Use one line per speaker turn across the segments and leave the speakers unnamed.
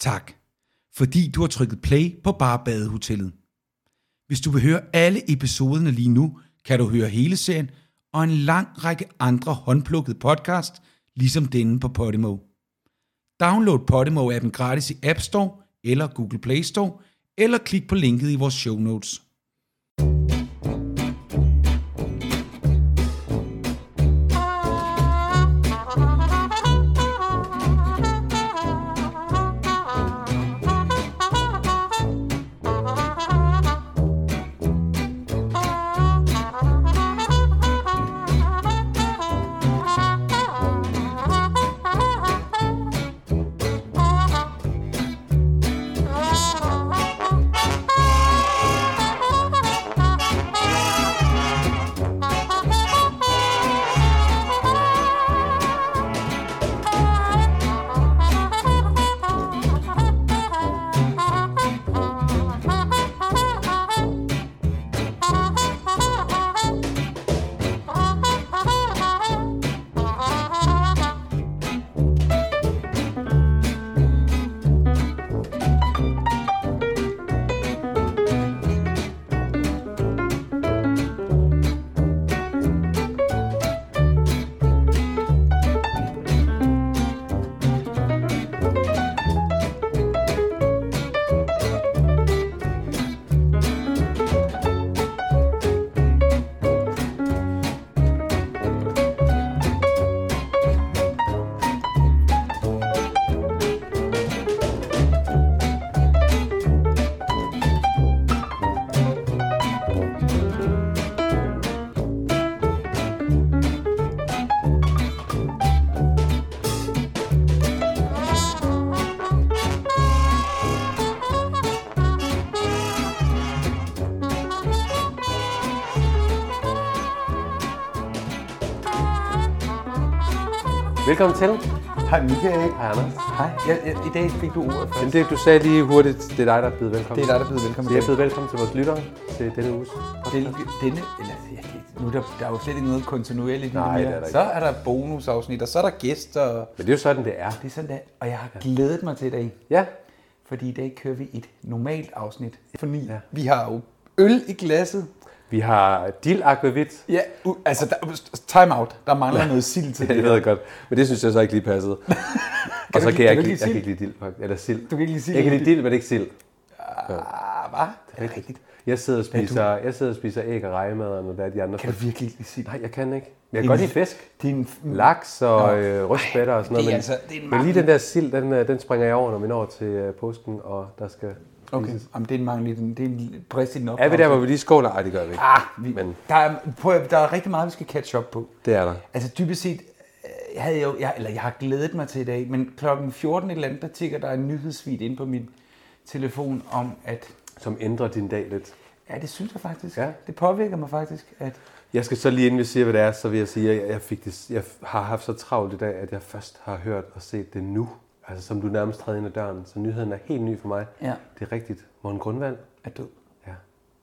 Tak, fordi du har trykket play på Barbadehotellet. Hvis du vil høre alle episoderne lige nu, kan du høre hele serien og en lang række andre håndplukkede podcast, ligesom denne på Podimo. Download Podimo-appen gratis i App Store eller Google Play Store, eller klik på linket i vores show notes.
Velkommen til.
Hej Michael.
Hej Anders.
Hej.
Jeg, jeg, I dag fik du ordet
Men
først.
det,
Du sagde lige hurtigt, det er dig, der er blevet velkommen.
det er dig, der er blevet velkommen
Så jeg er blevet velkommen til vores lyttere til denne uges.
Til denne, eller, ja, det- nu er der, der er jo slet ikke noget kontinuerligt nu
Nej,
mere.
det er der
så er der bonusafsnit, og så er der gæster.
Men det er jo sådan, det er.
Det er sådan der, og jeg har glædet mig til i dag,
Ja.
fordi i dag kører vi et normalt afsnit for ni.
Ja.
Ja. Vi har jo øl i glasset.
Vi har dill aquavit.
Ja, u- altså der, time out. Der mangler ja. noget sild til
Ja, det
det.
ved jeg godt. Men det synes jeg så ikke lige passede. og så
du-
kan jeg,
kan
ikke,
du
lide-
ikke
jeg kan
lide
ikke lide dill. faktisk. Eller sild.
Du kan ikke lide sild.
Jeg kan lide dill, men ikke sild.
Ah, hvad? Det er rigtigt.
Jeg sidder og spiser, jeg sidder og spiser æg og rejemad, og hvad er de andre.
Kan du virkelig ikke lide sild?
Nej, jeg kan ikke. Men jeg
Det
kan
er
godt
en-
lide fisk.
Det er en
Laks og øh, rødspætter og sådan
Mm.
noget.
det er
Men,
altså- det er
men
en
lige
mangel.
den der sild, den, øh, den springer jeg over, når vi når til øh, påsken, og der skal
Okay, Jamen, det er en mangel. Det er en brist i den
Er vi der, hvor vi lige skåler? Nej, det gør vi ikke.
Ah, vi,
Men
der, er, prøv, at- der er rigtig meget, vi skal catch up på.
det er der.
Altså dybest set, øh, havde jeg, jo, jeg, eller jeg har glædet mig til i dag, men klokken 14 et eller andet, der tigger der en nyhedsvid ind på min telefon om, at
Som ændrer din dag lidt.
ja, det synes jeg faktisk.
Ja.
Ja. Det påvirker mig faktisk, at
Jeg skal så lige inden vi siger, hvad det er, så vil jeg sige, at jeg, fik det, jeg har haft så travlt i dag, at jeg først har hørt og set det nu. Altså som du nærmest træder ind ad døren. Så nyheden er helt ny for mig.
Ja.
Det er rigtigt. Morten Grundvald.
er død.
Ja.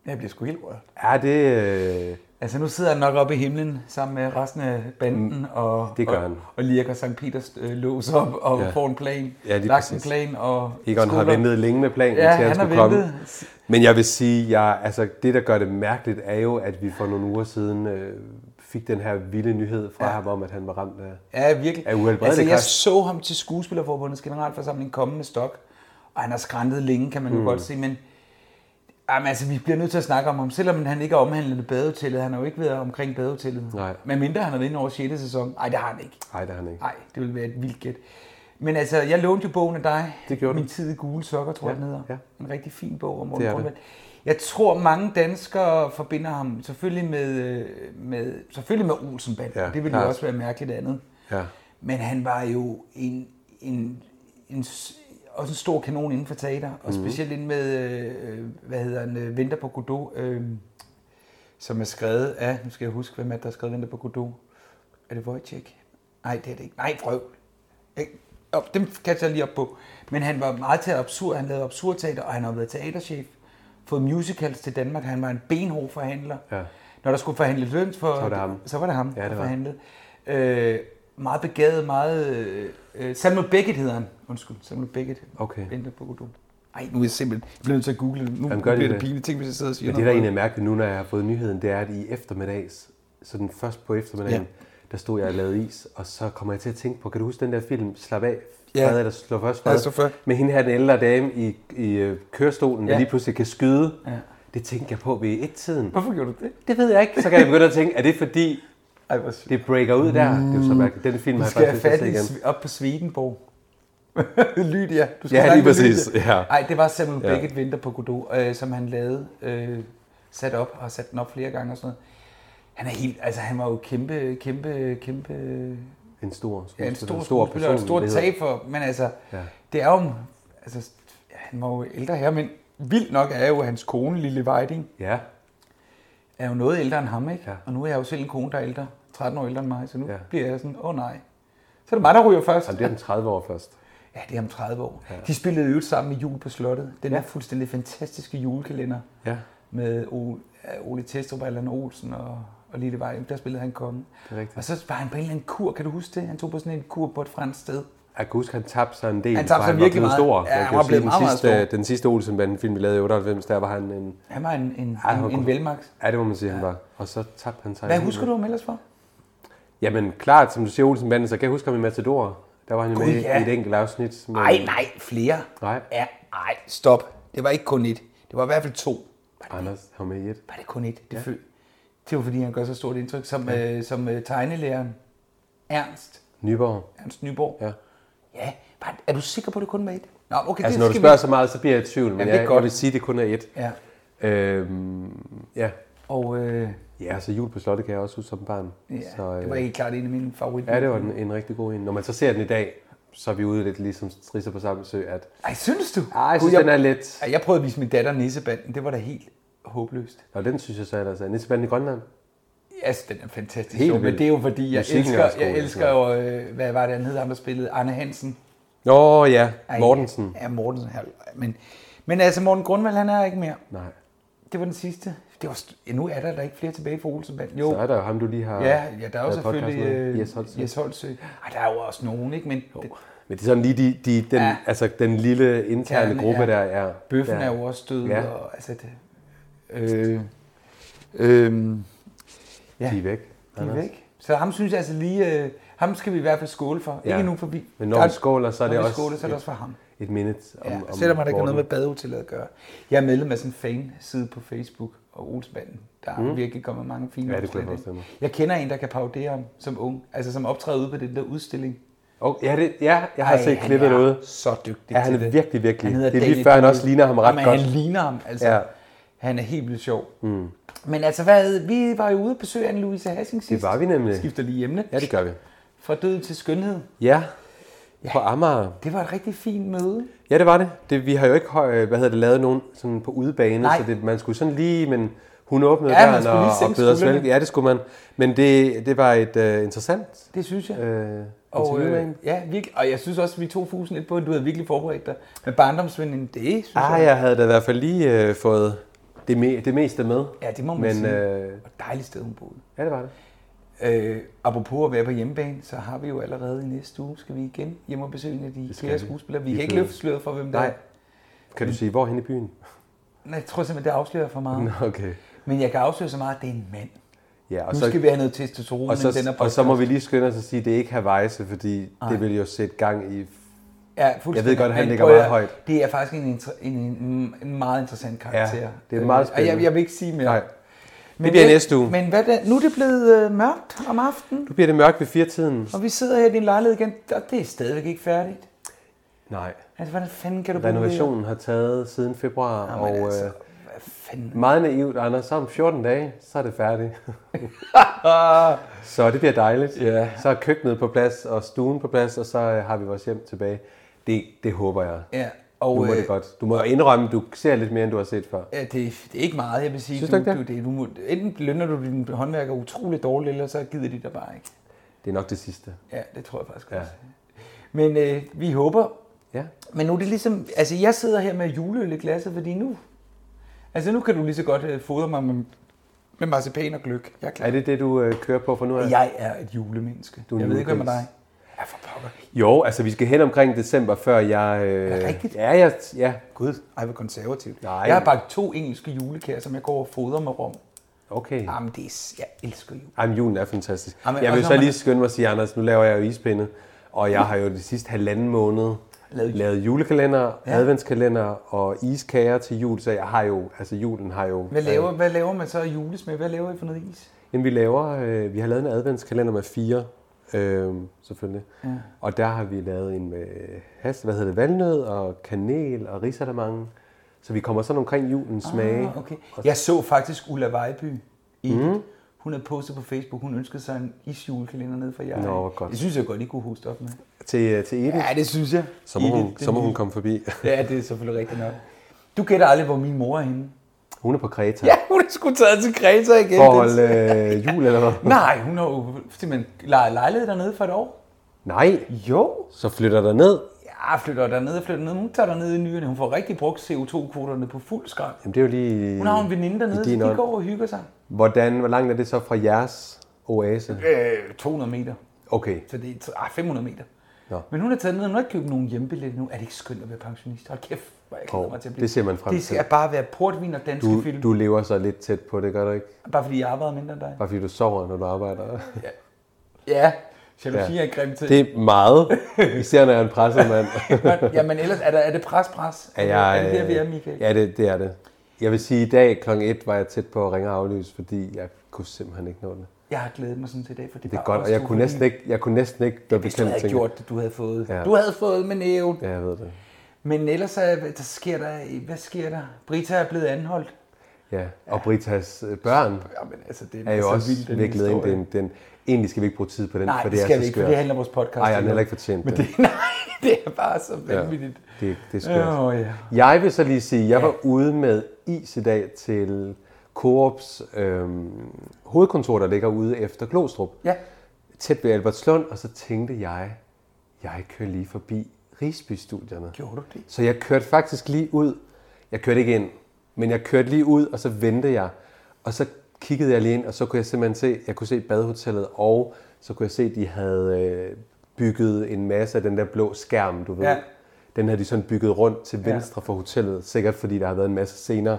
Jeg bliver sgu helt rørt.
Er det... Øh,
Altså nu sidder han nok oppe i himlen sammen med resten af banden og,
Mm, det gør
og,
han.
og lirker Sankt Peters øh, lås op og
Ja.
ja. får en plan.
Ja, lige
lagt en
præcis.
plan og
Egon har
skoler.
ventet længe med planen
Ja,
til, at
han
han
har
skulle komme.
ventet.
Men jeg vil sige, jeg, altså, det der gør det mærkeligt, er jo, at vi for nogle uger siden øh, fik den her vilde nyhed fra ja. ham om, at han var ramt af...
Ja, virkelig.
Er uhelbredelig
altså, jeg
kræft.
så ham til Skuespillerforbundets generalforsamling komme med stok, og han har skræntet længe, kan man jo
Mm.
godt se, men jamen, altså, vi bliver nødt til at snakke om ham, selvom han ikke er omhandlet i badehotellet. Han har jo ikke været omkring badehotellet.
Nej. Mm.
Men mindre han har været inde over 6. sæson. Nej, det har han ikke.
Nej, det har han ikke.
Nej, det ville være et vildt gæt. Men altså, jeg lånte jo bogen af dig.
Det gjorde du.
Min tid i gule sokker, tror jeg, den hedder.
ja.
En rigtig fin bog om Morten
Det er det.
Grundvald. Jeg tror, mange danskere forbinder ham selvfølgelig med, øh, med, selvfølgelig med Olsenbanden.
Ja,
det ville
klart.
jo også være mærkeligt andet.
Ja.
Men han var jo en, en, en, s- også en stor kanon inden for teater, og
Mhm.
specielt ind med, øh, hvad hedder han, øh, Venter på Godot, øh, som er skrevet af, nu skal jeg huske, hvem er det, der har skrevet Venter på Godot? Er det Wojciech? Nej, det er det ikke. Nej, Frøv. Oh, dem catcher jeg lige op på. Men han var meget til absurd, han lavede absurd teater, og han har været teaterchef, fået musicals til Danmark, han var en benhård forhandler.
Ja.
Når der skulle forhandles løn for,
var det ham.
så var det ham,
Ja,
ja,
det
det
var
forhandlede. Øh, meget begavet, meget øh, Øh, Samuel Beckett hedder han. Undskyld, Samuel Beckett.
Okay.
Venter på Godot. Ej, nu er jeg simpelthen... Jeg bliver nødt til at google det. Nu
Jamen, gør
bliver
lige
det
det.
pinligt. Tænk, hvis jeg sidder og siger
Men det, der egentlig er mærkeligt nu, når jeg har fået nyheden, det er, at i eftermiddags, så den først på eftermiddagen, ja. der stod jeg og lavede is, og så kommer jeg til at tænke på, kan du huske den der film, Slap af,
Ja.
ja. Fred, der slår først
Ja, slår
fred,
først.
med hende her, den ældre dame i, i øh, kørestolen, ja.
Ja.
der lige pludselig kan skyde.
Ja.
Ja. Det tænkte jeg på ved et-tiden.
Hvorfor gjorde du det?
Det ved jeg ikke. Så kan jeg begynde at tænke, er det fordi,
Ej, hvor sygt.
det breaker ud der? Det er jo så mærkeligt. Den film
Du
har jeg
skal have
faktisk lyst
fat
til
i
at se igen.
Sv- op på Swedenborg. Lydia. Du skal
Ja, lige
snakke med
præcis,
Lydia.
ja.
Ej, det var Samuel
Ja.
Beckett Vinter på Godot, øh, som han lavede, øh, sat op og har sat den op flere gange og sådan noget. Han er helt, altså han var jo kæmpe, kkæmpe, kæmpe,
En stor,
ja, en stor,
skuespiller,
stor skuespiller, og et stort
personlighed.
tab for, men altså, ja.
Ja.
det er jo, altså, ja, han var jo ældre her, men vildt nok er jo hans kone, Lille Weiding,
Ja,
er jo noget ældre end ham, ikke? Ja.
Ja.
Og nu er jeg jo selv en kone, der er ældre, 13 år ældre end mig, så nu ja.
Ja.
bliver jeg sådan, åh oh, nej. Så er det mig, der ryger først.
Jamen, det er den 30 år først.
Ja, det er om 30 år. Ja. De spillede jo sammen i Jul på Slottet. Den ja. er fuldstændig fantastiske julekalender
Ja,
med O- ja, Ole Testrup og Allan Olsen og, og Lille Vejling. Der spillede han kongen.
det er rigtigt.
Og så var han på en eller anden kur, kan du huske det? Han tog på sådan en kur på et fransk sted.
Jeg kan huske, han tabte sig en del,
Han tabte
for
sig
var blevet
virkelig meget.
stor.
Ja,
Jeg
han
kan jo
var
sige,
blevet
den
meget, meget
sidste,
stor.
Den sidste Olsenbanden-film, vi lavede i 98, der var han en...
Han var en, en,
Ej,
en,
hvor
en
godt.
velmagt.
Ja, det må man sige, han var. Og så tabte han sig.
Hvad
helt
husker du
vildt.
ham ellers for?
Jamen, klart, som du siger, Olsenbanden, så kan jeg huske ham i Matador. Der var han jo
Gud,
med
ja.
i et enkelt afsnit. Men...
Nej, nej, flere.
Nej.
Ja, nej, stop. Det var ikke kun et. Det var i hvert fald to.
Anders, han var med i et.
Var det kun et? Det, ja. det var fordi, han gør så stort indtryk som, ja. øh, som øh, tegnelæreren Ernst,
Nyborg.
Ernst Nyborg.
Ja.
Ja, bare, er du sikker på, at det kun var et? Nå, okay,
Altså,
det
når du
skal
spørger
vi...
så meget, så bliver jeg i tvivl, men
Jamen, det er
jeg,
godt.
jeg vil sige, at det kun er et.
Ja,
Øhm, ja.
og øh,
ja, så jul på slottet kan jeg også huske som barn.
ja,
så, øh,
det var helt klart en af mine favoritter.
ja, det var en, en rigtig god en. Når man så ser den i dag, så er vi ude lidt ligesom strisser på samme sø, at
Ej, synes du?
Ej, jeg
Gud,
synes, den er lidt...
Ej, jeg prøvede at vise min datter nissebanden. Det var da helt håbløst.
Og den synes jeg så ellers er Nissebanden i Grønland.
Altså, den er fantastisk
Helt
sjov, men
vildt.
det er jo fordi, jeg
Musikken er
elsker,
også god, altså.
jeg elsker jo, øh, hvad var det, han hed, ham der spillede? Arne Hansen.
Nå oh, ja,
Ej,
Mortensen.
Ja, Mortensen. ja, Men, men altså, Morten Grundvald, han er ikke mere.
Nej,
Det var den sidste. Det var, st- ja, nu er der, der ikke flere tilbage fra Olsenbanden. Jo,
så er der jo ham, du lige har
Ja, ja, der er jo
lavet
selvfølgelig
podcast med.
øh,
Jes Holst.
Jes Holtsø. Ej, der er jo også nogen, ikke? Men det,
Men det er sådan lige de, de, den,
Ja.
ja. altså, den lille interne
Kerne,
gruppe
ja.
der er.
bøffen
der.
er jo også død,
Ja.
og altså det... Øh, øh, ja,
De er væk.
de er væk. Så ham synes jeg altså lige, øh, ham skal vi i hvert fald skåle for. Ja.
Ja.
Ikke nu forbi.
Men når
Der-
vi skåler, så er
når
det
vi
også
skåler, så er det
et-
også for ham.
Et minute om,
Ja,
om
selvom der ikke har
Morten.
noget med badehotellet at gøre. Jeg er medlem af sådan en fan-side på Facebook og Olsmanden. Der er mm. virkelig kommet mange fine
Ja, det kunne
opslag
jeg
ind.
forestille mig.
Jeg kender en, der kan parodere ham som ung. Altså som optræder ude på den der udstilling.
Okay, ja, det, ja, jeg har
Ej,
Ej, set
han
klippet
er
derude.
så dygtig
Ja, han er
til det.
virkelig, virkelig.
hedder
det er lige
Danny
før, han
Boyle.
også ligner ham ret
Jamen,
godt.
han ligner ham, altså. Ja.
Ja.
Han er helt vildt sjov. Mm. Men altså, hvad, vi var jo ude og besøge Anne-Louise Hassing sidst.
Det var vi nemlig.
Skifter lige emne.
Ja, det gør vi.
Fra død til skønhed.
Ja, på Amager.
Det var et rigtig fint møde.
Ja, det var det. det vi har jo ikke høj- hvad hedder det, lavet nogen sådan på udebane,
Nej.
så det, man skulle sådan lige, men hun åbnede
Ja,
døren
man skulle lige
og,
sænke
og bød os
skuldrene.
vel. Ja, det skulle man. Men det, det var et øh, interessant
Det synes jeg.
øh, interview
og,
med
øh,
hende.
ja, virkelig. og jeg synes også, at vi tog fusen lidt på, at du havde virkelig forberedt dig. Men barndomsvennen, det synes
Ah,
jeg.
jeg havde da i hvert fald lige øh, fået det, me- det meste med.
Ja, det må man
Men
sige.
øh,
Og dejligt sted, hun boede.
ja, det var det.
Øh, apropos at være på hjemmebane, så har vi jo allerede i næste uge, skal vi igen hjem og besøge en af de
skal
flere
vi.
skuespillere. Vi
Vi
kan ikke
flyver.
løfte sløret for, hvem der er.
Nej. Kan du sige, hvor hen i byen?
Nej, jeg tror simpelthen, det afslører for meget.
Nå, Okay.
Men jeg kan afsløre så meget, at det er en mand.
Ja, og
Nu
så,
skal vi have noget testosteron,
og,
men den er
så, og så må vi lige skynde os at sige, at det er ikke Havajse, fordi
Nej.
det vil jo sætte gang i...
Ja, fuldstændig.
Jeg ved godt, at han
Men
ligger
prøv at
meget
høre,
højt.
Det er faktisk en, inter- en, en, en meget interessant karakter.
Ja, det er meget
Øh, Og jeg,
spændende.
jeg vil ikke sige mere.
Nej,
men
bliver
hvad-
næste uge.
Men hvad da, nu er det blevet øh, mørkt om aftenen,
nu bliver det mørkt ved firetiden.
og vi sidder her i din lejlighed igen, og det er stadigvæk ikke færdigt.
Nej.
Altså, hvordan fanden kan du bruge det?
Renovationen har taget siden februar,
her?
og
Jamen,
altså. øh,
altså, hvad fanden?
meget naivt, Anders, så om 14 dage, så er det færdigt. så det bliver dejligt.
Ja.
Så er køkkenet på plads, og stuen på plads, og så øh, har vi vores hjem tilbage. Det, det håber jeg.
Ja, og
Nu må det
øh,
godt. Du må indrømme, du ser lidt mere, end du har set før.
Ja, det, det er ikke meget, jeg vil sige.
Synes
du,
du ikke
du,
det?
det, du må, enten lønner du din håndværker utrolig dårligt, eller så gider de dig bare ikke.
Det er nok det sidste.
Ja, det tror jeg faktisk
Ja.
også. Men øh, vi håber.
Ja.
Men nu er det ligesom... Altså, jeg sidder her med juleøl i glasset, fordi nu... Altså, nu kan du lige så godt øh, fodre mig med, med marcipan og gløk. Jeg er klar.
Er det det, du øh, kører på for nu? af?
Jeg er et julemenneske.
Du er
jeg
en
ved ikke, hvad med dig.
julegris.
Ja, for travlt.
Jo, altså vi skal hen omkring december, før jeg... Øh...
Er det rigtigt?
Ja, jeg, ja, gud.
Ej, hvor konservativt.
Nej.
Jeg har bagt to engelske julekager, som jeg går og fodrer med rom.
Okay.
Jamen, det er, s- jeg elsker jul.
Jamen, julen er fantastisk.
Jamen,
Jamen, jeg
også
vil
når
så
man-
lige skynde mig at sige, Anders, nu laver jeg jo ispinde, og jeg har jo de sidste halvanden måned
Lavet-
lavet, lavet julekalender,
Ja.
ja. adventskalender og iskager til jul, så jeg har jo, altså julen har jo... øh,
Hvad laver, hvad laver man så af julesmæk? Hvad laver I for noget is?
Jamen, vi laver, øh, vi har lavet en adventskalender med fire, øh, selvfølgelig. Ja. Og der har vi lavet en med has, hvad hedder det, valnød og kanel og risalamande. Så vi kommer sådan omkring julens smage.
Ah, okay. Jeg så faktisk Ulla Vejby i mm. Hun havde postet på Facebook, hun ønskede sig en isjulekalender ned fra jer.
Nå, hvor godt.
Det synes jeg godt, I kunne hoste op med.
Til, til Edith,
Ja, det synes jeg.
så må,
Edith,
hun,
den
så må
lille-
hun komme forbi.
Ja, det er selvfølgelig rigtigt nok. Du gætter aldrig, hvor min mor er henne.
Hun er på Kreta.
Ja, hun er sgu taget til Kreta igen.
For at holde øh, jul eller hvad?
Nej, hun har jo simpelthen lejet lejlighed dernede for et år.
Nej,
Jo.
så flytter der ned.
Ja, flytter dernede og flytter ned. Hun tager dernede i nyerne. Hun får rigtig brugt CO2-kvoterne på fuld skrald.
Jamen, det er jo lige...
Hun har jo en veninde
i
dernede, så
din
de
ånd.
går og hygger sig.
Hvordan, hvor langt er det så fra jeres oase?
Øh, 200 meter.
Okay,
Så det er ah, 500 meter.
Nå.
Men hun er taget ned, hun har ikke købt nogen hjemmebillet nu. Er det ikke skønt at være pensionist? Hold kæft, hvor jeg glæder
Hov,
mig til at blive.
det ser man frem
Det skal
til.
bare være portvin og danske
du,
film.
du lever så lidt tæt på det, gør du ikke?
Bare fordi jeg arbejder mindre end dig.
Bare fordi du sover, når du arbejder.
Ja, jalousi ja. er en grim ting.
Det er meget, især når jeg er en presset mand.
Men- Jamen ellers, er, der, er det pres, pres?
Er, jeg,
er det der, vi er,
øh,
Michael?
Ja, det, det er det. Jeg vil sige, at i dag kl. 1 var jeg tæt på at ringe og aflyse, fordi jeg kunne simpelthen ikke nå det.
Jeg har glædet mig sådan til i dag, for det,
Det er godt, og jeg kunne næsten ikke, jeg kunne næsten ikke være
Hvis du
bekendt,
havde
tænker jeg.
gjort det, du havde fået. Ja.
Ja.
Du havde fået med næven. Ja.
Ja, jeg ved det.
Men ellers, er, der sker der, hvad sker der? Brita er blevet anholdt.
Ja, og Britas øh, børn
Jamen, altså, det
er jo
så
også
vildt, den
virkelig en,
historie.
den, den, egentlig skal vi ikke bruge tid på den,
Nej,
for
det
det,
skal
er
vi
så
ikke,
skørt.
for det handler vores podcast.
Ej, jeg har
om.
heller ikke fortjent
Men
det.
det, nej, det er bare så
Ja,
vanvittigt.
det, det er skørt.
Åh, oh, ja.
Jeg vil så lige sige, at jeg
Ja.
var ude med is i dag til Coops øhm, hovedkontor, der ligger ude efter Glostrup,
Ja,
tæt ved Albertslund, og så tænkte jeg, jeg kører lige forbi Risby-studierne.
gjorde du det?
Så jeg kørte faktisk lige ud. Jeg kørte ikke ind, men jeg kørte lige ud, og så vendte jeg. Og så kiggede jeg lige ind, og så kunne jeg simpelthen se, jeg kunne se badehotellet, og så kunne jeg se, at de havde øh, bygget en masse af den der blå skærm, du ved.
Ja.
Ja. Den havde de sådan bygget rundt til
Ja.
venstre for hotellet, sikkert fordi der har været en masse scener,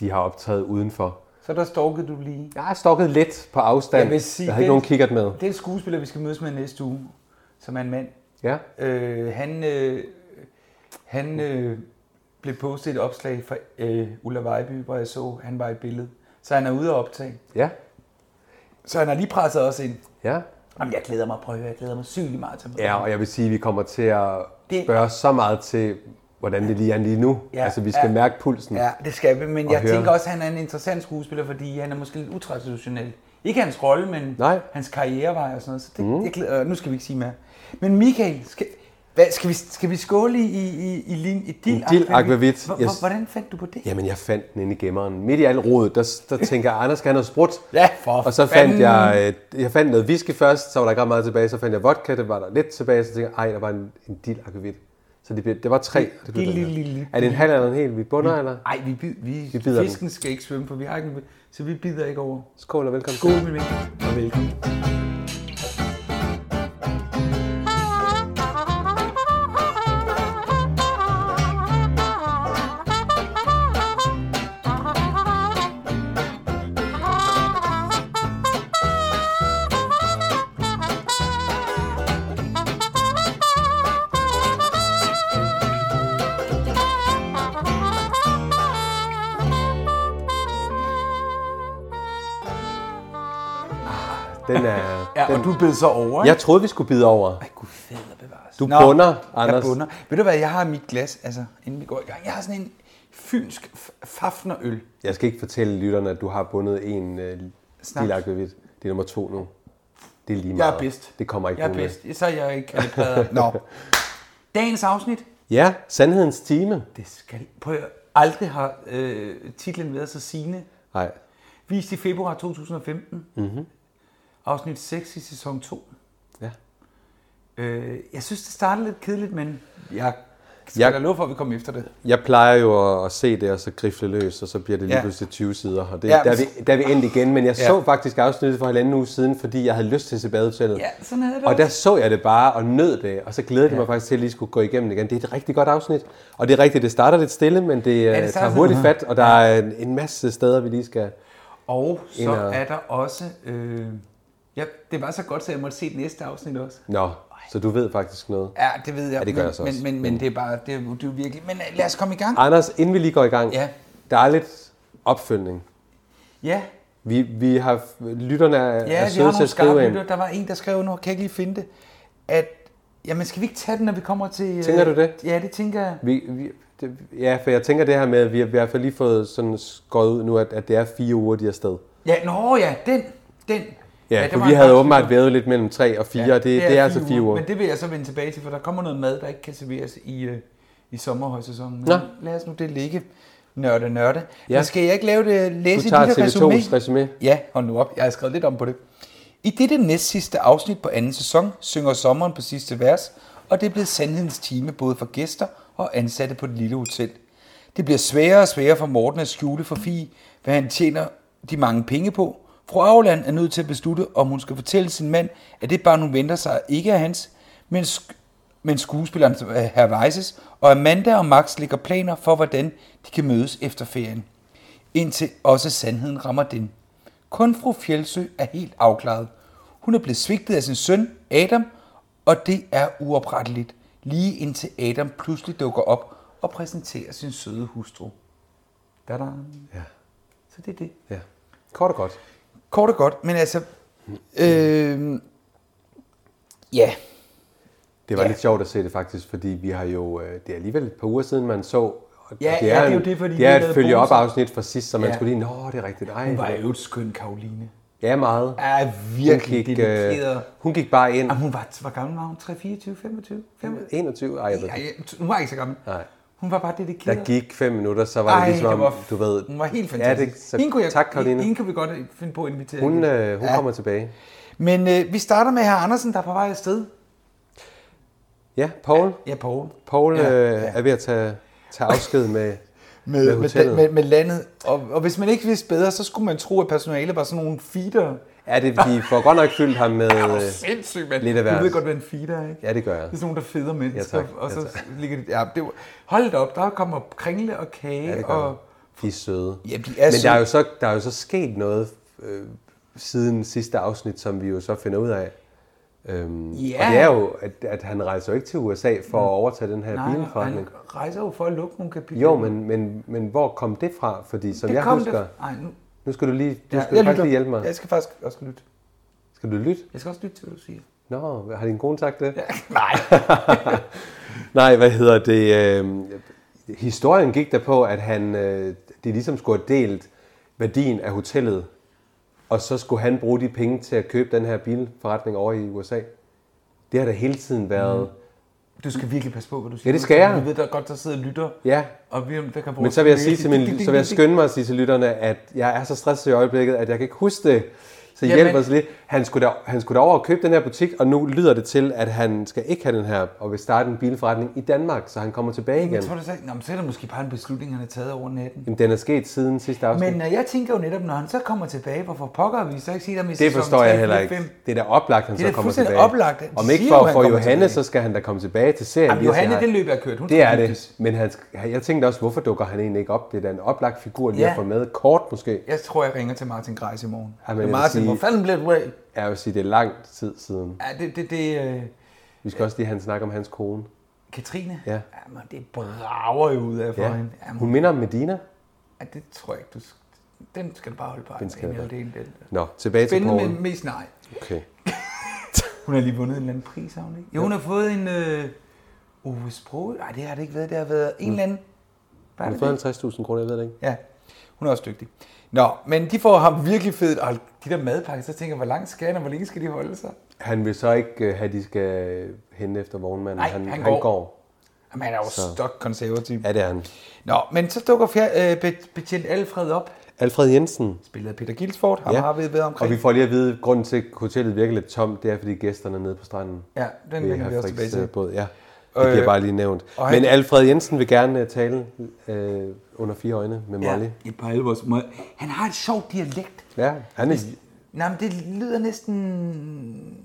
de har optaget udenfor.
Så der stalkede du lige.
Jeg har stokket lidt på afstand.
Jeg vil sige,
der havde ikke
den-
nogen kikkert med.
Det er en skuespiller, vi skal mødes med næste uge, som er en mand.
Ja.
Øh, han øh, han øh, blev postet et opslag fra øh, Ulla Vejby, hvor jeg så, han var i billedet. Så han er ude at optage.
Ja.
Så han har lige presset os ind.
Ja.
Jamen, jeg glæder mig, prøv at høre, jeg glæder mig sygeligt meget til mødet.
Ja, og jeg vil sige, at vi kommer til at
Det-
spørge så meget til, hvordan det lige er lige nu.
Ja,
Ja, altså, vi skal
ja.
ja, mærke pulsen. Ja.
Ja, det skal vi, men
Og
jeg
høre.
tænker også, at han er en interessant skuespiller, fordi han er måske lidt utraditionel. Ikke hans rolle, men
Nej.
hans karrierevej og sådan noget. Så det, mm. jeg glæder, øh, nu skal vi ikke sige mere. Men Michael, skal, hvad, skal, vi, skal vi skåle i, i, i, i, lin, i dild,
dild aquavit,
Hvor-
yes.
hvor- Hvordan fandt du på det?
Jamen, jeg fandt den inde i gemmeren. Midt i alt rodet, der, der tænker jeg, Anders skal have noget sprut.
Ja, for
Og så fandt
fanden.
jeg, øh, jeg fandt noget whisky først, så var der ikke ret meget tilbage. Så fandt jeg vodka, det var der lidt tilbage. Så tænkte jeg, ej, der var en, en dild akvavit. Så det, blev, det var tre. og Det blev
dild-
den her.
lille- lille-
er det en halv eller en hel, vi bunder, eller?
Ej, vi, bid, vi, vi
bider den.
fisken skal ikke svømme, for vi har ikke nogen, så vi bider ikke over.
Skål og velkommen
Skål, min ven, og velkommen.
til. Den er,
Ja, og
den,
du bed så over,
jeg troede, vi skulle bide over.
Ej, gud fader bevares.
Du bunder, Anders.
Jeg bunder. Ved du hvad, jeg har mit glas, altså, inden vi går i gang. Jeg har sådan en fynsk f- fafnerøl.
Jeg skal ikke fortælle lytterne, at du har bundet en øh,
Snaps.
dild akvavit. Det er nummer to nu. Det er lige meget.
Jeg er bedst.
Det kommer ikke
Jeg er
nogen med.
bedst. Så er jeg ikke kalibreret. Nå. Dagens afsnit.
Ja, sandhedens time.
Det skal... Prøv at høre. aldrig har øh, titlen været så sigende.
Nej,
Vist i februar 2015. Mm-hmm.
Mhm.
Afsnit 6 i sæson 2.
Ja.
Øh, jeg synes, det startede lidt kedeligt, men jeg Skal jeg... der love for, at vi kommer efter det?
Jeg plejer jo at, at se det, og så grifle løs, og så bliver det lige
Ja.
pludselig 20 sider. Og det,
Ja,
ja, der, er
men-
vi, der er vi endt igen, men jeg
Ja.
ja. så faktisk afsnittet for halvanden uge siden, fordi jeg havde lyst til at se badehotellet.
Ja, sådan havde det
Og der så jeg det bare og nød det, og så glædede jeg mig faktisk til at lige skulle gå igennem det igen. Det er et rigtig godt afsnit, og det er rigtigt, det starter lidt stille, men det, ja,
starter
det tager
sådan-
hurtigt fat, og der er en, en masse steder, vi lige skal...
Og så
Eller-
er der også... Øh... Ja, det var så godt, så jeg måtte se det næste afsnit også.
Nå, så du ved faktisk noget.
Ja, det ved jeg.
Ja, det gør
men,
jeg så også. Ah,
Men, men, men det er bare... Det er, jo- det er jo virkelig... Men øh, lad os komme i gang.
Anders, inden vi lige går i gang,
Ja.
der er lidt opfølgning.
Ja,
Vi, vi har, lytterne er,
ja
er
vi har
søde til
nogle
at skrive
skarpe
ind.
lytter. Der var en, der skrev, nu kan jeg ikke lige finde det, at... Jamen, skal vi ikke tage den, når vi kommer til... øh,
Tænker du det?
Ja, det tænker jeg.
Vi, vi, det, ja, for jeg tænker det her med, at vi har i hvert fald lige fået sådan skåret ud nu, at, at det er fire uger, de er afsted.
Ja, nå ja, den, den.
Ja,
det
for
var
vi
en
havde
ret-
åbenbart vævet lidt mellem tre og fire, ja, og det, det, er, altså fire uger.
Men det vil jeg så vende tilbage til, for der kommer noget mad, der ikke kan serveres i, øh, i sommerhøjsæsonen. Men
Nå.
lad os nu det ligge. Nørde, nørde. Ja.
Ja.
Men skal jeg ikke lave det øh,
Du
læse
tager
et lille resume?
TV2's resume.
Ja, hold nu op. Jeg har skrevet lidt om på det. I dette næstsidste afsnit på anden sæson synger sommeren på sidste vers, og det er blevet sandhedens time både for gæster og ansatte på det lille hotel. Det bliver sværere og sværere for Morten at skjule for Fie, hvad han tjener de mange penge på. Fru Auland er nødt til at beslutte, om hun skal fortælle sin mand, at det barn, hun venter sig, ikke er hans, men, sk- men skuespilleren øh, herr Weises, og Amanda og Max lægger planer for, hvordan de kan mødes efter ferien indtil også sandheden rammer den. Kun fru Fjeldsø er helt afklaret. Hun er blevet svigtet af sin søn, Adam, og det er uopretteligt, lige indtil Adam pludselig dukker op og præsenterer sin søde hustru. Da -da.
Ja.
Så det er det.
Ja. Kort og godt.
Kort og godt, men altså... Øh, ja,
Det var
Ja.
ja. lidt sjovt at se det faktisk, fordi vi har jo, øh, det er alligevel et par uger siden, man så, og
Ja,
det
ja,
er,
det er
en-
jo det, fordi vi
det er
lavede
et følge-op
bonusser.
afsnit fra sidst, så man
Ja.
ja. skulle lige, nå, det er rigtigt, nej.
hun var
det-
i øvrigt skøn, Karoline.
Ja, meget.
Er
Hun
virkelig
gik,
dedikeret.
øh, hun gik bare ind.
Jamen, hun var, hvor gammel var hun? 3, 24, 25? 25?
21, ej, jeg ved
Ej,
det.
jeg- hun var ikke så gammel.
Nej.
Hun var bare dedikeret.
Der gik fem minutter, så var det ligesom, om, du ved...
Hun var helt
Ja,
fantastisk.
det, så, Hende jeg, tak, Karoline.
Hende kunne vi godt øh, finde på at invitere.
Hun,
igen.
øh, hun ja. kommer tilbage.
Men øh, vi starter med herr Andersen, der er på vej afsted.
Ja, Paul.
Ja, Poul.
Paul
Ja,
ja, øh,
ja.
er ved at tage, tage afsked med, med, med
Med, med,
hotellet.
med, med landet. Og, og hvis man ikke vidste bedre, så skulle man tro, at personalet var sådan nogle feeder.
Er det, de får godt nok fyldt ham med...
Åh,
Øh,
sindssygt, mand.
lidt af
Du ved
hvert.
godt, hvad en feeder er, ikke?
ja, det gør jeg.
Det er sådan nogle, der feder
Ja,
mennesker.
tak.
Og
Ja,
så ligger de... Ja, det var, hold da op, der kommer kringle og kage.
Ja, det gør
og,
og... De er søde.
Ja, de er
Men
søde.
der er jo så, der er jo så sket noget øh, siden sidste afsnit, som vi jo så finder ud af. Øhm,
Ja. Mm.
Og det er jo, at, at han rejser jo ikke til USA for at overtage den her
nej, og
bilforretning.
han rejser jo for at lukke nogle kapitler.
Jo, men, men, men hvor kom det fra? Fordi som
det
jeg
kom
husker...
Det. Ej, nu,
Nu skal du lige, du skal
Ja,
faktisk
lytter.
lige hjælpe mig.
Jeg skal faktisk også lytte.
Skal du lytte?
Jeg skal også lytte til, hvad du siger.
Nå, har din kone sagt det? Ja.
Nej.
Nej, hvad hedder det? Øh, historien gik der på, at han, øh, det ligesom skulle have delt værdien af hotellet, og så skulle han bruge de penge til at købe den her bilforretning over i USA. Det har da hele tiden været... Mm.
Du skal virkelig passe på, hvad du siger.
Ja, det skal jeg.
Du ved, der er godt, der sidder og lytter.
Ja,
Og vi, der kan bruge
men så vil jeg, sige til min,
Det-
så vil jeg
det-
skynde mig at sige til lytterne, at jeg er så stresset i øjeblikket, at jeg kan ikke huske det. Så
Jamen.
hjælp os lige. Han skulle, da, han skulle da over og købe den her butik, og nu lyder det til, at han skal ikke have den her, og vil starte en bilforretning i Danmark, så han kommer tilbage
det-
igen.
Jeg tror, du sagde, Nå, men så er det måske bare en beslutning, han har taget over natten.
Jamen, den er sket siden sidste afsnit.
Men øh, jeg tænker jo netop, når han så kommer tilbage, hvorfor pokker vi så ikke sige dem i
det
sæson
forstår
tre,
jeg
fire,
heller ikke.
fem?
Det er da oplagt, han
Det er
så
da
kommer
fuldstændig
tilbage.
oplagt. De
Om ikke
siger jo,
for,
han
for
kommer
Johanne,
tilbage.
så skal han da komme tilbage til serien.
Jamen,
lige så
Johanne,
snart.
det løb jeg kørt. Hun
det
skal
er det.
giftes.
Men han, sk- jeg tænkte også, hvorfor dukker han egentlig ikke op? Det er da en oplagt figur lige
Ja.
at få med. Kort måske.
Jeg tror, jeg ringer til Martin Greis i morgen.
Ej, men jeg vil
Martin,
sige-
hvor fanden blev du af?
Jeg vil sige, det er lang tid siden.
Ja, det, det, det, øh,
Vi skal også lige have en snak om hans kone.
Katrine?
Ja.
Jamen, det brager jo ud af for ja. hende. Jamen,
Hun minder om Medina.
Ja, det tror jeg ikke, du sk- Den skal du bare holde på.
Den skal
jeg
jeg
den. den.
Nå, tilbage til
Spændende,
Paul.
men mest nej.
Okay.
Altså Hun har lige vundet en eller anden pris, har hun ikke? Jo, hun har fået en... Øh, Ove Sprog... Nej, det har det ikke været. Det har været en eller anden... Hvad er
Har du
det?
fået 50.000 kroner? Jeg ved det ikke.
Ja, hun er også dygtig. Nå, men de får ham virkelig fedt. Og de der madpakker, så tænker jeg, hvor langt skal han, og hvor længe skal de holde sig?
Han vil så ikke øh, have, at de skal hente efter vognmanden.
Nej,
han,
han går.
han går.
Jamen, han er jo
Så.
stok konservativ.
Ja, det er han.
Nå, men så dukker fjer, øh, bet- betjent Alfred op.
Alfred Jensen.
Spillet af Peter Gilsford. Ham
Ja.
har vi været omkring.
Og vi får lige at vide, at grunden til, at hotellet virker lidt tomt, det er, fordi gæsterne er nede på stranden.
Ja, den
ved
vender vi
hr. Frichs,
også tilbage til.
øh, Båd. Ja. Det bliver bare lige nævnt.
og han-
Men Alfred Jensen vil gerne øh, tale øh, under fire øjne med Molly.
Ja, et par alvors. Må- Han har et sjovt dialekt.
Ja, han er,
Nej, men det lyder næsten...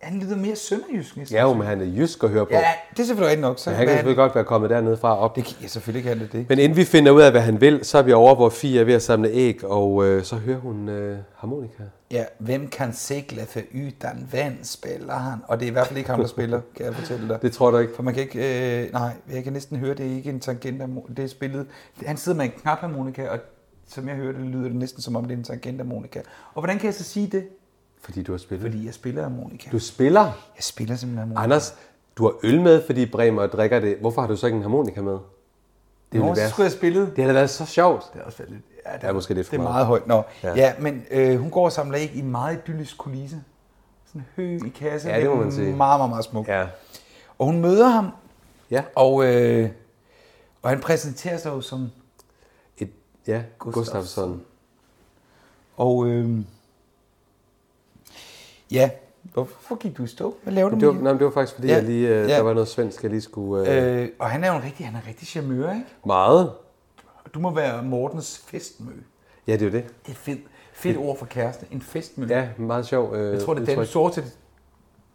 Han lyder mere sønderjysk næsten.
ja, jo, men han er jysk at høre på.
ja det er selvfølgelig rigtigt nok. Så
Men Han kan
hvad er det?
selvfølgelig godt være kommet dernede fra og op.
Det kan, ja, selvfølgelig kan det det.
Men inden vi finder ud af, hvad han vil, så er vi over, hvor Fie er ved at samle æg, og øh, så hører hun øh, harmonika.
Ja, hvem kan sikle for uden vand, spiller han. Og det er i hvert fald ikke ham, der spiller, kan jeg fortælle dig.
Det tror du ikke.
For man kan ikke... Øh, nej, jeg kan næsten høre, det er ikke en tangent, det er spillet. Han sidder med en knapharmonika, og som jeg hører det, lyder det næsten som om, det er en tangentharmonika. Og hvordan kan jeg så sige det?
Fordi du har spillet. Fordi...
Fordi jeg spiller harmonika.
Du spiller.
Jeg spiller simpelthen harmonika.
Anders, du har øl med, fordi Bremer drikker det. Hvorfor har du så ikke en harmonika med? Det
Nå,
ville
så
være...
skulle jeg spille.
Det havde da været så sjovt.
Det er også lidt... Ja, det
Ja, måske lidt for
det er
meget.
meget højt. Nå,
Ja.
ja. ja men øh, hun går og samler ikke i en meget idyllisk kulisse. Sådan en hø i kasse.
Ja, det må man sige.
Meget, meget, meget smuk. Ja.
Ja.
Og hun møder ham,
Ja.
og, øh, og han præsenterer sig jo som...
Et, ja,
Gustafsson.
Gustafsson.
Og øh, ja, hvorfor gik du i stå? Hvad laver du
Det var,
med
nej, men det var faktisk, fordi ja.
Ja,
jeg lige, øh,
ja.
der var noget svensk, jeg lige skulle... Øh, øh.
Øh, og han er jo en rigtig, han er en rigtig charmeur, ikke?
Meget.
Og du må være Mortens festmø.
Ja, det er jo det.
Det er fedt. Fedt ord for kæreste. En festmø.
Ja, meget sjovt. Øh,
Jeg tror, det er
udtryk.
dansk. Sort til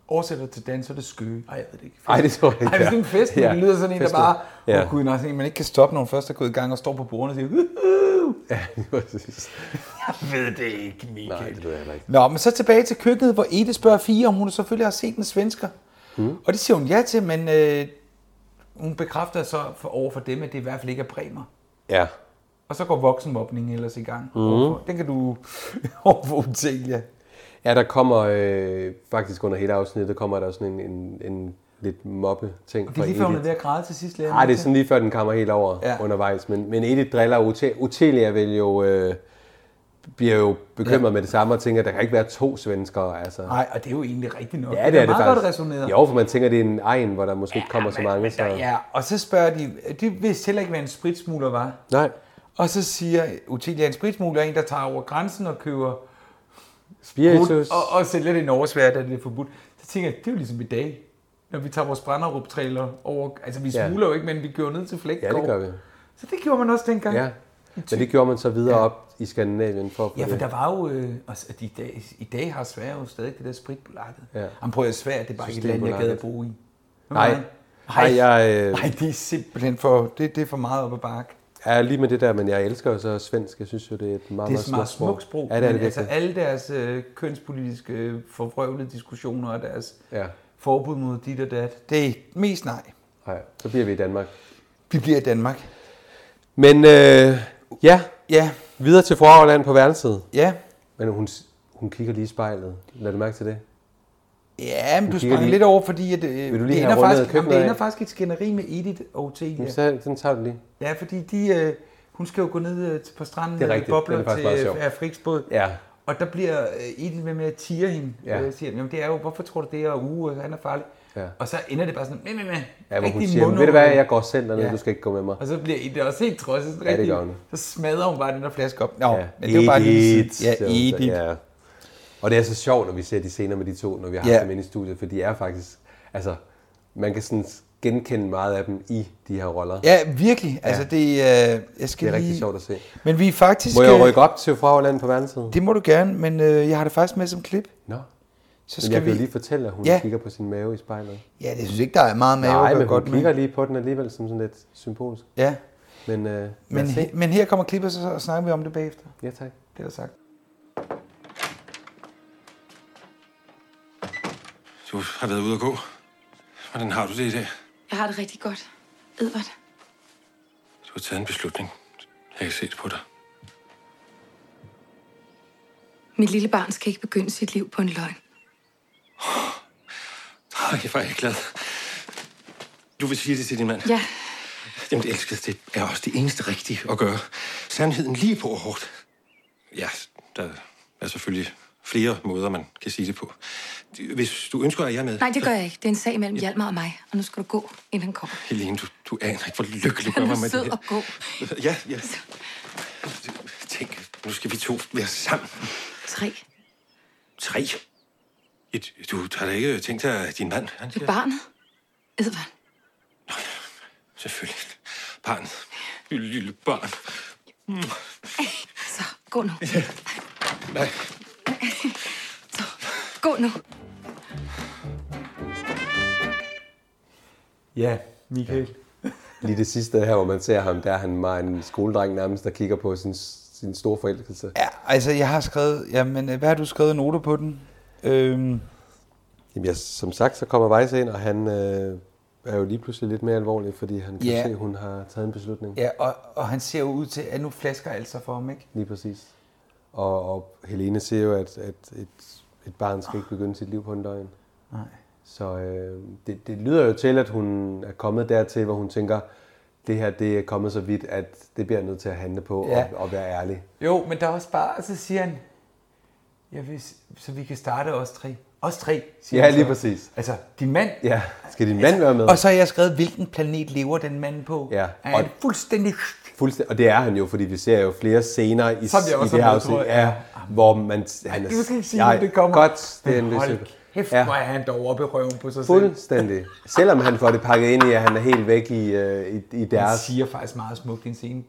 oversætter til dansk, så er det skøge. Nej, jeg ved det ikke.
Ej, det tror jeg ikke,
Ej, hvis det er en
ja.
fest, ja.
Ja,
det lyder sådan en, der
festmø.
bare...
Ja.
Ja. Oh, gud, nej, sådan en, man ikke kan stoppe, når hun først er gået i gang og står på bordene og siger... "Uhuh."
Ja, præcis.
Jeg ved det ikke, Michael.
Nej, det ved jeg heller ikke.
Nå, men så tilbage til køkkenet, hvor Ede spørger Fie, om hun selvfølgelig har set en svensker. Mm. Og det siger hun ja til, men øh, hun bekræfter så for, over for dem, at det i hvert fald ikke er bremer.
Ja.
Og så går voksenmobningen ellers i gang. Mm. Den kan du overfor Utelia.
Ja, der kommer øh, faktisk under hele afsnittet, der kommer der sådan en, en, en lidt mobbe-ting
Det er lige før, hun er ved at græde til sidst.
Nej, det er sådan lige før, den kommer helt over ja.
Ja.
undervejs. Men, men Edith driller Ote- Otelia vil jo, øh, bliver jo bekymret ja. med det samme og tænker, at der kan ikke være to svenskere. Altså.
Nej, og det er jo egentlig rigtigt nok.
Ja, det er det
meget
faktisk.
godt resoneret.
Jo, for man tænker, det er en egen, hvor der måske ikke kommer så mange. Så...
Ja, og så spørger de, det vidste heller ikke, hvad en spritsmugler var.
Nej,
Og så siger Utelia, en spritsmugler er en, der tager over grænsen og køber
spiritus.
Brud, og, og sælger det i Norge, Sverige, da det er forbudt. Så tænker jeg, det er jo ligesom i dag, når vi tager vores brænderup trailer over. Altså, vi
Ja.
smugler jo ikke, men vi kører ned til
Ja,
Flækgaard.
det gør vi.
Så det gjorde man også dengang.
Ja. Men det gjorde man så videre ja. op i Skandinavien for at få
Ja, for
det.
der var jo... Øh, også, at i, dag, I dag har Sverige jo stadig det der spritbolaget.
Ja.
Han prøver at Sverige, det er bare ikke et land, jeg gad at bo i.
Nej.
Nej,
Nej, jeg, øh,
Nej, det er simpelthen for, det, det er for meget op ad bakke.
Ja, lige med det der, men jeg elsker jo så svensk. Jeg synes jo, det er et meget,
Det er
meget
et meget
sprog.
smukt sprog.
Ja, det er det
men altså,
virkelig.
alle deres øh, kønspolitiske øh, forvrøvlede diskussioner og deres
Ja.
forbud mod dit og dat, det er mest nej.
Nej, så bliver vi i Danmark.
Vi bliver i Danmark.
Men øh, ja,
Ja,
videre til Forhavland på værelset.
ja.
Men hun, hun kigger lige i spejlet. Lad du mærke til det?
Ja, men du
kigger
sprang
lige-
lidt over, fordi at, øh,
du lige
det,
have
ender
rundet
faktisk, jamen,
køkkenet
det
af?
ender faktisk i et skænderi med Edith og Telia.
Ja. Så, den tager du lige.
Ja, fordi de, øh, hun skal jo gå ned øh, til- på stranden
Det er
med
rigtigt.
bobler
Den er faktisk
til
meget sjov.
øh, Friks båd.
Ja.
Og der bliver øh, Edith ved med at tire hende.
Ja.
Ja. Øh, siger, jamen det er jo, hvorfor tror du det er, og uge, han er farlig.
Ja.
Og så ender det bare sådan, med, med, med.
Ja, hvor hun
Rigtig
siger,
mundord.
ved du hvad, jeg går selv dernede, ja.
Ja.
du skal ikke gå med mig.
Og så bliver Edith også helt trodset.
det gør hun.
Så smadrer hun bare den der flaske op. Nå, ja. men det var bare lige
Edith,
Ja,
siger hun så.
Edith. Ja.
Ja. Og det er så sjovt, når vi ser de scener med de to, når vi har
Ja.
ja. dem inde i studiet, for de er faktisk, altså, man kan sådan genkende meget af dem i de her roller. Ja.
ja, virkelig. Altså, det, øh, jeg
Det
skal
er
lige...
rigtig sjovt at se.
Men vi er faktisk...
Må jeg
øh,
rykke op til Forhavland på værelset?
Det må du gerne, men øh, jeg har det faktisk med som klip.
Nå,
Så
men
skal
jeg
vi...
kan jo lige fortælle, at hun ja.
Ja.
kigger på sin mave i spejlet.
Ja, det synes ikke, der er meget mave
Nej, men
at gøre
hun
godt
godt kigger
med.
lige på den alligevel som sådan lidt symbolsk.
Ja,
Men, øh, men
men,
se.
he- men her kommer klippet, så så snakker vi om det bagefter.
Ja, tak.
Det er der sagt.
Du har været ude at gå. Hvordan har du det i dag?
Jeg har det rigtig godt. Edvard,
Du har taget en beslutning. Jeg kan se det på dig.
mit lille barn skal ikke begynde sit liv på en løgn.
Ej, hvor er jeg glad. Du vil sige det til din mand.
Ja,
Jamen, det elskede, det er også det eneste rigtige at gøre. Sandheden lige på og hårdt. Ja, der er selvfølgelig flere måder, man kan sige det på. Hvis du ønsker, at jeg er med...
nej, det gør jeg ikke. Det er en sag mellem Hjalmar og mig, og nu skal du gå, inden han kommer.
Helene, du, du aner ikke, hvor lykkelig gør
Han
mig
er
med
sød
det
og gå.
her. Ja, ja. Tænk, nu skal vi to være sammen.
Tre.
Tre? Et- Du har da ikke tænkt dig, at din mand... Han
Det er
siger,
barnet. Edvard.
Selvfølgelig. Barn. Lille, lille barn.
Så, gå nu.
Nej,
Så, gå nu.
Ja,
Michael.
lige det sidste her, hvor man ser ham, der er han meget en skoledreng nærmest, der kigger på sin, sin store forelskelse.
Ja, altså jeg har skrevet, jamen øh, hvad har du skrevet noter på den? Øhm,
Jamen, jeg, som sagt, så kommer Weisse ind, og han øh, er jo lige pludselig lidt mere alvorlig, fordi han kan
Ja.
se, at hun har taget en beslutning.
ja, og, og han ser jo ud til, at nu flasker alt sig for ham, ikke?
Lige præcis. Og, og Helene ser jo, at, at et, et barn skal ikke begynde sit liv på en døgn.
Nej.
Så øh, det, det lyder jo til, at hun er kommet dertil, hvor hun tænker, det her det er kommet så vidt, at det bliver jeg nødt til at handle på ja.
Ja.
og, og være ærlig.
Jo, men der er også bare, og så siger han, ja, hvis, så vi kan starte os tre. Os tre, siger
Ja,
han så.
lige præcis.
Altså, din mand.
Ja, skal din mand være med?
Og så har jeg skrevet, hvilken planet lever den mand på?
Ja,
Er han
og-
fuldstændig...
Fuldstænd- og det er han jo, fordi vi ser jo flere scener i, i
Som jeg
det
også
her
har med, tror
afsnit,
jeg.
ja, hvor man... Han er,
Du skal ikke sige,
Nej,
hvor det kommer.
Godt, det er en
Hold
lyst-
kæft,
Ja.
ja. hvor er han dog oppe i røven på sig selv.
Fuldstændig. Selvom han får det pakket ind i, at han er helt væk i, øh, i, i
Han
deres...
siger faktisk meget smukt i en scene.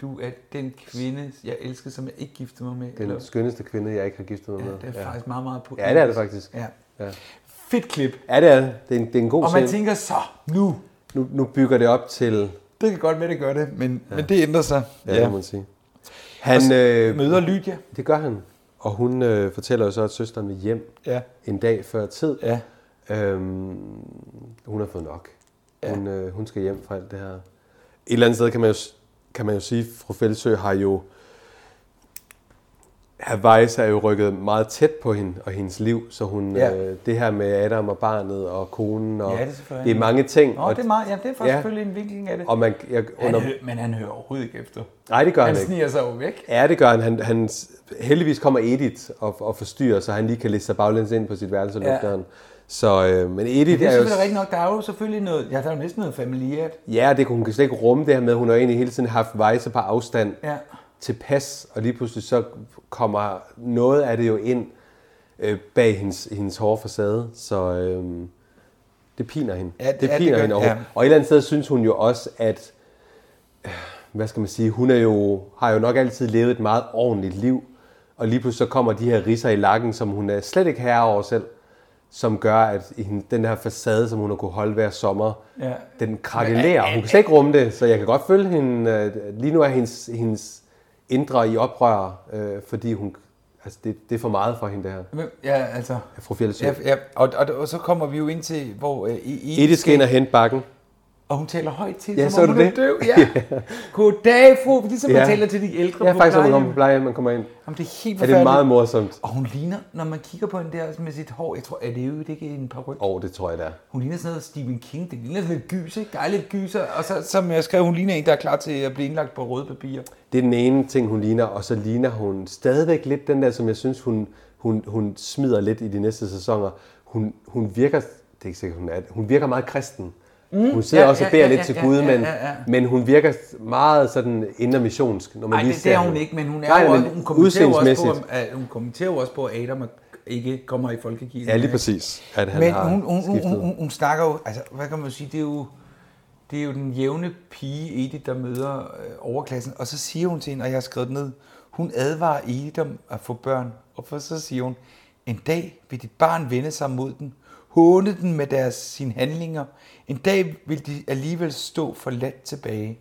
Du er den kvinde, jeg elskede, som jeg ikke giftede mig med.
Den skønneste kvinde, jeg ikke har giftet mig
Mm. ja,
med.
det er ja. faktisk meget, meget på.
ja, det er det faktisk.
Ja.
Ja.
ja. Fedt klip.
Ja, det er det. Det er en, det er en god
Og man
scene.
tænker så, nu.
Nu, nu bygger det op til...
Det kan godt være, det gør det, men, ja. men det ændrer sig.
Ja, ja. det må man sige. Han, øh,
Møder Lydia.
det gør han. Og hun øh, fortæller jo så, at søsteren vil hjem
Ja.
en dag før tid.
Ja.
Øhm, hun har fået nok. Ja. Hun, øh, hun skal hjem fra alt det her. Et eller andet sted kan man jo, s- kan man jo sige, at fru Fældsø har jo... Herr Weiss er jo rykket meget tæt på hende og hendes liv, så hun, ja.
Ja.
øh, det her med Adam og barnet og konen, og
Ja, det er selvfølgelig.
det er mange ting.
Nå,
og,
det er, meget, ja, det er faktisk
Ja.
ja. selvfølgelig en vinkling af det.
og man, jeg,
han
under,
hø- men han hører overhovedet ikke efter.
nej, det gør han,
Han
ikke.
sniger sig jo væk.
Ja, det gør han. han, han heldigvis kommer Edith og, og forstyrrer, så han lige kan læse sig baglæns ind på sit værelse og lukke
Ja.
døren. Så, øh, men Edith
Det er
er jo...
selvfølgelig rigtigt nok. Der er jo selvfølgelig noget, ja, der er jo næsten noget familiært.
Ja, det, hun kan slet ikke rumme det her med, at hun har egentlig hele tiden haft vejse på afstand
Ja.
tilpas, og lige pludselig så kommer noget af det jo ind øh, bag hendes, hendes hårde facade, så øh, det piner hende.
Ja, det- ja, det
piner
gør-
hende
ja.
overhovedet. Og et eller andet sted synes hun jo også, at øh, hvad skal man sige, hun er jo, har jo nok altid levet et meget ordentligt liv, og lige pludselig så kommer de her risser i lakken, som hun er slet ikke herre over selv, som gør, at hende- den her facade, som hun har kunne holde hver sommer,
Ja.
den krakelerer. Hun kan slet ikke rumme det, så jeg kan godt følge hende. øh, Lige nu er hendes, hendes indre i oprør, øh, fordi hun, altså det, det er for meget for hende, det her.
Men, ja, altså...
Fru Fjeldsø.
Ja, ja. Og, og, og, så kommer vi jo ind til, hvor øh, I, I,
Edith E- skal ind og hente bakken.
og hun taler højt til,
Ja,
ja,
så
som
er
om hun
det
er
det.
døv. Ja. Goddag, fru. Ligesom man
Ja.
taler til de ældre
Ja,
på
faktisk, når hun
plejehjem.
kommer på pleje, man kommer ind.
Jamen, det er helt
Er det
forfærdeligt.
meget morsomt?
Og hun ligner, når man kigger på hende der med sit hår, jeg tror, er det jo ikke en paryk.
Åh, oh, det tror jeg, det er.
Hun ligner sådan noget Stephen King, det ligner sådan lidt gys, ikke? Der er lidt gyser, og så, som jeg skrev, hun ligner en, der er klar til at blive indlagt på røde papirer.
Det er den ene ting, hun ligner, og så ligner hun stadigvæk lidt den der, som jeg synes, hun, hun, hun smider lidt i de næste sæsoner. Hun, hun virker, det er ikke sikkert, hun er det, hun virker meget kristen. Mm, hun sidder ja, også og beder ja, lidt ja, til Gud, ja, men, ja, ja. men hun virker meget sådan indre missionsk, når man
Nej,
lige
det,
ser
det er hun
hende.
ikke, men hun, er
Nej,
jo
men
også, hun, kommenterer jo også på,
udseendsmæssigt.
om- at, hun kommenterer jo også på, at Adam ikke kommer i folkekirken.
Ja, lige
ikke?
præcis, at han
Men
har
hun, hun, hun,
skiftet.
hun, hun, hun, snakker jo, altså hvad kan man sige, det er jo, det er jo den jævne pige Edith, der møder øh, overklassen, og så siger hun til hende, og jeg har skrevet det ned, hun advarer Edith om at få børn, og for så siger hun, en dag vil dit barn vende sig mod den, håne den med deres sine handlinger, en dag vil de alligevel stå forladt tilbage.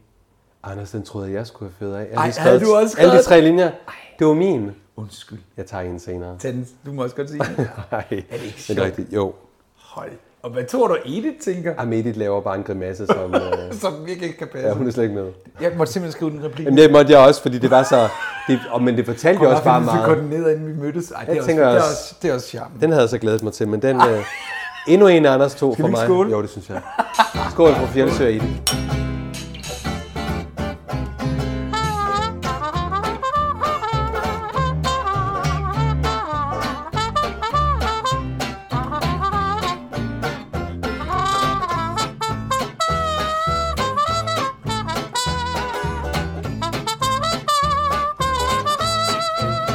Anders, den troede jeg, jeg skulle have fået af. Jeg
Ej,
lige
havde du også
Alle de
skrevet-
tre linjer, det var min.
Undskyld.
Jeg tager en senere.
Tag den, du må også godt sige det.
Nej, det er
ikke
det
sjovt?
rigtigt. Jo,
Hold. Og hvad tror du, Edith tænker,
Amedit laver bare en grimasse, som... øh,
som virkelig ikke kan passe?
ja, hun er slet ikke med.
Jeg måtte simpelthen skrive den replik.
Jamen, det måtte jeg også, fordi det var så... Det, og, men det fortalte jeg også bare meget.
koordineret, inden vi mødtes. Ej, det,
Jeg
er også, det,
tænker
er
også-
også, det er også charmen.
Den havde jeg så glædet mig til, men den... Øh, endnu en af Anders to for
vi ikke
mig.
skåle?
Jo, det synes jeg. Skål for Fjeldsø i det.
Thank you.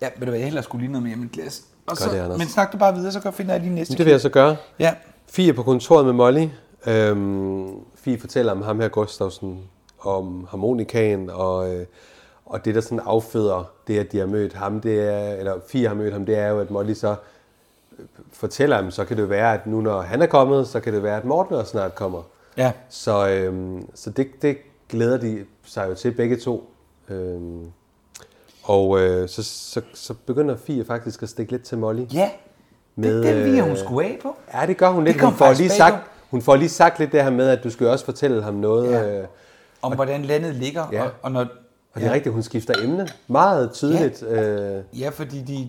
Ja, ved du hvad, jeg hellere skulle lige noget mere i mit glas. Og
Gør
så,
det, Anders.
men snak du bare videre, så kan jeg finde af de næste.
Det vil jeg så gøre.
Ja,
Fie er på kontoret med Molly. Øhm, Fie fortæller om ham her, Gustafsson, om harmonikaen, og, øh, og det, der sådan afføder det, at de har mødt ham, det er, eller Fie har mødt ham, det er jo, at Molly så øh, fortæller ham, så kan det jo være, at nu når han er kommet, så kan det være, at Morten også snart kommer.
ja.
Så, øhm, så det, det glæder de sig jo til begge to. Øhm, og øh, så, så, så begynder Fie faktisk at stikke lidt til Molly.
Ja,
Med,
med, det er den, vi hun
øh,
skulle af på.
Ja, det gør hun lidt.
Det kom
Hun får,
faktisk
lige
bag
sagt,
på.
hun får lige sagt lidt det her med, at du skal jo også fortælle ham noget.
Ja.
Ja. Øh,
Om hvordan landet ligger,
Ja.
ja. og, og når...
og det er rigtigt, hun skifter emne meget tydeligt. Ja. Øh,
Ja, fordi de...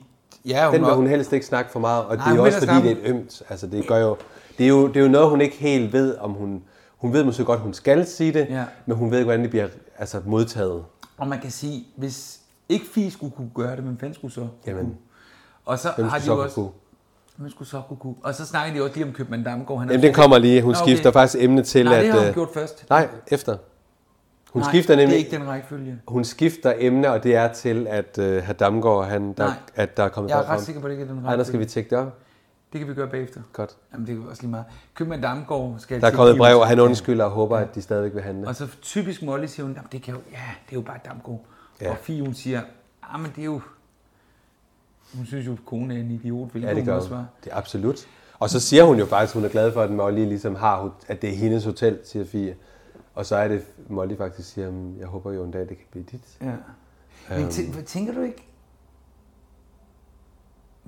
Ja,
den vil
var-
hun helst ikke snakke for meget, og
Nej,
det er
hun
jo
vil
også
da
fordi,
snakke-
det er et ømt. Altså, det, gør jo, det, er jo, det er jo noget, hun ikke helt ved, om hun... Hun ved måske godt, hun skal sige det,
Ja.
men hun ved ikke, hvordan det bliver altså, modtaget.
Og man kan sige, hvis ikke Fie skulle kunne gøre det, men fanden skulle så kunne?
Jamen.
Og så
Hvem
har
skal
de
så
jo
kunne
også... Hvem skulle så kunne, kunne? Og så snakker de også lige om Købmand Damgaard. Han er
Jamen, den
fri.
kommer lige. Hun
Nå,
okay.
okay.
skifter faktisk emne til,
Nej,
at...
det har hun
øh,
gjort først.
Nej, efter. Hun
Nej,
skifter
det
nemlig...
er ikke den rækkefølge.
Hun skifter emne, og det er til, at øh, herr Damgaard, han, der,
Nej.
at der er kommet
Jeg er
folk frem.
ret sikker på, det ikke er den
Ej, der skal
rækkefølge.
vi tjekke det op.
Det kan vi gøre bagefter.
Godt.
Jamen, det er jo også lige meget. Købmand Damgaard skal...
Der er
til
kommet et brev,
Pivs.
og han undskylder og håber, at de stadigvæk vil handle.
Og så typisk Molly siger hun, "Jamen, det kan jo, ja, det er jo bare Damgaard.
Ja.
Ja. Og Fie, hun siger, ah, men det er jo... Hun synes jo, at konen er en idiot, hvilket
Ja, det
hun
gør
også
hun.
var.
Det er absolut. Og så siger hun jo faktisk, at hun er glad for, at Molly ligesom har, ho- at det er hendes hotel, siger Fie. Og så er det, Molly faktisk siger, "Mm, jeg håber jo en dag, det kan blive dit.
Ja.
Øhm.
Men tæ- hvad tænker du ikke...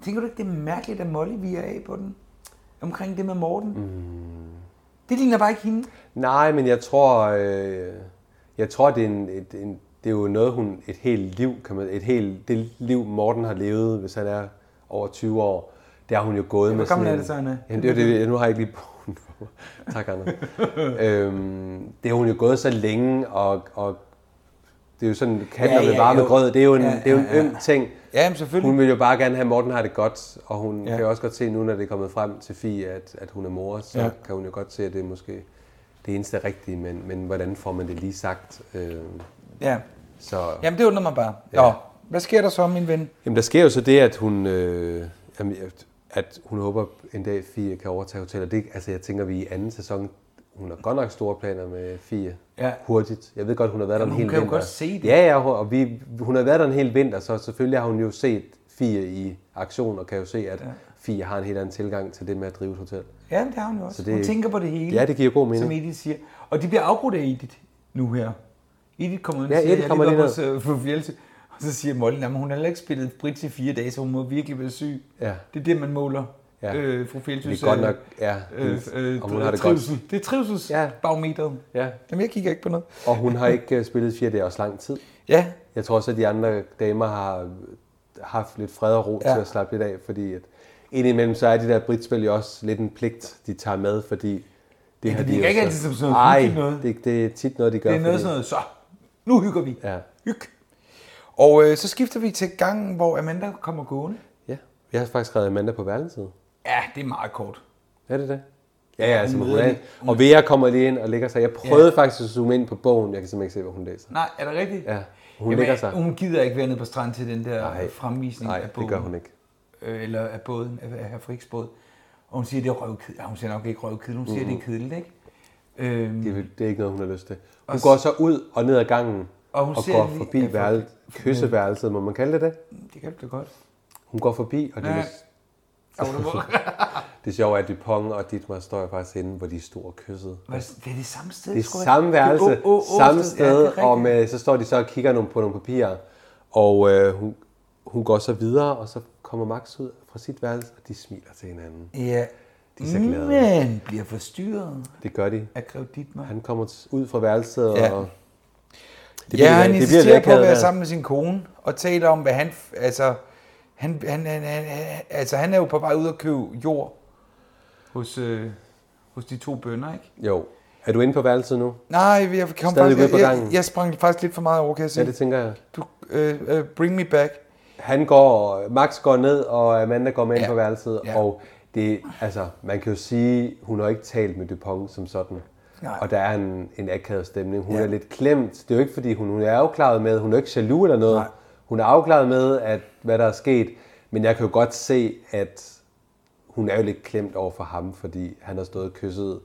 Tænker du ikke, det er mærkeligt, at Molly viger af på den? Omkring det med Morten? Mm. Det ligner bare ikke hende.
Nej, men jeg tror, øh, jeg tror det, er en, et, en, det er jo noget, hun et helt liv, kan man, et helt, det liv Morten har levet, hvis han er over 20 år, det har hun jo gået med.
hvor
sådan
gammel er
en-
det så, Anna?
Jamen, det, er jo det, nu har jeg ikke lige bogen for mig. Tak, Anna. øhm, det har hun jo gået så længe, og, og det er jo sådan, kanter ja,
Ja,
ja, med
ja,
varme
jo.
grød, det er jo en, ja,
Ja,
det er jo en
ja, ja.
øm ting.
Jamen, selvfølgelig.
Hun vil jo bare gerne have, at Morten har det godt, og hun ja.
Ja.
kan jo også godt se nu, når det er kommet frem til Fie, at, at hun er mor, så ja.
Ja.
kan hun jo godt se, at det er måske det eneste rigtige, men, men hvordan får man det lige sagt? Øh,
Ja.
så, ja.
Jamen, det undrer mig bare.
Ja.
Ja. Nå, hvad sker der så, min ven?
Jamen, der sker jo så det, at hun, øh, jamen, at- at hun håber, en dag Fie kan overtage hotellet. Det, altså, jeg tænker, vi i anden sæson, hun har godt nok store planer med Fie.
Ja.
Hurtigt. Jeg ved godt, hun har været
Jamen,
der en
hun
hel
kan jo
vinter.
godt se det.
Ja, ja, hun- og vi, hun har været der en hel vinter, så selvfølgelig har hun jo set Fie i aktion, og kan jo se, at ja. Fie har en helt anden tilgang til det med at drive et hotel.
Ja, det har hun jo også.
Så det-
Hun tænker på det hele.
Ja, det giver god mening.
Som Edith siger. Og de bliver afbrudt af Edith nu her. Edith kommer ind og
Ja,
siger,
Edith
jeg
kommer
lige
lige
hos øh, fru Fjelse. Og så siger Molly, at hun har heller ikke spillet bridge i fire dage, så hun må virkelig være syg.
Ja.
Det er det, man måler.
Ja.
Øh, fru Fjeldsøs,
Det er godt nok, ja,
øh, øh,
om hun har det
trivsel.
godt.
Det er trivselsbarometeret.
Ja. Ja.
Jamen, jeg kigger ikke på noget.
Og hun har ikke øh, spillet fire dage også lang tid.
Ja,
Jeg tror også, at de andre damer har haft lidt fred og ro ja.
Ja.
til at slappe lidt af, fordi at indimellem så er de der britspil jo også lidt en pligt, de tager med, fordi det har
de
jo
kan ikke
så-
altid som sådan noget
Ej,
hyggeligt noget.
Det, det er tit noget, de gør.
det er noget
fordi-
sådan noget, så nu hygger vi.
Ja.
Hyg. Og øh, så skifter vi til gangen, hvor Amanda kommer gående.
Ja. Jeg har faktisk skrevet Amanda på værelset.
Ja, det er meget kort.
Er det det? Ja, ja, altså hun
møder
er, Og Vera kommer lige ind og lægger sig. Jeg prøvede ja. faktisk at zoome ind på bogen. Jeg kan simpelthen ikke se, hvad hun læser.
Nej, er det rigtigt?
Ja, hun lægger sig.
Hun gider ikke være nede på stranden til den der Nej. fremvisning
Nej,
af bogen.
det gør hun ikke.
Øh, eller af båden, af, af herr Friks båd. Og hun siger, det er røvkedeligt. Ja, hun siger nok ikke røvkedeligt, hun siger, mm-hmm. det er kedeligt, ikke? Øhm,
Det, vil- det er ikke noget, hun har lyst til. Hun
Og
går så ud og ned ad gangen og,
Og
hun
hun
og
ser
går
lige-
forbi
Ja, for-
værelset, kysseværelset, må man kalde det det?
det kan du da godt.
Hun går forbi, og det,
Ja.
ja. det sjove er, at Dupont og Dietmar står jo faktisk inde, hvor de stod og kyssede.
Hvad, det er det samme sted,
Det er
tror jeg.
samme værelse,
Det er å- å- å-
samme
sted. Ja, det
sted,
er
ja,
rigtigt.
og med, så står de så og kigger nogle, på nogle papirer, og øh, hun, hun går så videre, og så kommer Max ud fra sit værelse, og de smiler til hinanden.
Ja.
De er så glade.
Men bliver forstyrret
Det gør de.
af Grev Dietmar.
Han kommer t- ud fra værelset,
Ja.
og
Det ja, han
det
insisterer
lidt
på at
akavet
være
der.
sammen med sin kone, og taler om, hvad han... f- Altså, han, han, han, han, han, altså, han er jo på vej ud og købe jord hos, øh, hos de to bønder, ikke?
Jo. Er du inde på værelset nu?
Nej, jeg, kom
Stadig ude
faktisk,
på
jeg, jeg,
gangen.
jeg sprang faktisk lidt for meget over, kan jeg se.
Ja, det tænker jeg.
Du, øh, øh, bring me back.
han går, Max går ned, og Amanda går med ind
Ja.
på værelset, ja.
Ja.
og det, altså, man kan jo sige, hun har ikke talt med Dupont som sådan. Nej.
Nej.
Og der er en, en akavet stemning. Hun ja.
Ja.
er lidt klemt. Det er jo ikke, fordi hun, hun er jo klaret med, hun er jo ikke jaloux eller noget. Nej. hun er afklaret med, at, hvad der er sket, men jeg kan jo godt se, at hun er jo lidt klemt over for ham, fordi han har stået og kysset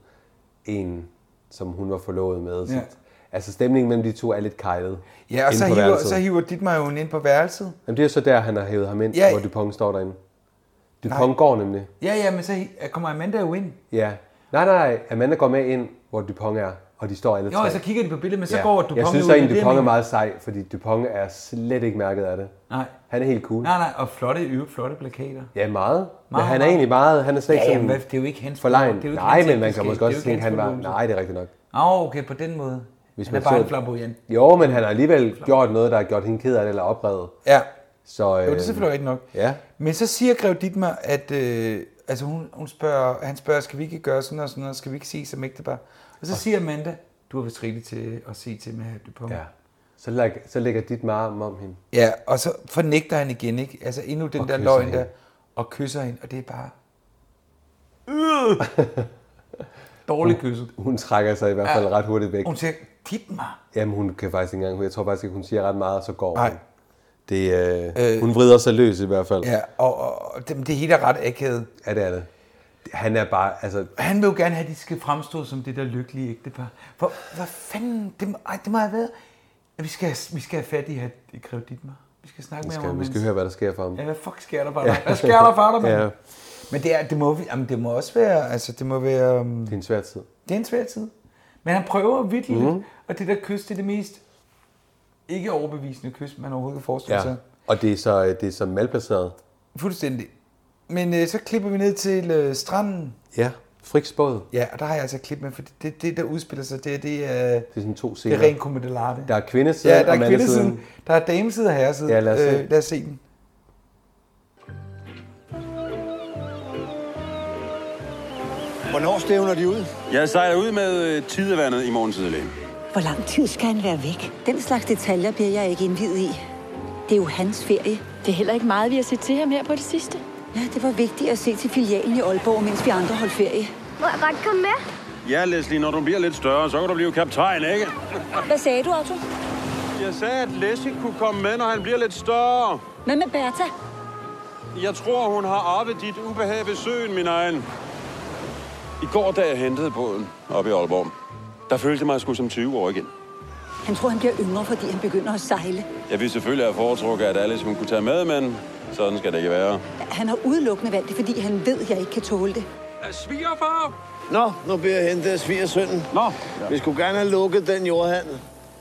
en, som hun var forlovet med. Ja.
Ja.
Så, altså stemningen mellem de to er lidt kejlet.
Ja, og
inde
så
på
hiver,
værelset.
så hiver dit mig jo ind på værelset.
Jamen, det er så der, han har hævet ham ind, ja.
Ja.
hvor Dupont står derinde. Dupont nej. går nemlig.
Ja, ja, men så hi- kommer Amanda jo ind.
Ja. Nej, nej, Amanda går med ind, hvor Dupont er, og de står alle
Jo,
tre.
og så kigger de på billedet, men så
Ja.
går Dupont
Jeg synes
jo ud,
egentlig,
det er
Dupont er
det,
meget sej, fordi Dupont er slet ikke mærket af det.
jeg mener. Nej.
Han er helt cool.
Nej, nej, og flotte, i øvrigt flotte plakater.
Ja, meget. Men
Meget,
han er
meget.
egentlig meget, han er slet ikke
Ja,
sådan
jamen, hvad- det er jo ikke hans
forlegen.
det er jo ikke
Nej,
hans
men man kan
ægteskab,
måske
det er jo
også
ikke
tænke,
hans
han var,
forlovelse.
nej, det er rigtigt nok.
Åh, oh, okay, på den måde.
Hvis man
Hvis man er bare
så-
en flamboyant.
Jo, men han har alligevel gjort noget, der har gjort hende ked af det, eller oprevet.
Ja,
Så, øh,
jo, det er selvfølgelig rigtigt nok.
Ja.
Men så siger Grev Dittmer, at øh, altså hun, hun spørger, han spørger, skal vi ikke gøre sådan og sådan noget, skal vi ikke se som ægtepar? Og så siger Amanda, du har vist rigeligt til at se til med at på.
Ja. Så, læg, så lægger dit mar om om hende.
ja, og så fornægter han igen, ikke? Altså endnu den
Og
der
kysser
løgn
hende.
der, og kysser hende, og det er bare... Øh! Dårlig kysset.
Hun trækker sig i hvert fald ret hurtigt væk.
Hun siger, Dittmer,
Jamen, hun kan faktisk ikke engang, jeg tror faktisk ikke, hun siger ret meget, og så går
Nej.
hun. Det, øh, øh, hun vrider sig løs i hvert fald.
Ja, og, og, og det, men det hele er ret akavet.
Ja, det er det. Han er bare, altså,
Han vil jo gerne have, at de skal fremstå som det der lykkelige ægtepar. For hvad fanden, det, må- ej, det må have været. Ja, vi skal, vi skal have fat i at Grev Dittmar. Vi skal snakke
vi
med
skal,
ham.
vi
om
skal
hans-
høre, hvad der sker for ham.
Ja, hvad fuck sker der for dig? Hvad sker der for dig, mand?
Ja.
Men det, er, det, må, vi- jamen, det må også være, altså det må være, um,
Det er en svær tid.
det er en svær tid. Men han prøver virkelig
Mhm.
mm. lidt, og det der kys, det er det mest ikke overbevisende kys, man overhovedet kan forestille
Ja.
sig.
Og det er så, øh, det er så malplaceret.
Fuldstændig. Men øh, så klipper vi ned til øh, stranden,
Ja, Friks båd.
Ja, og der har jeg altså et klip med, for det, det, det der udspiller sig, det, det, er,
Det er sådan to
det
scener.
er ren komedellarte.
Der er kvindesiden
ja, der
og
er
mandesiden.
kvindesiden, der er damesiden og herresiden.
Ja, lad os se.
Øh, lad os se den.
Hvornår stævner de ud?
Jeg sejler ud med øh, tidevandet i morgen tidlig.
Hvor lang tid skal han være væk?
Den slags detaljer bliver jeg ikke indvidet i.
Det er jo hans ferie.
Det er heller ikke meget, vi har set til ham her på det sidste.
Ja, det var vigtigt at se til filialen i Aalborg, mens vi andre holdt ferie.
Må jeg godt komme med?
Ja, Leslie, når du bliver lidt større, så kan du blive kaptajn, ikke?
Hvad sagde du, Otto?
Jeg sagde, at Leslie kunne komme med, når han bliver lidt større.
Hvad med Bertha?
Jeg tror, hun har arvet dit ubehag ved søen, min egen. I går, da jeg hentede båden oppe i Aalborg, der følte jeg mig sgu som 20 år igen.
Han tror, han bliver yngre, fordi han begynder at sejle.
Jeg ville selvfølgelig have foretrukket, at Alice hun kunne tage med, men sådan skal det ikke være.
Han har udelukkende valgt det, fordi han ved, at jeg ikke kan tåle det.
Svigerfar!
Nå, nu bliver jeg hentet af svigersønnen.
Nå,
Vi skulle gerne have lukket den jordhandel.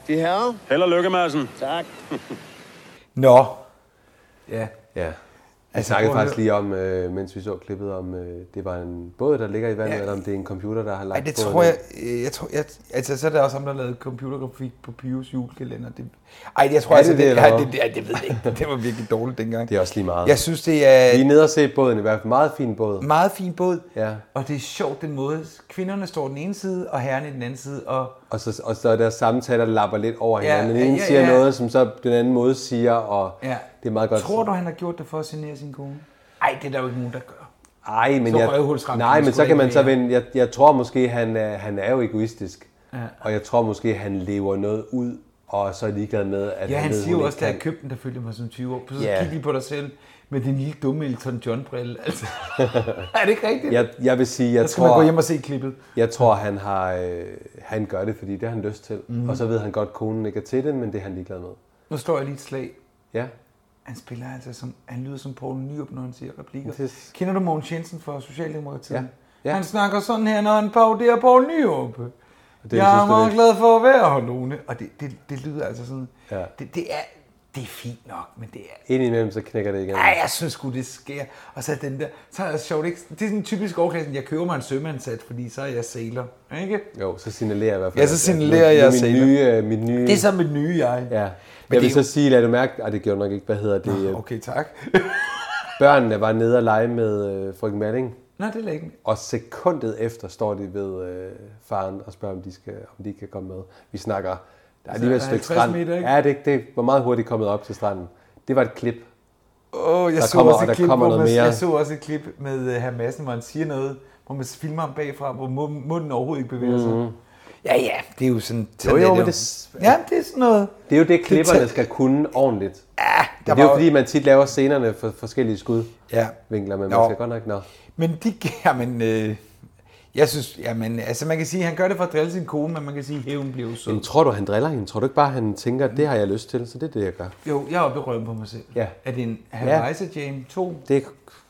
De herrer?
held og lykke, Madsen.
Tak.
Nå. Ja.
Ja. Vi snakkede
Altså, prøv at
faktisk lige om, øh, mens vi så klippet, om øh, det var en båd, der ligger i vandet, ja.
Ja.
eller om det er en computer, der har lagt
Ej, det
båden
tror
ind.
jeg, øh, jeg tror, jeg, altså så er der også ham, der lavede computergrafik på Pius julekalender. Det, ej, jeg tror
Er
altså,
det det,
det,
eller
ej,
hvad?
det, det, ej, det ved jeg ikke. Det var virkelig dårligt dengang.
Det er også lige meget.
Jeg synes, det er
Vi er
en
nede og se båden, i hvert fald meget fin båd.
meget fin båd,
Ja.
og det er sjovt den måde. Kvinderne står den ene side, og herrerne i den anden side, og
Og så, og så er der samtaler, der lapper lidt over
Ja,
hinanden. Den ene
ja, ja,
siger
ja.
noget, som så den anden måde siger, og
Ja.
det er meget godt.
Tror du, han har gjort det for at genere sin kone? Nej, det er der jo ikke nogen, der gør.
Ej, men
Så
jeg,
røvhulsramt
nej,
kan
men
man
så
sgu
kan
da
man
ikke
så
være.
vende. Jeg, jeg tror måske, han er, han er jo egoistisk.
Ja.
Og jeg tror måske, han lever noget ud, og så er ligeglad med, at
Ja, han
ved,
siger jo
hun
også,
ikke
da jeg
kan.
købte den, der følte jeg mig som 20 år. Så
Ja.
yeah. kig lige på dig selv med din lille dumme Elton John-brille. Altså. er det ikke rigtigt?
Jeg, jeg vil sige, jeg
så skal man
tror,
gå hjem og se klippet.
jeg tror han, har, øh, han gør det, fordi det har han lyst til.
Mhm.
Mm. Og så ved han godt, at konen ikke er til det, men det er han ligeglad med.
Nu står jeg lige et slag.
Ja,
Han spiller altså som, han lyder som Poul Nyrup, når han siger replikker.
Det er-
Kender du Mogens Jensen fra Socialdemokratiet?
Ja. Ja.
Han snakker sådan her, når han pauderer Poul Nyrup.
det
Det jeg er
synes du
meget
ikke?
glad for at være her, Lone. Og det, det, det lyder altså sådan.
Ja.
Det, det, er, det er fint nok, men det er
indimellem så knækker det igen.
Ej, jeg synes sgu, det sker. Og så er den der, så er jeg sjovt, ikke? Det er sådan en typisk overklassen, jeg køber mig en sømandsat, fordi så er jeg sailor, ikke?
Jo, så signalerer jeg i hvert fald.
Ja, så
at- at
signalerer jeg
nu, nu
selv.
er mit nye, øh, mit nye...
Det er så mit nye jeg.
Ja.
Men
Jeg
det
vil
er
så
jo-
sige, lad du mærke... Ej, det gjorde nok ikke, hvad hedder det? øh,
Okay, tak.
Børnene var nede og lege med øh, frøken Malling,
Nå, det er ikke.
og sekundet efter står de ved øh, faren og spørger, om de, skal, om de kan komme med. Vi snakker... Der er alligevel et
der er
stykke
50
strand.
Altså, meter, ikke?
Ja, det, det var meget hurtigt kommet op til stranden. Det var et klip.
Åh, oh, jeg,
Der
så
kommer-
også
der
et klip,
kommer
hvor
noget
man,
mere.
jeg så også et klip med uh, herr Madsen, hvor han siger noget, hvor man filmer ham bagfra, hvor mu- munden overhovedet ikke bevæger sig. Mm-hmm. Ja, ja, det er jo sådan... sådan
Mm. jo,
er
men
jo.
det s-
Ja, det er sådan noget.
Det er jo det, klipperne
tæt-
skal kunne ordentligt.
Ja,
Der
Der
det er jo
var-
fordi, man tit laver scenerne for forskellige skudvinkler,
Ja.
men
Nå.
man skal godt nok... Nå.
Men de, jamen, øh, jeg synes, jamen, altså man kan sige, han gør det for at drille sin kone, men man kan sige, at hævn bliver jo sød.
Men tror du, han driller hende? Tror du ikke bare, han tænker, det har jeg lyst til, så det er det, jeg gør?
Jo, jeg er oppe i røven på mig selv.
Ja.
Er det en Havaiser Jane 2?
Det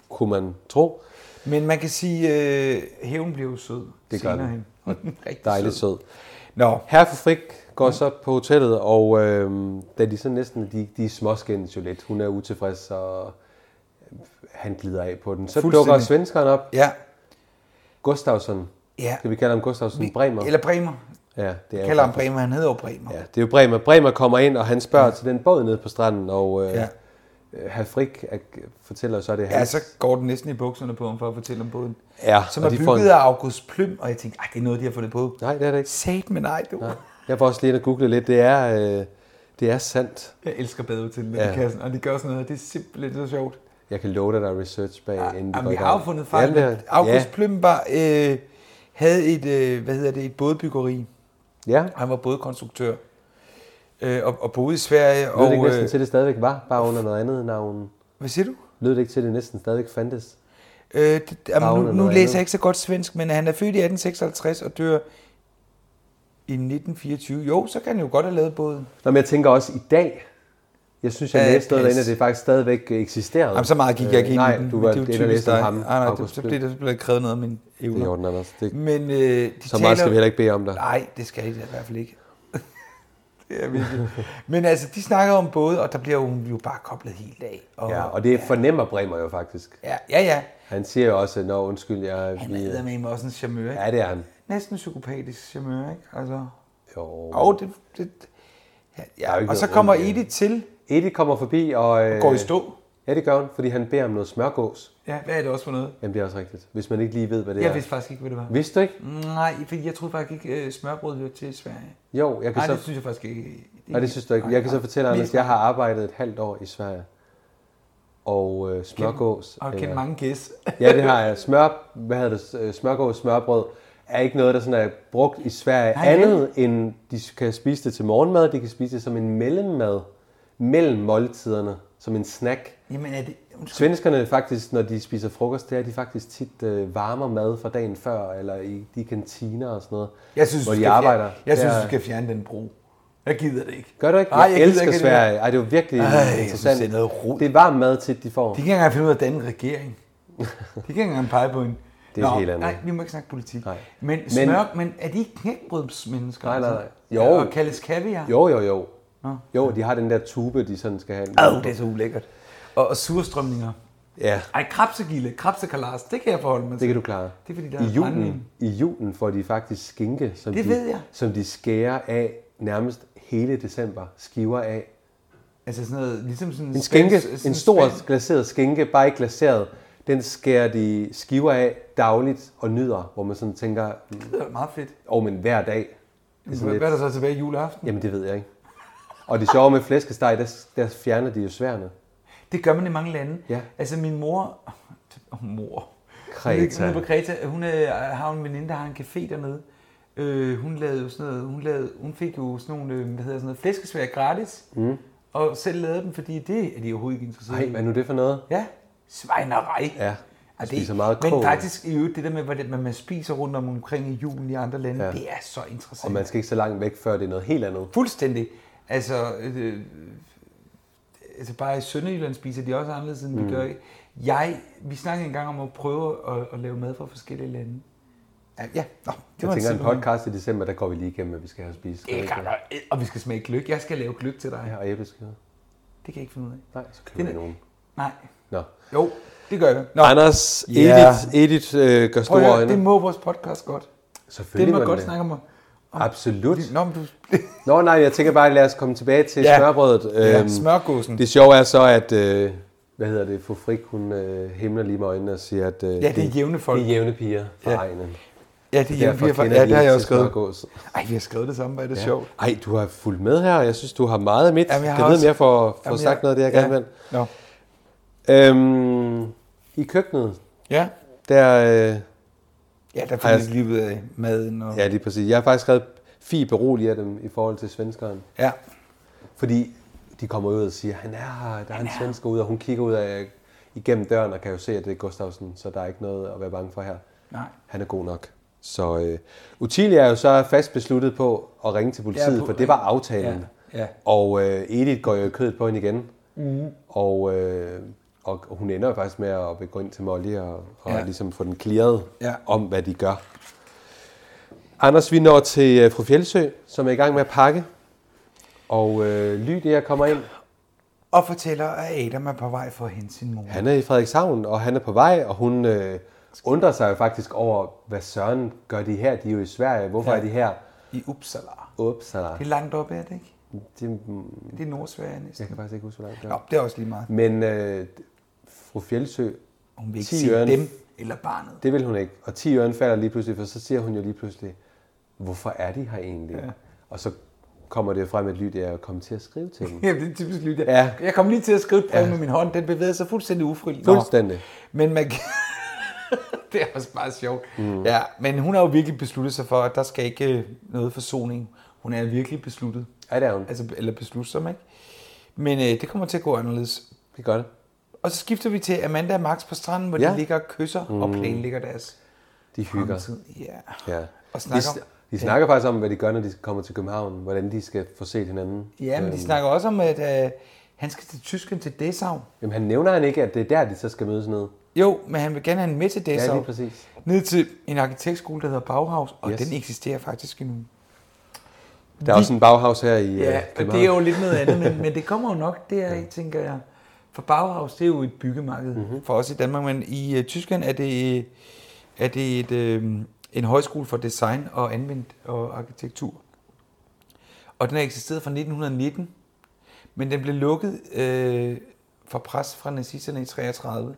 kunne man tro.
Men man kan sige, at øh, hævn bliver jo sød.
Det gør
senere
den.
hen. Rigtig
Dejligt sød.
Nå,
Herre for Frik går så på hotellet, og øhm, da de så næsten de, de småskændes jo lidt. Hun er utilfreds, og øh, han glider af på den. Så dukker
Fuldstændig.
svenskeren op.
ja.
Gustavsson.
Ja.
Skal vi kalde ham Gustavsson? Bremer?
Eller Bremer.
ja, det er jo
Kalder ham
faktisk-
Bremer, han hedder jo Bremer.
Ja, det er jo Bremer. Bremer kommer ind, og han spørger ja. til den båd nede på stranden, og øh, ja.
Ja.
herr Frik er, fortæller så, at det er
Ja,
hans.
så går den næsten i bukserne på ham for at fortælle om båden.
Ja,
Som
og
er
de
bygget
får en-
af August Plym, og jeg tænkte, at det er noget, de har fundet på.
Nej, det er det ikke.
Sat med nej, du.
Jeg var også lige inde og google lidt. Det er, øh, det er sandt.
Jeg elsker badehotellet
Ja.
ja. i kassen, og de gør sådan noget, det er simpelthen så sjovt.
Jeg kan love dig, der er research bag, ja, inden
Jamen,
går
vi
i
har jo
gang.
fundet fejl.
Ja,
Ja,
det er-
August
ja,
Plymbar øh, havde et, øh, hvad hedder det, et bådbyggeri.
ja.
Han var bådkonstruktør øh, og, og boede i Sverige.
Lød det
Og,
ikke næsten
øh,
til, det stadigvæk var, bare under noget andet navn?
hvad siger du?
Lød det ikke til, det næsten stadigvæk fandtes?
Øh, det, jamen,
Navn
nu,
eller
nu
noget
læser
andet.
jeg ikke så godt svensk, men han er født i 1856 og dør i 1924. Jo, så kan han jo godt have lavet båden.
Nå, men jeg tænker også i dag, jeg synes, jeg
Ja,
læste noget
pas.
derinde, at det faktisk stadigvæk eksisterede.
Jamen, så meget gik jeg ikke ind i
Øh, Nej,
den.
du
men
var
det er jo
inde og
typisk
læse om
dig.
ham.
Nej, nej, det,
August
så
Plym.
blev det så blev der krævet noget af mine
Det er i
evner.
orden, Anders. Det,
Men øh, de
så meget skal vi heller ikke bede om dig.
Nej, det skal jeg i hvert fald ikke. det er virkelig. Men altså, de snakker om både, og der bliver hun jo bare koblet helt af. Og,
Ja, og det fornemmer Bremer jo faktisk.
ja, ja, ja.
Han siger jo også, Nå, undskyld, jeg...
Han er med mig også en charmeur, ikke?
Ja, det er han.
Næsten psykopatisk charmeur, ikke? Altså,
Jo.
og det, det ja,
er jo ikke
ja. Og så
noget
kommer
rundt i det.
Edith til,
Edith kommer forbi og... Øh,
går i stå.
Ja, det gør hun, fordi han beder om noget smørgås.
Ja, hvad er det også for noget?
Jamen, det er også rigtigt. Hvis man ikke lige ved, hvad det
Jeg
er.
vidste faktisk ikke, hvad det var.
Vidste du ikke?
Mm. Nej, fordi jeg troede faktisk ikke, øh, smørbrød hørte til i Sverige.
Jo, jeg kan
Nej,
så...
det synes jeg faktisk ikke.
Nej, det synes du ikke. Jeg kan så fortælle,
Nej.
Anders, at jeg har arbejdet et halvt år i Sverige. Og øh, smørgås...
Og kendt
eller-
mange gæs.
Ja, det har jeg. Smør, hvad hedder det, øh, smørgås, smørbrød er ikke noget, der sådan er brugt i Sverige.
Nej, vel?
andet end, de kan spise det til morgenmad, de kan spise det som en mellemmad mellem måltiderne, som en snack.
Jamen, er det... Undskyld.
Svenskerne faktisk, når de spiser frokost, det er de faktisk tit øh, varmer mad fra dagen før, eller i de kantiner og sådan noget,
Jeg synes,
hvor
du
de
skal
arbejder.
Fjerne, jeg synes,
Det er-
du skal fjerne den bro. Jeg gider det ikke.
Gør du ikke?
Ej, jeg,
elsker
gider ikke det der.
Sverige. Ej, det er jo virkelig
Ej, jeg synes,
interessant.
det er noget rod.
det er varm mad tit, de får.
De kan ikke engang finde ud af at danne en regering. De kan ikke engang pege på en.
Det er et helt andet.
Nej, vi må ikke snakke politik.
Nej.
Men,
Men-
men, smør, men er de ikke knækbrødsmennesker?
Nej, nej, nej.
Altså?
Jo.
Ja, Og kaldes kaviar?
Jo, jo, jo.
Nå.
Jo, de har den der tube, de sådan skal have.
Ad, det er så ulækkert. Og, og surstrømninger.
Ja,
Ej, krabsegilde, krabsekalas, det kan jeg forholde mig
det
til.
kan du klare.
Det er fordi, der
I
er
julen,
brændevin.
I julen får de faktisk skinke, som,
Det
de,
ved jeg.
som de skærer af nærmest hele december. Skiver af.
Altså sådan noget, ligesom sådan
En, skinke,
spænds- sådan
en stor
spænds-
glaseret skinke, bare ikke glaseret, den skærer de skiver af dagligt og nyder, hvor man sådan tænker, "Mm,
Det er meget fedt.
åh, oh, men hver dag. Det er sådan
Hvad
lidt-
er der så tilbage i juleaften?
Jamen, det ved jeg ikke. Og det sjove med flæskesteg, der, der fjerner de jo sværene.
Det gør man i mange lande.
Ja.
Altså min mor... Oh, mor.
Kreta.
Hun er på Kreta. Hun øh, har jo en veninde, der har en café dernede. Øh, hun lavede jo sådan noget, hun, lavede, hun fik jo sådan nogle, øh, hvad hedder sådan noget, flæskesvær gratis. Mm. Og selv lavede dem, fordi det er de overhovedet ikke interesseret
Nej, hvad er nu det for noget?
Ja, svejnerej.
Ja,
Og det,
spiser meget kål.
men faktisk i øvrigt, det der med, hvordan man man spiser rundt om omkring i julen i andre lande,
Ja.
ja. det er så interessant.
Og man skal ikke så langt væk, før det er noget helt andet.
Fuldstændig. Altså, øh, altså bare i Sønderjylland spiser de også anderledes, end mm. vi gør. Jeg, vi snakkede engang om at prøve at, at lave mad fra forskellige lande. Ja, ja. Nå, det
Jeg
var
tænker, en
sidebemærkning.
podcast i december, der går vi lige igennem, hvad vi skal have at spise.
Det kan jeg godt. og vi skal smage gløk. Jeg skal lave gløk til dig.
Ja,
Ja.
og æbleskiver.
Det kan jeg ikke finde ud af.
Nej, så køber vi
er-
nogen.
Nej.
Nå.
Jo, det gør jeg. Nå,
Anders,
Ja. Edith-
Edith øh, gør
prøv at høre, det må vores podcast godt. Det
Selvfølgelig
må
må
godt
det.
snakke om. om
Absolut.
Nå, men du...
Nå nej, jeg tænker bare, lad os komme tilbage til
Ja.
smørbrødet.
ja,
Øhm,
smørgåsen.
Det sjove er så, at... Øh, hvad hedder det? Fru Frik, hun øh, himler lige med øjnene og siger, at... Øh, ja,
det er jævne folk.
Det er jævne piger fra ja. egnen.
Ja, det, er
Derfor
vi har,
kender
ja,
de
det har
ikke
jeg
til
også skrevet.
smørgås.
Ej, vi har skrevet det samme, hvor er det ja. sjovt.
Ej, du har fulgt med her, og jeg synes, du har meget af mit.
Jamen, jeg
jeg kan
har
vide, om
også-
jeg får, får
Jamen,
sagt noget af det, jeg gerne
ja.
vil.
Nå.
Øhm, I køkkenet,
Ja.
der... Øh,
Ja, der
jeg-
findes lige ud af maden. Og...
ja, lige præcis. Jeg har faktisk skrevet fi beroliger dem i forhold til svenskeren.
ja.
Fordi de de kommer ud og siger, han er her, der er en svensker ude, og hun kigger ud af, igennem døren og kan jo se, at det er Gustavsen, så der er ikke noget at være bange for her.
Nej.
Han er god nok. Så øh, Utilia er jo så fast besluttet på at ringe til politiet,
Ja,
på,
på-
for det var aftalen.
Ja, ja.
Og øh, Edith går jo i kødet på hende igen. Mm. Og, øh, og hun ender jo faktisk med at gå ind til Molly og, og ja.
Ja.
ligesom få den clearet ja.
Ja.
om, hvad de gør. Anders, vi når til øh, fru Fjeldsø, som er i gang med at pakke. Og øh, Ly, det her kommer ind.
Og fortæller, at Adam er på vej for at hente sin mor.
Han er i Frederikshavn, og han er på vej, og hun øh, undrer sig jo faktisk over, hvad søren gør de her? De er jo i Sverige. Hvorfor ja.
Ja.
er de her?
I Uppsala.
Uppsala.
Det er langt op, er det ikke?
Det,
Det er Nordsverige næsten.
jeg kan faktisk ikke huske, hvor langt det
Nå,
er.
det er også lige meget.
Men øh, fru Fjeldsø,
Hun vil ikke
10
sige
øren.
dem eller barnet.
det vil hun ikke. Og 10 øren falder lige pludselig, for så siger hun jo lige pludselig, hvorfor er de her egentlig? Ja. Og så kommer det jo frem, at Lydia er kommet til at skrive til dem.
Jamen, det er typisk lige det.
Ja.
Jeg kom lige til at skrive et brev ja. med min hånd. Den bevægede sig fuldstændig ufrivilligt. Nå.
Fuldstændig.
Men man kan... det er også bare sjovt. Mm. Ja, men hun har jo virkelig besluttet sig for, at der skal ikke øh, noget forsoning. Hun er virkelig besluttet.
Ja, det er hun.
Altså, eller beslutsom, ikke? Men øh, det kommer til at gå anderledes.
Det gør det.
Og så skifter vi til Amanda og Max på stranden, hvor ja.
Ja.
de ligger og kysser mm. og planlægger deres
De hygger.
fremtid. Ja.
Ja.
Og snakker
de,
om-
de snakker faktisk om, hvad de gør, når de kommer til København. Hvordan de skal få set hinanden. Øhm,
ja, men de snakker også om, at øh, han skal til Tyskland til Dessau.
Jamen, han nævner han ikke, at det er der, de så skal mødes ned.
Jo, men han vil gerne have en med til Dessau.
Ja, lige præcis.
Ned til en arkitektskole, der hedder Bauhaus, og
Yes.
yes. den eksisterer faktisk endnu.
Der er også en baghavs her i øh,
Ja, og det er jo lidt noget andet, men, men det kommer jo nok der, ja. tænker jeg. For Bauhaus, det er jo et byggemarked mm-hmm. for os i Danmark, men i uh, Tyskland er det, øh, er det et, øh, en højskole for design og anvendt og arkitektur. Og den har eksisteret fra 1919, men den blev lukket øh, for pres fra nazisterne i 33.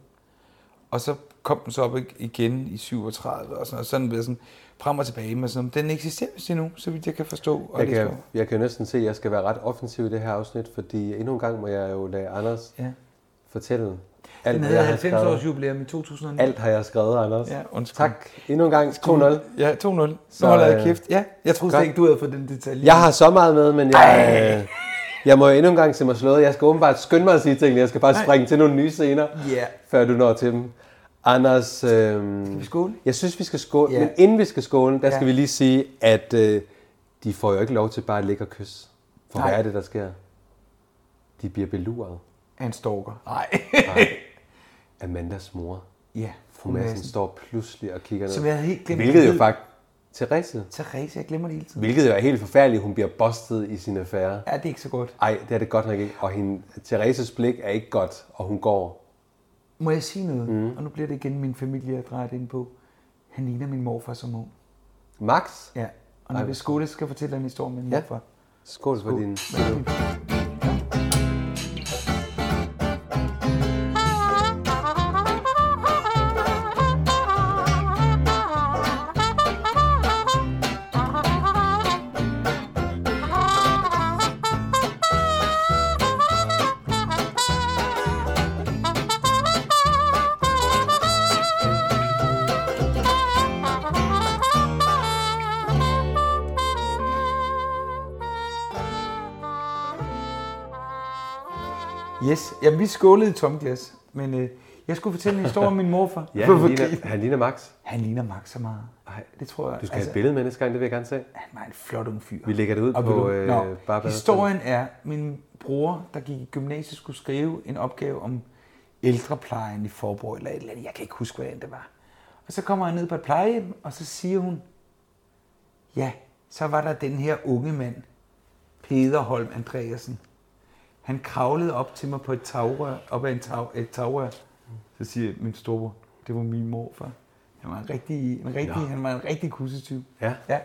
Og så kom den så op ig- igen i 37 og sådan, og sådan, og sådan frem og tilbage med sådan noget. Den eksisterer vist endnu, så vidt jeg kan forstå. Og
Jeg
læse
kan,
på.
jeg kan jo næsten se, at jeg skal være ret offensiv i det her afsnit, fordi endnu en gang må jeg jo lade Anders ja.
Ja.
fortælle alt,
Den
hvad
havde
jeg har
90 års
skrevet.
jubilæum i 2009.
Alt har jeg skrevet, Anders.
Ja, undskyld.
tak. Endnu en gang. 2-0.
Ja, 2-0. Nu
Så,
holder jeg
øh,
kæft. Ja, jeg troede slet
godt.
ikke, du havde fået den detalje.
Jeg har så meget med, men jeg, øh, jeg må endnu en gang se mig slået. Jeg skal åbenbart skynde mig at sige tingene. Jeg skal bare springe til nogle nye scener,
Ja.
før du når til dem. Anders, øh,
Skal vi skåle?
jeg synes, vi skal skåle.
Ja.
Men inden vi skal skåle, der skal
Ja.
vi lige sige, at øh, de får jo ikke lov til bare at ligge og kysse. For
Nej.
hvad er det, der sker? De bliver beluret.
Han stalker. Nej.
Amandas mor,
ja,
fru Madsen, står pludselig og kigger ned.
Som jeg havde helt glemt.
Hvilket jo faktisk... Therese.
Therese, jeg glemmer det hele tiden.
Hvilket jo er helt forfærdeligt, hun bliver bustet i sin affære.
Ja, det er ikke så godt.
Ej, det er det godt nok ikke. Og hende, Thereses blik er ikke godt, og hun går.
Må jeg sige noget? Mm. Og nu bliver det igen min familie, jeg drejer det ind på. Han ligner min morfar som ung.
Max,
Ja. Og når vi skole, skal jeg fortælle dig en historie om min
Ja.
morfar.
skål for din...
Yes, jamen vi skålede i tomt glas. Men øh, jeg skulle fortælle en historie om min morfar.
Ja,
Hvorfor
han
griner-
ligner, han ligner Max.
han ligner Max så meget. Nej, det tror jeg. altså-
Du skal have et billede med næste gang, det vil jeg gerne se.
Han var en flot ung fyr.
Vi lægger det ud
Og
på,
vil
øh,
Nå,
Barbara-
Historien er, min bror, der gik i gymnasiet, skulle skrive en opgave om ældreplejen i Forborg eller et eller andet. Jeg kan ikke huske, hvordan det var. Og så kommer han ned på et plejehjem, og så siger hun, ja, så var der den her unge mand, Peder Holm Andreasen. Han kravlede op til mig på et tagrør, op ad en tag, et tagrør. Så siger min store, det var min morfar. Han var en rigtig, en rigtig, han var en rigtig kussetyv.
Ja.
ja.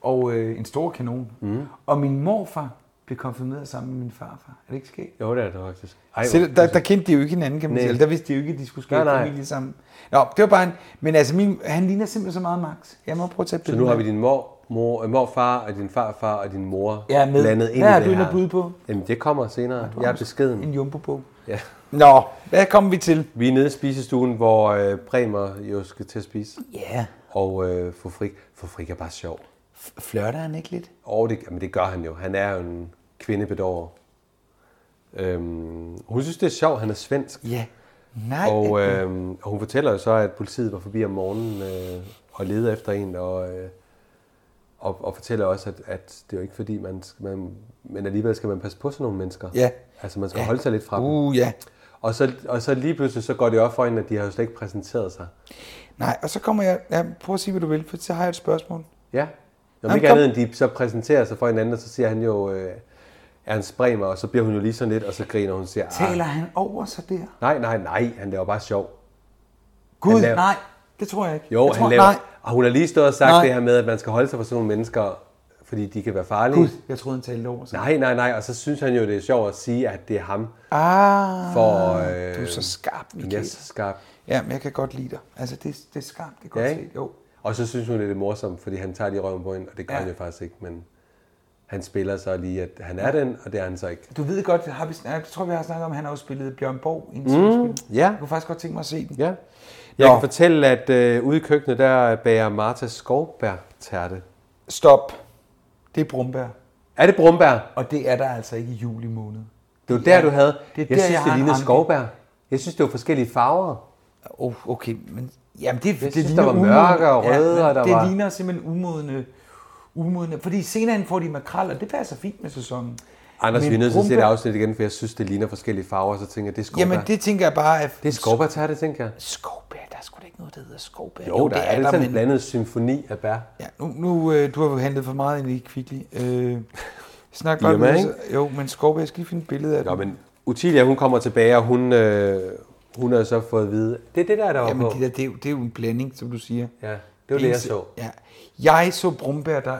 Og øh, en stor kanon. Mm. Og min morfar blev konfirmeret sammen med min farfar. Er det ikke sket?
Jo, det er det faktisk. Ej,
Selv, der, der kendte de jo ikke hinanden, kan man
Nej.
sige. Eller Der vidste de jo ikke, at de skulle skabe
Nej, nej.
familie sammen. Nå, det var bare en... Men altså, min, han ligner simpelthen så meget Max. Jeg må prøve at tage et
så nu har vi din mor, mor, øh, morfar og din farfar og din mor
Ja, med.
blandet ind
Hvad
i
har
det
du inde
her.
at byde på?
Jamen, det kommer senere. Jeg er beskeden.
En jumbo
Ja.
Nå, hvad kommer vi til?
Vi er nede i spisestuen, hvor øh, Bremer jo skal til at spise.
Ja,
Og øh, fru Frik, fru Frik er bare sjov.
flørter han ikke lidt?
Og det, jamen, det gør han jo. Han er jo en kvindebedårer. Øhm, og hun synes, det er sjovt, han er svensk.
Ja. Nej.
Og, øh, og hun fortæller jo så, at politiet var forbi om morgenen øh, og ledte efter en, og, øh, og, og fortæller også, at, at det er jo ikke fordi, man, skal, man men alligevel skal man passe på sådan nogle mennesker.
Ja.
Altså man skal ja. holde sig lidt fra dem.
Uh, ja.
Og så, og så lige pludselig så går det op for hende, at de har jo slet ikke præsenteret sig.
Nej, og så kommer jeg... Ja, prøv at sige, hvad du vil, for så har jeg et spørgsmål.
Ja. Når
Jamen,
ikke
kom.
andet end de så præsenterer sig for hinanden, og så siger han jo, øh, er han spremer, og så bliver hun jo lige sådan lidt, og så griner hun og siger, "Ah,
Taler han over sig der?
nej, nej, nej, han laver bare sjov.
Gud,
laver-
nej. Det tror jeg ikke.
Jo,
jeg
han
tror,
laver.
Nej.
Og hun har lige stået og sagt
Nej.
nej. det her med, at man skal holde sig fra sådan nogle mennesker, fordi de kan være farlige.
Gud, jeg troede, han talte over sig.
Nej, nej, nej. Og så synes han jo, det er sjovt at sige, at det er ham.
Ah,
For, øh,
du er så skarp, Michael.
Okay. Jeg er så skarp.
Ja, men jeg kan godt lide dig. Altså, det, det er skarpt, det kan
Ja,
godt
ikke?
se. Jo.
Og så synes hun, det er lidt morsomt, fordi han tager lige røven på hende, og det gør
Ja.
ja. han jo faktisk ikke, men han spiller så lige, at han er den, og det er han så ikke.
Du ved godt, har vi, snak- jeg tror, vi har snakket om, at han har jo spillet Bjørn Borg i en mm,
ja.
Jeg kunne faktisk godt tænke mig at se den.
Ja. Jeg
Nå.
Nå. kan fortælle, at øh, ude i køkkenet, der bager Martha skovbær tærte.
Stop. Det er Brumbær.
Er det brumbær?
Og det er der altså ikke i juli måned.
Det var der,
Ja.
du havde.
Det er
jeg
der,
synes,
jeg har
det
en
lignede
anke.
skovbær. Jeg synes, det var forskellige farver.
Oh, okay, men jamen det, det
synes,
ligner
der var
umodne-
mørke og røde,
men
og der
det
var-
ligner simpelthen umodne, umodne. Fordi senere hen får de makrel, og det passer fint med sæsonen.
Anders,
Men
vi er nødt til at se et
brumbær-
afsnit igen, for jeg synes, det ligner forskellige farver, og så tænker jeg, det er skovbær.
Jamen det tænker jeg bare, at
det er skovbærtærte, tænker jeg.
skovbær, der er sgu da ikke noget, der hedder skovbær.
Jo, der er, er det sådan en
men-
blandet symfoni af bær.
Ja, nu, nu øh, du har jo handlet for meget ind i Kvickly. Øh, snak godt
Irma,
med
ikke?
os. Jo, men skovbær, jeg skal lige finde et billede af
Nå,
den.
men Utilia, hun kommer tilbage, og hun, øh, hun har så fået at vide, det er det der, der var
Jamen,
på.
det, der, det, er jo, det er jo en blanding, som du siger.
Ja, det var det, jeg så.
Ja. Jeg så brumbær, der...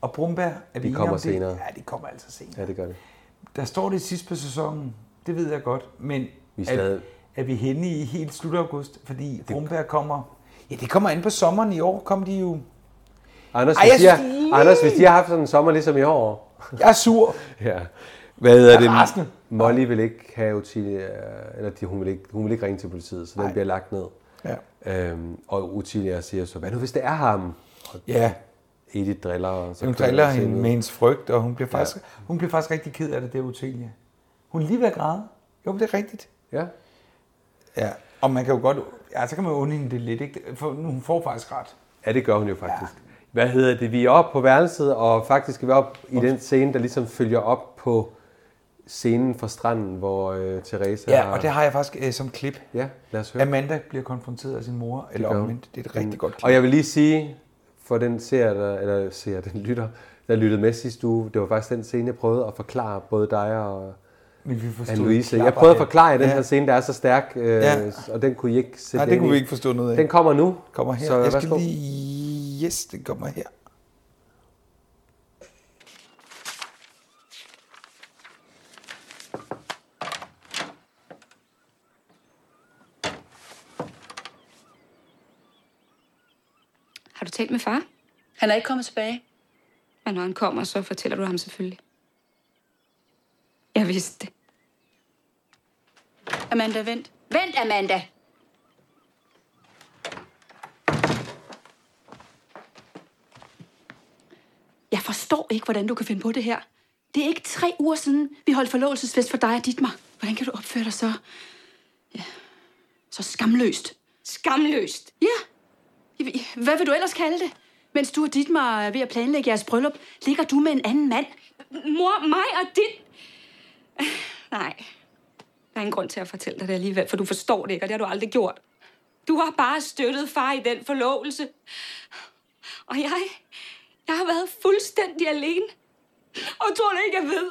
Og brumbær... Er vi enige
kommer
om det?
senere.
Ja, det kommer altså senere.
Ja, det gør det.
Der står det sidst på sæsonen, det ved jeg godt, men
Vi er stadig-
er vi henne i helt slut august, fordi Brumbær kommer... Ja, det kommer an på sommeren i år, kom de jo...
Anders,
Ej,
Ej, hvis, de
jeg
har,
synes lige-
Anders hvis de har haft sådan en sommer ligesom i år.
Jeg er sur.
Ja. Hvad er det?
rasende.
Molly vil ikke have Utilia, eller de, hun, vil ikke, hun vil ikke ringe til politiet, så den bliver lagt ned.
Ja.
Øhm, og Utilia siger så, hvad nu hvis det er ham? Og
Ja,
Edith driller. Og så
hun
kører
driller
hun selv
hende
ud.
med hendes frygt, og hun bliver, faktisk, ja. hun bliver faktisk rigtig ked af det der, Utelia. Hun er lige ved at græde. Jo, men det er rigtigt.
Ja.
Ja. Og man kan jo godt... Ja, så kan man jo undhænge det lidt, ikke? For nu, hun får faktisk ret.
Ja, det gør hun jo faktisk. Ja. Hvad hedder det? Vi er oppe på værelset, og faktisk er vi oppe i den scene, der ligesom følger op på scenen fra stranden, hvor øh, Teresa
Ja,
har...
og det har jeg faktisk øh, som klip.
Ja, lad os høre.
Amanda bliver konfronteret af sin mor, eller
gør hun. Mm.
omvendt. Det er et rigtig godt klip.
Og jeg vil lige sige, for den ser der, eller ser den lytter, der lyttede med sidste uge, det var faktisk den scene, jeg prøvede at forklare både dig og
Men vi forstod
Anne-Louise. Jeg
klapper
prøvede at
af.
forklare jer den
Ja.
her scene, der er så stærk, øh,
Ja.
ja. og den kunne I ikke sætte
Nej, det
ind
kunne
i.
vi ikke forstå noget af.
Den kommer nu.
kommer her.
Så
Så, jeg skal
værsgo.
lige... Yes, den kommer her.
Har du talt med far?
Han er ikke kommet tilbage.
Men når han kommer, så fortæller du ham selvfølgelig. Jeg vidste det.
Amanda, vent.
Vent, Amanda!
Jeg forstår ikke, hvordan du kan finde på det her. Det er ikke tre uger siden, vi holdt forlovelsesfest for dig og Dietmar. Hvordan kan du opføre dig så... Ja, så skamløst?
Skamløst!
Ja. Hvad vil du ellers kalde det? Mens du og Dietmar er ved at planlægge jeres bryllup, ligger du med en anden mand.
Mor, mig og dit... Nej. Der er ingen grund til at fortælle dig det alligevel, for du forstår det ikke, og det har du aldrig gjort. Du har bare støttet far i den forlovelse. Og jeg... Jeg har været fuldstændig alene. Og tror du ikke, jeg ved,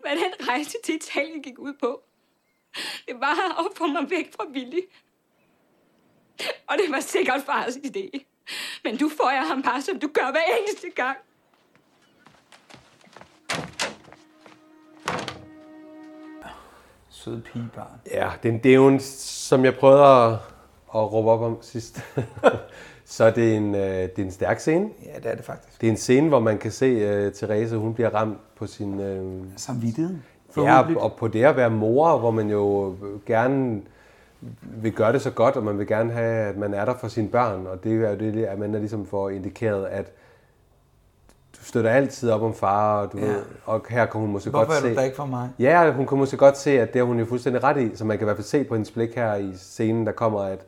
hvad den rejse til Italien gik ud på? Det var at få mig væk fra Billy. Og det var sikkert fars idé. Men du får jeg ham bare, som du gør hver eneste gang.
Søde pigebarn.
Ja, den det er jo en, som jeg prøvede at, at råbe op om sidst. så det er, en, øh, det er en stærk scene.
Ja, det er det faktisk.
Det er en scene, hvor man kan se uh, Therese, hun bliver ramt på sin... Øh,
Samvittigheden.
ja,
Forhåbentlig.
og på det at være mor, hvor man jo øh, gerne vil gøre det så godt, og man vil gerne have, at man er der for sine børn. Og det er jo det, at man er ligesom for indikeret, at støtter altid op om far, og, du ja. ved, og her kunne hun måske
Hvorfor er
godt
du
se...
der ikke for mig?
Ja, hun kunne måske godt se, at det har hun jo fuldstændig ret i, så man kan i hvert fald se på hendes blik her i scenen, der kommer, at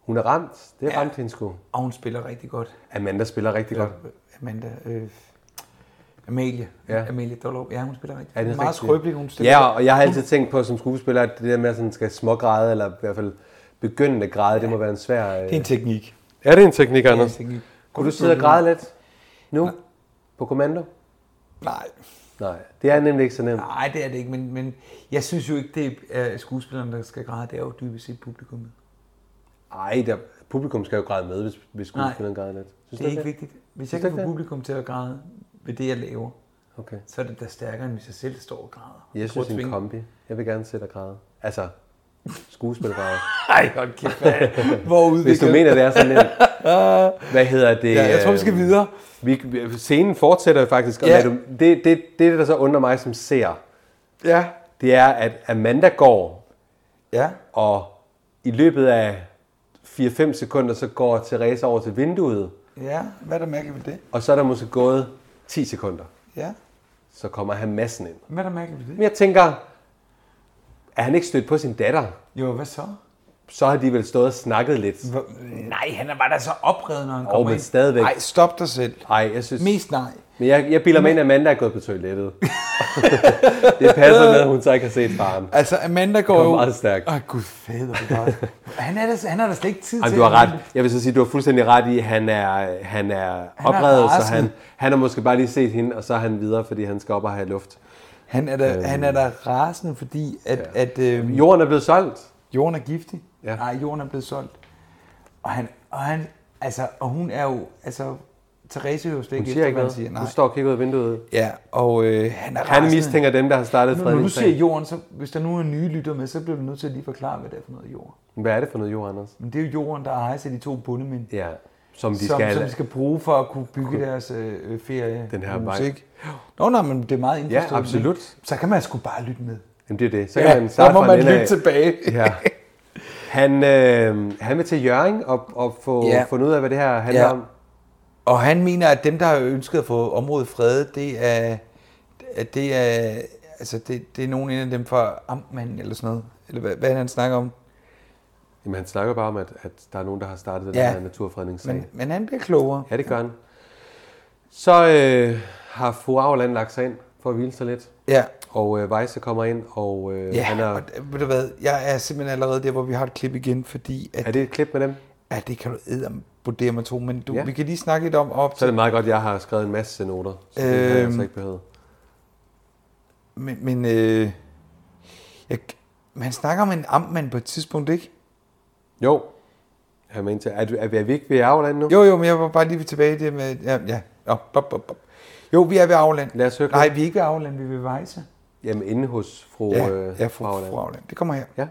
hun er ramt. Det er ja. ramt hende sgu.
Og hun spiller rigtig godt.
Amanda spiller rigtig ja. godt.
Amanda, øh, Amalie.
Ja.
Ja. Amalie Dollerup. Ja, hun spiller rigtig
Er
godt.
det
Meget
rigtigt?
skrøbelig, hun stiller.
Ja, og jeg har altid tænkt på som skuespiller, at det der med, at sådan skal smågræde, eller i hvert fald begyndende græde, det må være en svær... øh,
Det er en teknik.
er det en teknik,
Det er en
Anders?
teknik.
Kunne du sidde og græde lidt nu? På kommando?
Nej.
Nej, det er nemlig ikke så nemt.
Nej, det er det ikke, men, men jeg synes jo ikke, det er skuespillerne, der skal græde. Det er jo dybest set publikummet.
Ej, der, publikum skal jo græde med, hvis, hvis skuespilleren græder lidt. Synes
Det er
du
ikke
det?
vigtigt. Hvis
du
jeg kan
ikke
få
det?
publikum til at græde ved det, jeg laver,
Okay.
så er det da stærkere, end hvis jeg selv står og græder.
Jeg
Prøv
synes,
at
en
tvinge-
kombi. Jeg vil gerne se dig græde. Altså, skuespillergræde.
Ej, hold kæft, mand. Hvor
Hvis du
udviklet.
mener, det er så nemt. Hvad hedder det?
Ja, jeg tror, vi skal
øhm,
videre.
Vi, vi- scenen fortsætter jo faktisk, og
Ja.
ja. det, det, det, det, der så undrer mig som ser,
Ja.
det er, at Amanda går,
Ja.
og i løbet af 4-5 sekunder, så går Teresa over til vinduet,
Ja, hvad er der mærkeligt ved det?
og så er der måske gået 10 sekunder.
Ja.
Så kommer han massen ind.
Hvad er der mærkeligt ved
Men
det?
jeg tænker, er han ikke stødt på sin datter?
Jo, hvad så?
Så har de vel stået og snakket lidt.
Hvor, nej, han er bare da så oprevet, når han
Åh,
kommer
men
ind.
stadigvæk.
Nej, stop dig selv.
Ej, jeg synes...
Mest nej.
Men jeg, jeg bilder mig ind, at Amanda er gået på toilettet. det passer med, at hun så ikke har set faren.
Altså, Amanda går
Kom
jo...
meget stærkt.
Åh, gud fader, hvor er det godt. han, er da, han har da slet ikke tid
Jamen,
til...
du har
at-
ret. Jeg vil så sige, du har fuldstændig ret i, at han er, han er oprevet, så
rasende.
han, han har måske bare lige set hende, og så er han videre, fordi han skal op og have luft.
Han er da, han er da rasende, fordi at, ja. at øh,
Jorden er blevet solgt.
jorden er giftig.
Ja.
Ja. Nej, jorden er blevet solgt. Og, han, og, han, altså, og hun er jo... Altså, Therese er jo slet
Hun
ikke
siger
efter,
ikke
hvad han
noget.
siger.
Hun
Nej.
står og kigger ud af vinduet.
Ja, og øh, han er
Han
rasende.
mistænker dem, der har startet
Når du siger
fredningsdagen.
jorden, så hvis der nu er nye lytter med, så bliver du nødt til at lige forklare, hvad det er for noget jord.
Hvad er det for noget jord, Anders?
Men det er jo jorden, der ejes af de to bundemænd,
Ja, som de
som,
skal...
som de skal bruge for at kunne bygge deres øh, ferie.
Den her vej.
musik. Nå, nej, men det er meget indforstået.
Ja, absolut.
ikke? Så kan man sgu bare lytte med.
Jamen, det er det. Så kan man starte
så må
fra
man
en ende
lytte
af.
tilbage.
Ja. Han, øh, han vil til Jørgen og, og få
Ja.
ja. fundet ud af, hvad det her handler
Ja.
ja. om.
Og han mener, at dem, der har ønsket at få området fredet, det er, at det er, altså det, det er nogen en af dem fra Amtmanden eller sådan noget. Eller hvad, hvad er det, han snakker om.
Jamen, han snakker bare om, at, at der er nogen, der har startet den
Ja.
ja. her naturfredningssag.
Men, men han bliver klogere.
Ja, det gør han. Så øh, har fru Auerland lagt sig ind for at hvile sig lidt.
Ja,
Og øh, Weisse kommer ind, og øh,
ja.
ja, han er...
og d- ved du hvad, jeg er simpelthen allerede der, hvor vi har et klip igen, fordi at,
Er det et klip med dem?
ja, det kan du eddervurdere mig to, men du, ja.
Ja.
vi kan lige snakke lidt om op
Så er
til,
det meget godt, at jeg har skrevet en masse noter. Så det har jeg
Øhm.
altså ikke behøvet.
men, men øh, jeg, man snakker om en amtmand på et tidspunkt, ikke?
Jo. Er, man til, er, du- er, vi- er vi ikke ved Auerland nu?
Jo, jo, men jeg var bare lige tilbage i det med... Ja, ja. Oh, bop, bop, bop. Jo, vi er ved Afland.
Lad os høre
Nej,
klippet.
vi er ikke ved Afland, vi er ved Vejse.
Jamen, inde hos fru,
Ja,
øh,
ja fru, fru Afland. Det kommer her.
Ja.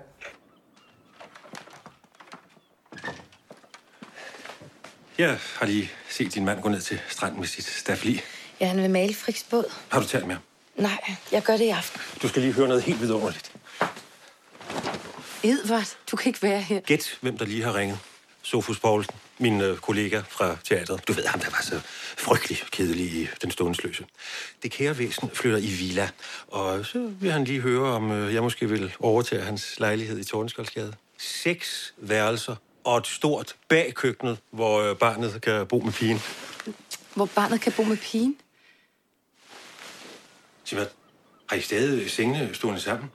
Jeg har lige set din mand gå ned til stranden med sit stafli.
Ja, han vil male Friks båd.
Har du talt med ham?
Nej, jeg gør det i aften.
Du skal lige høre noget helt vidunderligt.
Edvard, du kan ikke være her.
Gæt, hvem der lige har ringet. Sofus Poulsen, min øh, kollega fra teatret. Du ved ham, der var så frygtelig kedelig i Den Ståensløse. Det kære væsen flytter i villa, og så vil han lige høre, om øh, jeg måske vil overtage hans lejlighed i Tordenskjoldsgade. Seks værelser og et stort bagkøkkenet, hvor øh, barnet kan bo med pigen.
Hvor barnet kan bo med pigen.
Sig hvad? Har I stadig sengene stående sammen?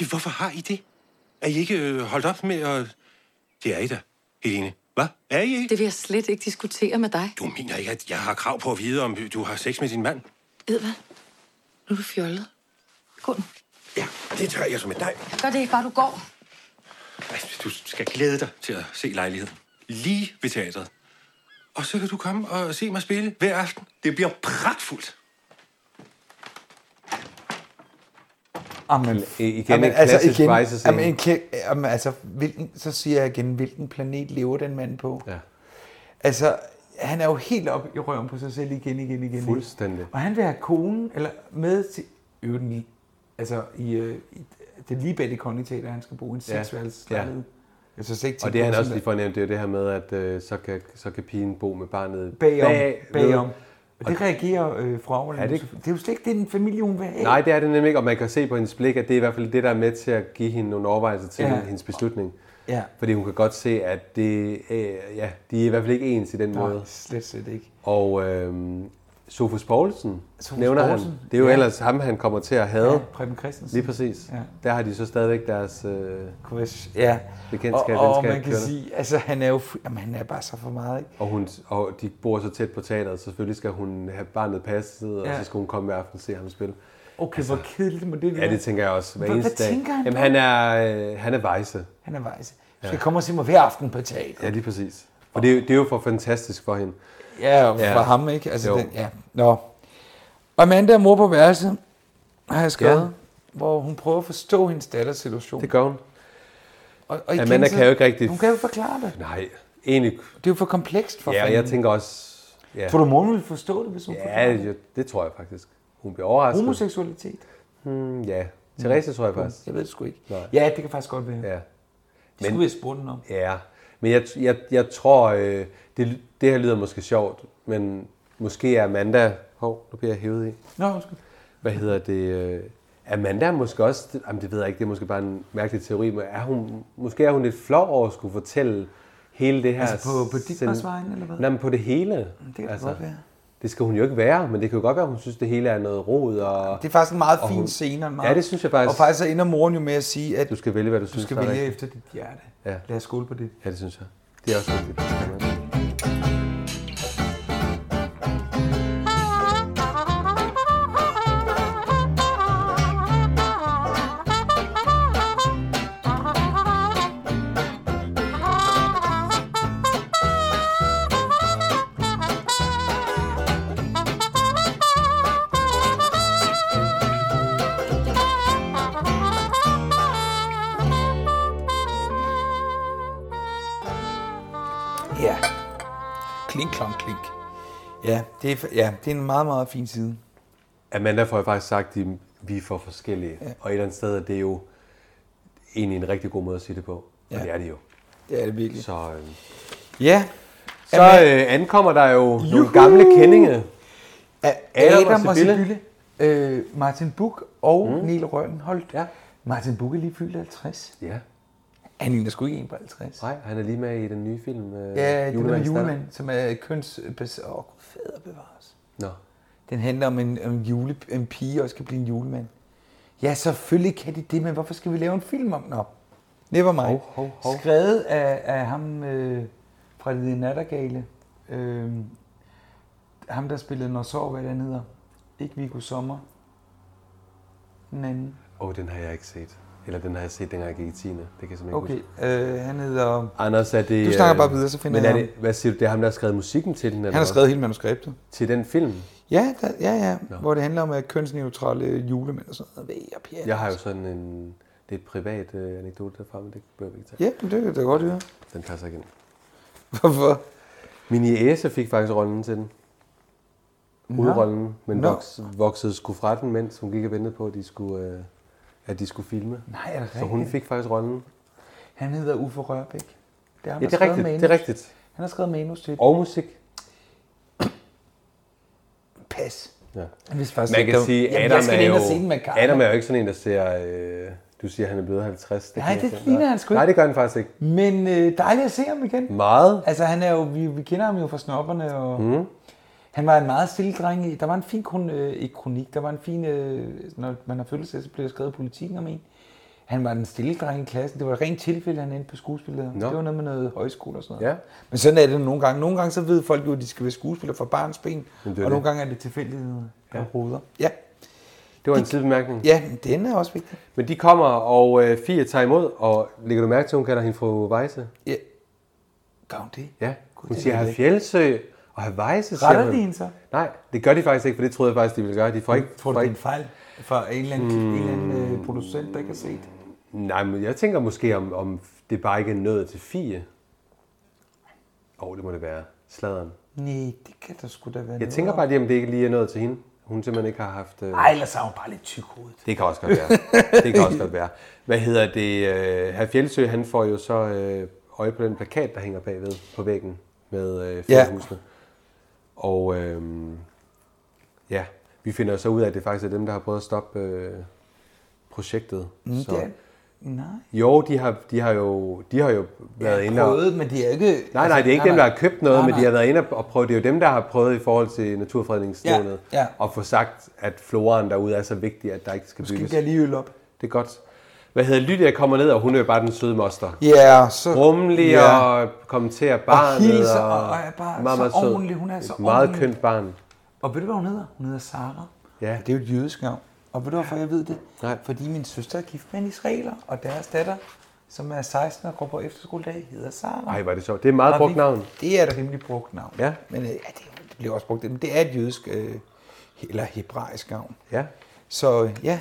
Ja, hvorfor har I det? Er I ikke øh, holdt op med at... Det er I da, Helene. Hvad? Er I ikke?
Det vil jeg slet ikke diskutere med dig.
Du mener ikke, at jeg har krav på at vide, om du har sex med din mand?
Edvard, nu er du fjollet. Gå nu.
Ja, det tør jeg som et nej.
Gør det ikke bare, du går.
Ej, Du skal glæde dig til at se lejligheden. Lige ved teatret. Og så kan du komme og se mig spille hver aften. Det bliver pragtfuldt.
Amen.
I- igen en klassisk Weisse-scene.
altså, jamen, en, kæ- jamen, altså, hvilken, så siger jeg igen, hvilken planet lever den mand på?
Ja.
Altså, han er jo helt op i røven på sig selv igen, igen, igen.
Fuldstændig.
Og han vil have konen eller med til øvrigt, altså i, øh, i det er lige bag det kongelige teater, han skal bo i en
Ja,
seksværelses
ja.
Jeg synes ikke
Og
tænke
det
på
han også
sådan
lige fornemt, det er jo det her med, at øh, så, kan, så kan pigen bo med barnet
Bagom,
bagved.
bagom. Og det reagerer øh, fru Auerland.
Er det
det,
ikke-
det er jo slet ikke den familie, hun vil have.
Nej, det er det nemlig ikke, og man kan se på hendes blik, at det er i hvert fald det, der er med til at give hende nogle overvejelser til
Ja.
ja. hendes beslutning.
Ja.
Fordi hun kan godt se, at det, øh, ja, de er i hvert fald ikke ens i den
Nej,
måde.
slet, slet ikke.
Og øh, Sofus Poulsen
Sofus
nævner
Poulsen,
han. Det er jo
ja.
ja. ellers ham, han kommer til at have.
Ja, Preben Christensen.
Lige præcis.
Ja.
Der har de så stadigvæk deres øh,
Quiz. Ja.
bekendtskab.
og, og
venskab
man kan
kørende.
sige, altså han er jo fu- jamen, han er bare så for meget, ikke?
Og, hun, og de bor så tæt på teateret, så selvfølgelig skal hun have barnet passet, ja.
Ja.
og så skal hun komme i aften og se ham spille.
Okay, altså, hvor kedeligt må det være.
Ja, det tænker jeg også hver
Hvad-
eneste
hvad
dag.
tænker han
Jamen,
på?
han er, øh, han er vejse.
Han er vejs. Du skal ja. komme og se mig hver aften på teater.
Ja, lige præcis. Og det er, jo- det er jo for fantastisk for hende.
Ja, og for
Ja.
ja. ham, ikke? Altså,
Jo.
den, ja. Nå. Og Amanda er mor på værelset, har jeg skrevet,
Ja.
ja. hvor hun prøver at forstå hendes datters situation.
Det gør hun.
og, og igen,
Amanda
så-
kan jo ikke rigtig-
Hun kan jo forklare det.
Nej, egentlig.
Det er jo for komplekst for
Ja, og
fanden.
jeg tænker også... Ja,
Tror du, moren ville forstå det, hvis hun
ja
forklarede det?
det, det tror jeg faktisk. Hun bliver overrasket.
Homoseksualitet?
Hmm, ja,
Mm.
Therese tror jeg faktisk.
Jeg ved det sgu ikke.
Nej.
Ja, det kan faktisk godt være. Ja.
Ja.
Det skulle vi have spurgt den om.
Ja, men jeg, jeg, jeg tror, øh, det, det her lyder måske sjovt, men måske er Amanda... Hov, nu bliver jeg hævet i.
Nå, undskyld.
Hvad hedder det? øh, Amanda er måske også... det- Jamen, det ved jeg ikke, det er måske bare en mærkelig teori, men er hun, måske er hun lidt flov over at skulle fortælle hele det her...
Altså på- på
scen-
Dietmars vegne, eller hvad?
Nej, men på det hele.
Det kan altså, godt være.
Det skal hun jo ikke være, men det kan jo godt være, hun synes, det hele er noget rod, og
Det er faktisk en meget
Og
fin
hun-
scene. og en Meget.
Ja, det synes jeg faktisk.
Og faktisk så ender moren jo med at sige, at
du skal vælge, hvad du,
du
synes.
skal
der er
vælge
rigtigt.
efter dit hjerte.
Ja.
Lad os skåle på det.
Ja, det synes jeg. Det er også vigtigt.
Ja. Klink, klonk, klink. Ja det, er, ja, det er en meget, meget fin side.
Amanda får jo faktisk sagt, at vi er for forskellige. Ja. Og et eller andet sted er det jo egentlig en rigtig god måde at sige det på. Ja.
Ja.
Og det er det jo.
Det er det virkelig.
Så, øh,
Ja.
så øh, ankommer der jo Juhu! nogle gamle kendinge.
Adam,
Adam og
Adam og
Sibylle.
Sibylle, øh, Martin Buch og mm. Niel Rønholdt.
Ja.
Martin Buch er lige fyldt 50.
Ja,
Han ligner sgu ikke en på 50.
nej, han er lige med i den nye film. Øh,
Ja, det er
Julemandens datter.
julemand, som er køns... Åh, oh, gud, fader bevares.
Nå.
Den handler om en, om en, jule, en pige også kan blive en julemand. Ja, selvfølgelig kan de det, men hvorfor skal vi lave en film om den op? Never mind.
Hov, hov, hov.
Skrevet af, af ham øh, fra Det Nattergale. Øh, ham, der spillede Når Sov, hvad den hedder. Ikke Viggo Sommer. Den anden.
Åh, oh, den har jeg ikke set. Eller den har jeg set, dengang jeg gik i 10. Det kan jeg simpelthen ikke
Okay,
huske.
øh, han hedder...
Anders, er det...
Du snakker
øh,
bare videre, så finder
men
jeg
er det, Hvad siger du, det er ham, der har skrevet musikken til den? Eller
Han har
hvad?
skrevet hele manuskriptet.
Til den film?
Ja, der, ja, ja. No. Hvor det handler om at kønsneutrale julemænd og sådan noget. Væg og pjat.
Jeg har jo sådan en lidt privat øh, anekdote derfra, men det bør vi ikke tage.
Ja, men det kan jeg da godt høre.
Den passer ikke ind.
Hvorfor?
Min jæse fik faktisk rollen til den. Hovedrollen, men
Nå.
voks, voksede sgu fra den, mens hun gik og ventede på, at de skulle, øh, at de skulle filme.
Nej, er det
Så hun
rigtigt?
fik faktisk rollen.
Han hedder Uffe Rørbæk. Det er ham,
Ja,
der
det er
skrev
rigtigt.
manus.
Det er rigtigt.
Han har skrevet manus til
Og musik.
Pas.
Ja.
Han vidste faktisk
Man
ikke,
kan
der-
sige,
Jamen,
Adam,
jeg skal
er
ind
jo,
og se den med Karla.
Adam er jo ikke sådan en, der ser... Øh, du siger, han er blevet 50.
Nej,
kan jeg
det
se.
ligner han sgu
Nej,
ikke.
det gør han faktisk ikke.
Men øh, dejligt at se ham igen.
Meget.
Altså, han er jo, vi, vi kender ham jo fra snopperne, og mm. han var en meget stille dreng. i- Der var en fin kron, øh, ikke kronik, der var en fin, øh, når man har følelse, så blev der skrevet i politikken om en. Han var den stille dreng i klassen. Det var et rent tilfælde, han endte på skuespillet.
Nå.
Det var noget med noget højskole og sådan noget.
Ja.
Men sådan er det nogle gange. Nogle gange så ved folk jo, at de skal være skuespiller fra barns ben, og
det er
nogle
det.
gange er det tilfældigheder, der ja. roder. Ja.
Det var en sidebemærkning.
ja, men den er også vigtig.
Men de kommer, og øh, Fie tager imod, og lægger du mærke til, at hun kalder hende fru Weisse?
Ja. Gør hun det?
Ja.
Gud,
Hun
det
siger,
ved jeg
herr
ikke.
Fjeldsø og herr Weisse, siger
Retter
hun.
de hende så?
Nej, det gør de faktisk ikke, for det troede jeg faktisk, de ville gøre. De får ikke... Hmm.
Tror du,
får
det er en
ikke...
fejl fra en eller anden, mm. en eller anden øh, producent, der ikke har set?
Nej, men jeg tænker måske, om, om det bare ikke er nået til Fie. Åh, oh, det må det være. Sladeren.
Nej, det kan der sgu da være
Jeg tænker bare lige, om det ikke lige er nået til hende. Hun simpelthen ikke har haft... Øh...
Ej, ellers er hun bare lidt tyk hovedet.
Det kan også godt være. Det kan også godt være. Hvad hedder det? Øh, herr Fjeldsø, han får jo så øh, øje på den plakat, der hænger bagved på væggen med øh,
Ja.
fjernhusene. Og øh, Ja, vi finder jo så ud af, at det faktisk er dem, der har prøvet at stoppe øh, projektet.
Mm,
så.
det er- Nej.
Jo, de har, de har jo, de har jo været inde og...
prøvet, men de er ikke... altså,
Nej, nej, det er ikke
nej,
dem, der
nej.
har købt noget,
Nej,
men de
nej.
har været inde og- og prøvet. Det er jo dem, der har prøvet i forhold til Naturfredningsnævnet.
Ja, ja.
Og få sagt, at floraen derude er så vigtig, at der ikke skal
Skal
bygges.
jeg lige øl op?
Det er godt. Hvad hedder Lydia kommer ned, og hun er jo bare den søde moster.
Ja, så...
Rummelig
Ja.
og kommenterer barnet.
hilser, og- og er bare
meget,
så
meget sød.
ordentlig. Hun er så
Et meget
ordentlig.
kønt barn.
Og ved du, hvad hun hedder? Hun hedder Sara.
Ja.
Det er jo et jødisk navn. Og ved du, hvorfor jeg ved det?
Nej.
Fordi min søster er gift med en israeler, og deres datter, som er 16 og går på efterskoledag, hedder Sara.
Ej, hvor er det sjovt. Det er et meget
Og
brugt
vi-
navn.
Det er et rimelig brugt navn.
Ja.
Men øh, ja, det bliver også brugt. Men det er et jødisk øh, eller hebraisk navn.
Ja.
Så øh, ja.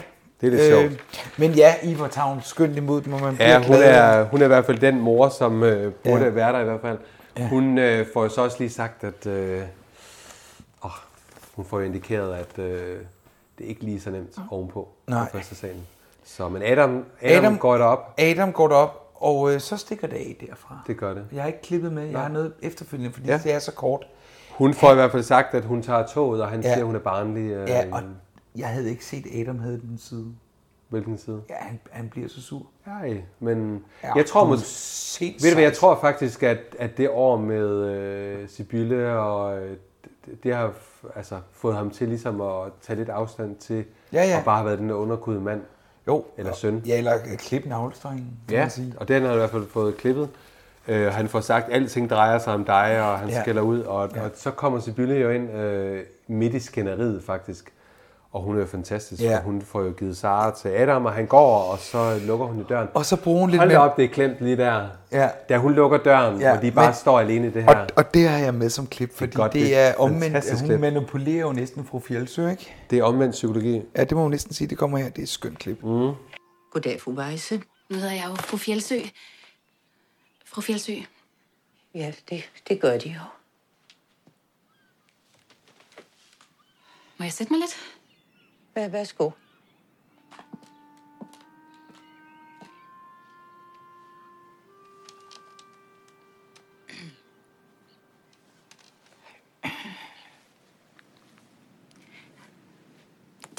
Øh,
Det er lidt sjovt.
Men ja, Ivor Town, skønt imod dem, og man
Ja,
bliver
hun
glad.
er, hun er i hvert fald den mor, som øh, burde
Ja.
ja. være der i hvert fald. Ja. Hun øh, får jo så også lige sagt, at øh, åh, hun får jo indikeret, at øh, det er ikke lige så nemt ovenpå
Nej.
på første salen. Så, men Adam, Adam, Adam
Adam-
går derop.
Adam går derop, og øh, så stikker det af derfra.
Det gør det.
Jeg har ikke klippet med, jeg har noget efterfølgende, fordi
Ja.
ja. det er så kort.
Hun får i hvert fald sagt, at hun tager toget, og han ja.
Ja.
siger, at hun er barnlig. Øh,
Ja, og jeg havde ikke set Adam havde den side.
Hvilken side?
Ja, han, han bliver så sur.
Nej, men
Ja,
jeg tror
du er
måske...
sindssygt.
Ved du hvad, jeg tror faktisk, at, at det år med øh, Sibylle og øh, det, det har f- altså, fået ham til ligesom at tage lidt afstand til
Ja, ja.
og bare have været den der underkude mand.
Jo.
Eller søn.
Ja, eller øh, klippe navlestrengen, kan
Ja,
man sige.
og den har han i hvert fald fået klippet. Øh, han får sagt, at alting drejer sig om dig, og han ja.
Ja.
skælder ud. Og, ja. og så kommer Sibylle jo ind øh, midt i skænderiet faktisk. Og hun er jo fantastisk.
Ja.
for Hun får jo givet Sara til Adam, og han går, og så lukker hun jo døren.
Og så bruger hun lidt
Hold da
mere-
op, det er klemt lige der.
Ja.
Da hun lukker døren,
Ja,
ja, og de bare men...
men-
står alene i det her.
Og, og det har jeg med som klip, fordi det er,
godt,
godt,
det
det
er
er
et
omvendt, at
fantastisk
hun
klip.
klip. manipulerer jo næsten fru Fjeldsø, ikke?
Det er omvendt psykologi.
Ja, det må hun næsten sige, det kommer her, det er et skønt klip. Mm.
Goddag, fru Weisse.
Nu hedder jeg jo fru Fjeldsø. Fru Fjeldsø.
Ja, det, det gør de jo.
Må jeg sætte mig lidt?
Vær, værsgo.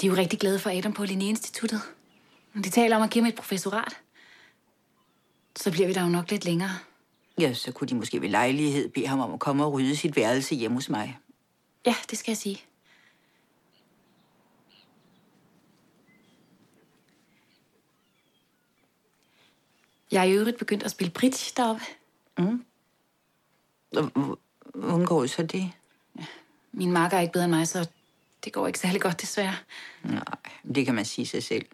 De er jo rigtig glade for Adam på Linné-instituttet. De taler om at give ham et professorat. Så bliver vi der jo nok lidt længere.
Ja, så kunne de måske ved lejlighed bede ham om at komme og rydde sit værelse hjemme hos mig.
Ja, det skal jeg sige. Jeg er i øvrigt begyndt at spille bridge deroppe.
Og h- Hvordan går så det?
Min marker er ikke bedre end mig, så det går ikke særlig godt, desværre.
Nej, det kan man sige sig selv.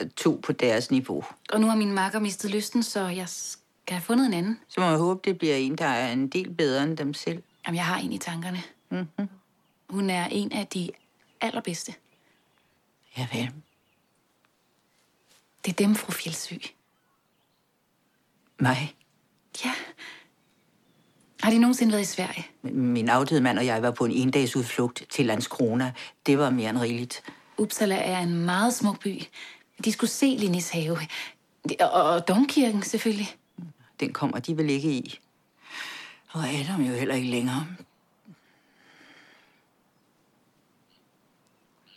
Øh, To på deres niveau.
Og nu har min marker mistet lysten, så jeg skal have fundet en anden.
Så må man håbe, det bliver en, der er en del bedre end dem selv.
Jamen, jeg har en i tankerne. Mm-hmm. Hun er en af de allerbedste.
Ja, vel.
Det er dem, fru Fjeldsø.
Mig.
Ja. Har de nogensinde været i Sverige?
Min afdøde mand og jeg var på en endags udflugt til Landskrona. Det var mere end rigeligt.
Uppsala er en meget smuk by. De skulle se Linnis have. Det- Og, og domkirken, selvfølgelig.
Den kommer de vel ikke i. Og Adam jo heller ikke længere.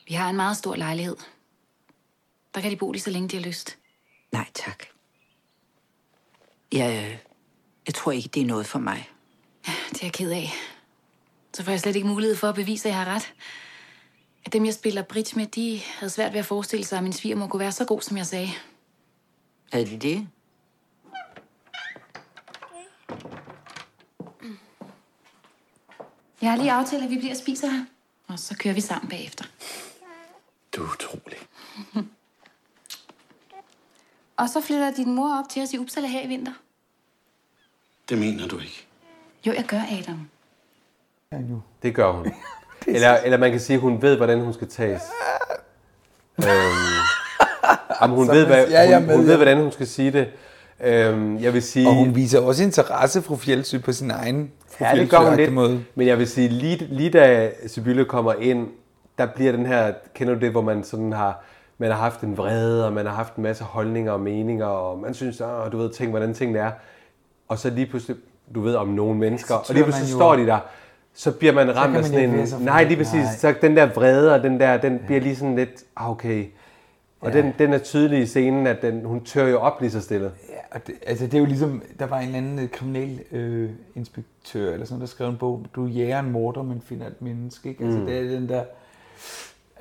Vi har en meget stor lejlighed. Der kan de bo lige så længe, de har lyst.
Nej, tak. Jeg, jeg tror ikke, det er noget for mig.
Det er jeg ked af. Så får jeg slet ikke mulighed for at bevise, at jeg har ret. At dem, jeg spiller bridge med, de havde svært ved at forestille sig, at min svigermor kunne være så god, som jeg sagde.
Er det det?
Jeg har lige aftalt, at vi bliver og spiser her. Og så kører vi sammen bagefter.
Du er utrolig.
Og så flytter din mor op til os i Uppsala her i vinter.
Det mener du ikke.
Jo, jeg gør, Adam.
Det gør hun. eller, eller man kan sige, at hun ved, hvordan hun skal tages. øhm, jamen, hun, ved, hvad,
ja, jeg er
hun,
med,
hun
ja.
ved, hvordan hun skal sige det. Øhm, jeg vil sige...
Og hun viser også interesse, fru Fjeldsø, på sin egen fru
Ja, det gør hun
Fjeldsø-agtige
lidt.
måde.
Men jeg vil sige, lige, lige da Sibylle kommer ind, der bliver den her, kender du det, hvor man sådan har, man har haft en vrede, og man har haft en masse holdninger og meninger, og man synes, ah, du ved, tænk, hvordan tingene er. Og så lige pludselig, du ved om nogle mennesker, og lige
tør
pludselig
man jo-
står de der, så bliver man ramt
kan
af
man
sådan
ikke
en...
være så fri.
Nej, lige præcis.
Nej.
Så den der vrede, og den der, den bliver lige sådan lidt, ah, okay. Og
Ja.
den, den er tydelig i scenen, at den, hun tør jo op lige så stille.
Ja, og det, altså det er jo ligesom, der var en eller anden øh, kriminel øh, inspektør, eller sådan, der skrev en bog, du jager en morder, men finder et menneske, ikke? Altså
Mm.
det er den der,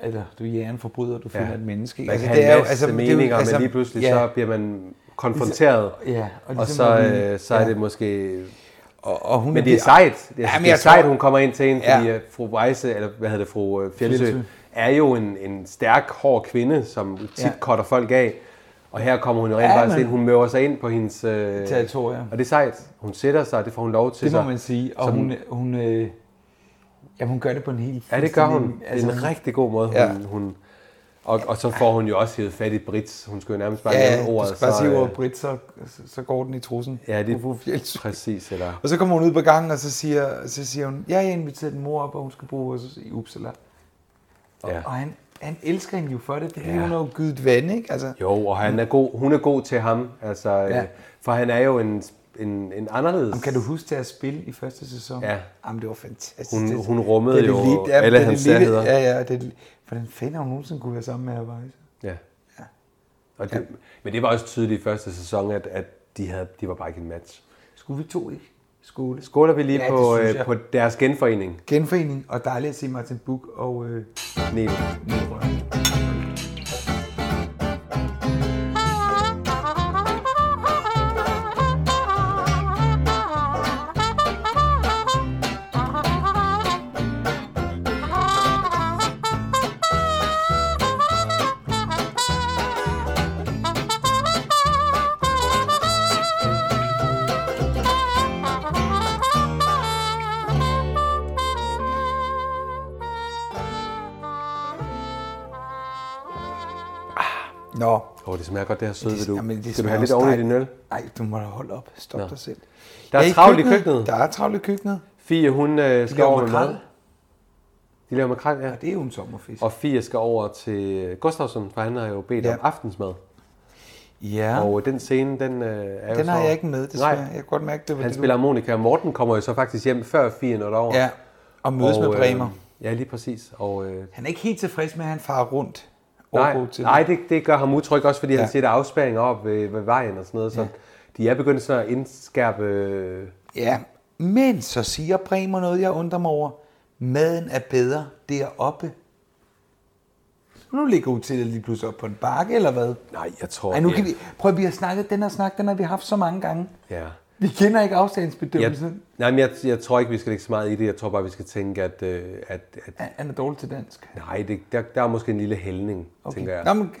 eller du jager en forbryder, du finder ja. et menneske, ikke?
Man altså, kan det er jo, altså, meninger, det er jo, altså, men lige pludselig ja. Altså, så bliver man konfronteret,
Ligesom- ja, og
og, og
ligesom
så,
at vi-
øh, så er
ja.
det måske...
Og, og hun
men
er
det er
blevet-
sejt. Det er,
Jamen,
det er
jeg
sejt,
tror-
hun kommer ind til en, fordi
Ja.
ja. fru Weisse, eller hvad hedder det, fru øh, Fjeldsø,
Fjeldsø.
er jo en, en stærk, hård kvinde, som tit
Ja.
ja. cutter folk af. Og her kommer hun jo rent
Ja,
ja, faktisk
men-
ind. Hun møver sig ind på hendes... Øh,
Territorium.
Og det er sejt. Hun sætter sig, og det får hun lov til
Det må
sig.
man sige, og
Som-
hun, hun, øh, jamen, hun gør det på en helt
Ja, det gør hun.
fuldstændig-
Altså, det er en
hun-
rigtig god måde, hun...
Ja.
Ja. hun og, og så får hun jo også hævet fat i Brits. Hun skulle jo nærmest bare
Ja,
nævne ordet.
du skal bare
så,
sige
øh,
ordet Brit, så, så går den i trussen.
Ja, det
Fru
er præcis. Eller,
Og så kommer hun ud på gangen, og så siger, så siger hun, ja, jeg inviterede din mor op, og hun skal bo hos os i Uppsala. Og, ja.
Ja.
og han, han elsker hende jo for det, fordi ja. hun har jo givet vand, ikke? Altså,
Jo, og han er god, hun er god til ham, altså,
Ja.
ja. øh, for han er jo en, en, en anderledes...
Jamen, kan du huske det at spille i første sæson?
Ja.
Jamen, det var fantastisk.
Hun-
Det-
hun rummede
det er
jo
det lige-
alle
det er
hans
det lige-
særheder.
Ja, ja. Det, er det- hvordan fanden har hun nogensinde kunne være sammen med her, faktisk?
Ja. Og det, Men det var også tydeligt i første sæson, at, at de, havde, de var bare ikke en match.
Skulle vi to ikke? Skole.
Skåler vi lige
Ja,
ja,
det
på,
synes
øh,
jeg.
på deres genforening.
Genforening, og dejligt at se Martin Buch og øh,
Niel.
Niel Røn. Nå,
Åh, oh, det smager godt, det her søde, ved du.
jamen,
Skal du
smager
have lidt
også
oven i din
dejligt.
øl?
Nej, du må da holde op. Stop
Nå.
dig selv.
Der er
Ja,
travlt i køkkenet.
Der er travlt i køkkenet.
Fie, hun øh,
De
skal
laver
over med
makrel.
mad. De laver makrel, ja.
Og det er jo en sommerfisk.
Og Fie skal over til Gustafsson, for han har jo bedt
Ja.
ja. om aftensmad.
ja,
Og øh, den scene, den øh, er jo
den
så...
har jeg ikke med, desværre.
Nej.
Jeg kan godt mærke, det var
Han
det,
spiller harmonika, og Morten kommer jo så faktisk hjem før 4 når
du...
derover.
Ja, og mødes og, med Bremer. Øh,
Øh, ja, lige præcis. Og, øh,
han er ikke helt tilfreds med, at han farer rundt.
nej,
Overbo til-
nej det, det gør ham utryg også, fordi ja.
Ja.
han siger, der er afspæringer op ved, ved vejen og sådan noget. Så
Ja.
ja. de er begyndt sådan at indskærpe... Øh,
Ja, men så siger Bremer noget, jeg undrer mig over. Maden er bedre deroppe. Nu ligger hotellet lige pludselig op på en bakke, eller hvad?
nej, jeg tror...
Ej, nu kan
ja.
vi... Prøv, vi har snakket, den her snak, den har vi haft så mange gange.
Ja.
Vi kender ikke
Jeg,
afstandsbedømmelsen.
nej, men jeg, jeg tror ikke, vi skal lægge så meget i det. Jeg tror bare, vi skal tænke, at... Øh, at, at
Han- Han er dårlig til dansk.
nej, det, der, der er måske en lille hældning, okay. tænker jeg.
Nå, men,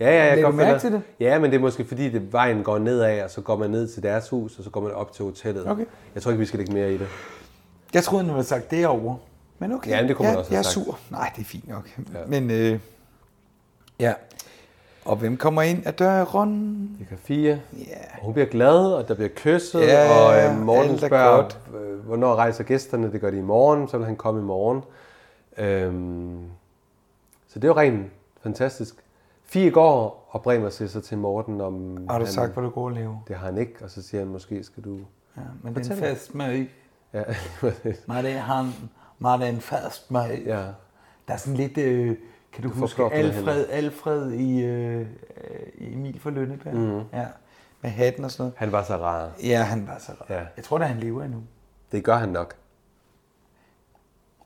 Ja, ja, jeg kan
lægger
godt
du mærke
følge
til
dig.
det?
Ja, men det er måske fordi, det, vejen går nedad, og så går man ned til deres hus, og så går man op til hotellet.
Okay.
Jeg tror ikke, vi skal lægge mere i det.
Jeg troede, han havde sagt derovre. Men okay.
Ja, men det kunne
jeg,
man også have
Jeg er
sagt.
sur. Nej, det er fint nok. Ja. Men øh, ja. Og hvem kommer ind ad døren?
Det kan fire.
Ja.
Og hun bliver glad, og der bliver kysset,
Ja,
ja, og øh, Morten
alt er
spørger,
godt.
øh, hvornår rejser gæsterne? Det gør de i morgen, så vil han komme i morgen. Øhm, så det er jo rent fantastisk. Fie går, og Bremer siger så til Morten, om
Har du
han,
sagt, hvor du går og lever?
det har han ikke, og så siger han, måske skal du...
Ja, men den
Fortæl mig.
fast med ikke.
Ja,
Nej, det er han. Nej, den fast med ikke.
ja.
Der er sådan lidt... Øh, kan du, du huske
forklare mig det
Alfred, Alfred i, øh, i Emil for Lønneberg? Mm.
Mhm.
Ja. Med hatten og sådan noget.
han var så rar.
Ja, han var så rar.
Ja.
Jeg tror da, han lever endnu.
Det gør han nok.